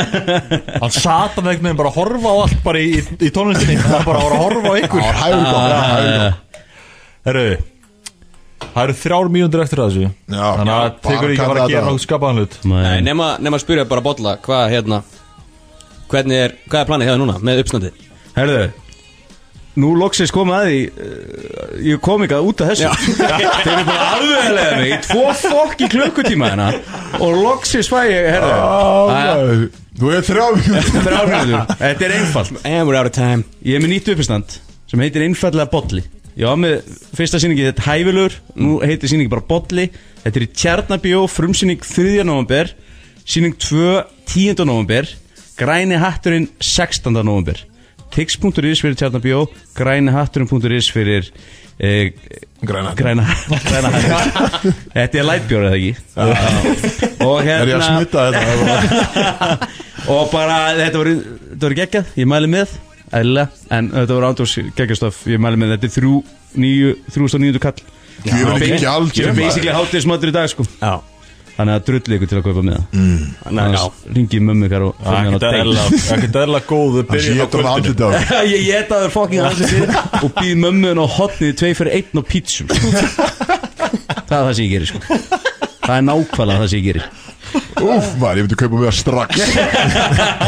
S6: hann sat hann einhvern veginn bara að horfa á allt bara í, í tónlistinni hann bara var að horfa á
S2: Það
S6: ykkur
S2: var Ah, hægur kom, hægur kom
S6: Herru, það eru þrjár mínútur eftir að þessu
S2: Já,
S6: þannig að
S2: bara
S6: tekur ekki
S2: kalla
S6: að fara að
S2: þetta.
S6: gera nokkuð skapaðan hlut
S3: Nei, nema, nema að spyrja bara bolla Hvað hérna Hvernig er, hvað er planið hefða núna með uppstandið?
S5: Herðu Nú loksins kom að því uh, Ég kom ekki að út af þessu [LAUGHS] Þeir eru bara aðveðlega mig Í tvo fokki klukkutíma hérna Og loksins fæ ég, herðu
S2: Á, Þú er þrjá mínútur
S5: Þrjár mínútur. Þetta er einfalt
S3: And we're out of time
S5: Ég er með nýtt uppistand sem heitir einfallega Bolli Ég var með fyrsta sýningi þetta hæfilegur Nú heitir sýningi bara Bolli Þetta er í Tjarnabjó, frumsýning 3. november Sýning 2. 10. november Græni hatturinn 16. november Tix.is fyrir Tjarnabjó Græni hatturinn.is fyrir eh,
S2: Græna
S5: Græna, [LAUGHS] græna
S2: [LAUGHS]
S5: hatturinn Þetta er lætbjór eða ekki Og
S2: Er ég að
S5: hérna
S2: smita þetta?
S5: Og bara þetta voru, þetta voru geggjað, ég mæli með Æðilega, en þetta voru ándurs geggjastof Ég mæli með þetta er þrjú, níu, þrjúst og níundu kall
S2: Ég vil ekki gjald
S5: Ég er basically hátis matur í dag sko
S3: Já.
S5: Þannig að drulli ykkur til að kaupa með það Þannig að ringi mömmu ykkar og fyrir
S6: ekkert eðlilega-
S5: [LAUGHS]
S6: ekkert eðlilega góð þau
S2: Ég
S6: byrja á
S2: get hann
S6: kvöldinu
S2: andlit á þér.
S5: Ég geta það fokking allir sér Og býð mömmu henn á hotnið tvei fyrir einn og pítsum sko. Það er það sem ég gerir sko Það er nákvæmlega það sem ég gerir
S2: Úff, maður, ég myndi kaupa með það strax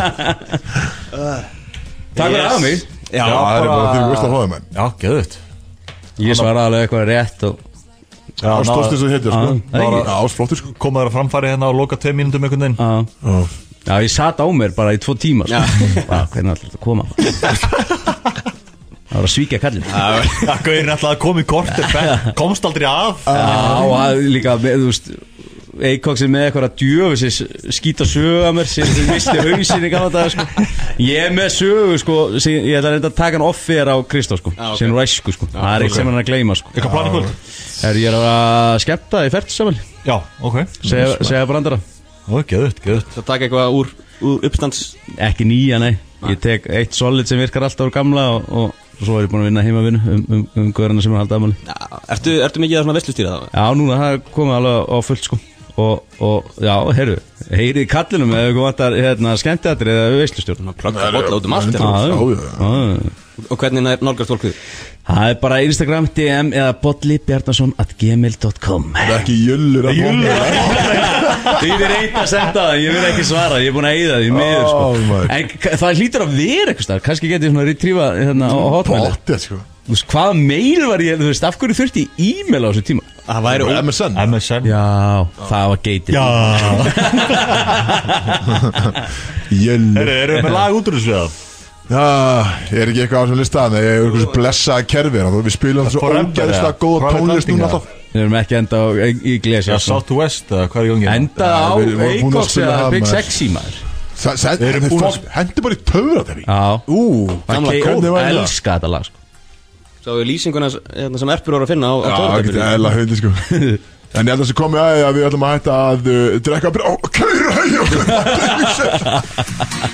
S5: Takk fyrir að mig
S2: Já, það er bara því að veist að hóða menn
S6: Já, geðut
S5: Ég svara alveg eitthvað rétt og
S2: Ástóðst eins og hetja,
S5: Já, það er
S2: sko
S5: ekki.
S2: Ásflóttir, sko
S6: Koma þér að framfæri hérna og loka 2 mínútum einhvern veginn
S5: Já. Já, ég sat á mér bara í tvo tíma sko.
S3: Já.
S5: [LAUGHS] Vá, Hvernig ætlar þetta að koma Það var að svíkja kallin Já,
S6: Það gauðir alltaf að koma í kortir Ben, Komst aldrei að
S5: og að líka með, þú veist Eikóks er með eitthvað að djöfu sér skýta sögu að mér sem sem misti hausin í gamla dag sko. Ég er með sögu sko, sem, ég ætla að reynda að taka hann offer á Kristó sko,
S3: ok.
S5: sem ræsku sko. það er eitt sem hann er að gleyma sko.
S6: Eitthvað planið kvöld
S5: er, Ég er að skemmta í fertisamæli
S6: Já, ok
S5: segja, segja brandara
S6: Ó, geðut, geðut
S3: Það taka eitthvað úr, úr uppstands
S5: Ekki nýja, nei Ég tek eitt solid sem virkar alltaf úr gamla og, og svo er ég búin að vinna heimavinu um, um, um guðurinn sem er alltaf aðmáli
S3: Já, Ertu, ertu mikið að svona veslustýra það?
S5: Já, núna, það er komið alveg á fullt sko Og, og já, heyrðu, heyrið í kallinum eða ykkur vantar hérna, skemmtiatri eða veislustjórn
S3: Plugga bolla út um allt hérna.
S5: já.
S2: Já, já,
S3: Og hvernig nær- nálgast fólk þig?
S5: Það er bara Instagram, DM eða bollibjarnason at gmail.com
S2: Það er ekki jöllur að bóla
S5: Ég verð eitthvað að senda það, ég verð ekki svara, ég er búin að eyða því miður
S2: Oh
S5: sko
S2: my-
S5: En k- það hlýtur að vera eitthvað starf, kannski getið svona retriefa hérna á hotmail
S2: Bóttið, sko
S5: Þú veist, hvað meir var ég, þú veist, af hverju þurfti ég e-mail á þessu tíma?
S3: Það væri
S2: MSN
S6: MSN
S5: Já, það var geitir Já,
S2: [LAUGHS] Jöllur
S6: Herru, erum við með lag út úr þessu eða?
S2: Já, er ekki eitthvað á þessum lista Nei, ég er eitthvað svo blessaða kerfi hérna, þú- Við spilum svo
S6: Forever,
S2: ógeðslega
S6: eða?
S2: góða
S6: Private
S2: tónlist
S6: Landing,
S2: núna
S6: eða?
S2: alltaf
S5: við erum ekki enda á, í glesi sko.
S6: Já, Southwest, eða hvað er í gangi?
S5: Enda á
S2: Já, við vorum búin að
S5: Eikoks
S2: spila
S5: eða
S2: það,
S5: Big
S2: maður.
S5: Sexy maður
S2: Það- það-
S6: Við erum
S2: þeir
S6: búin að
S2: fólk- Hendi bara í töfra þeirri
S5: Já,
S2: Ú,
S5: það
S3: Gamla
S2: góð,
S5: var
S2: var það?
S5: elska þetta lag sko.
S3: Sá við lýsinguna s- hérna, sem erpur voru að finna á, á
S2: Já, það
S3: tónleikafyrirtækinu.
S2: getur eðla hundi sko En ég held að eh, þessi komið aðeins að við ætlum að hætta að uh, drekka br- Ó, kæra hægjum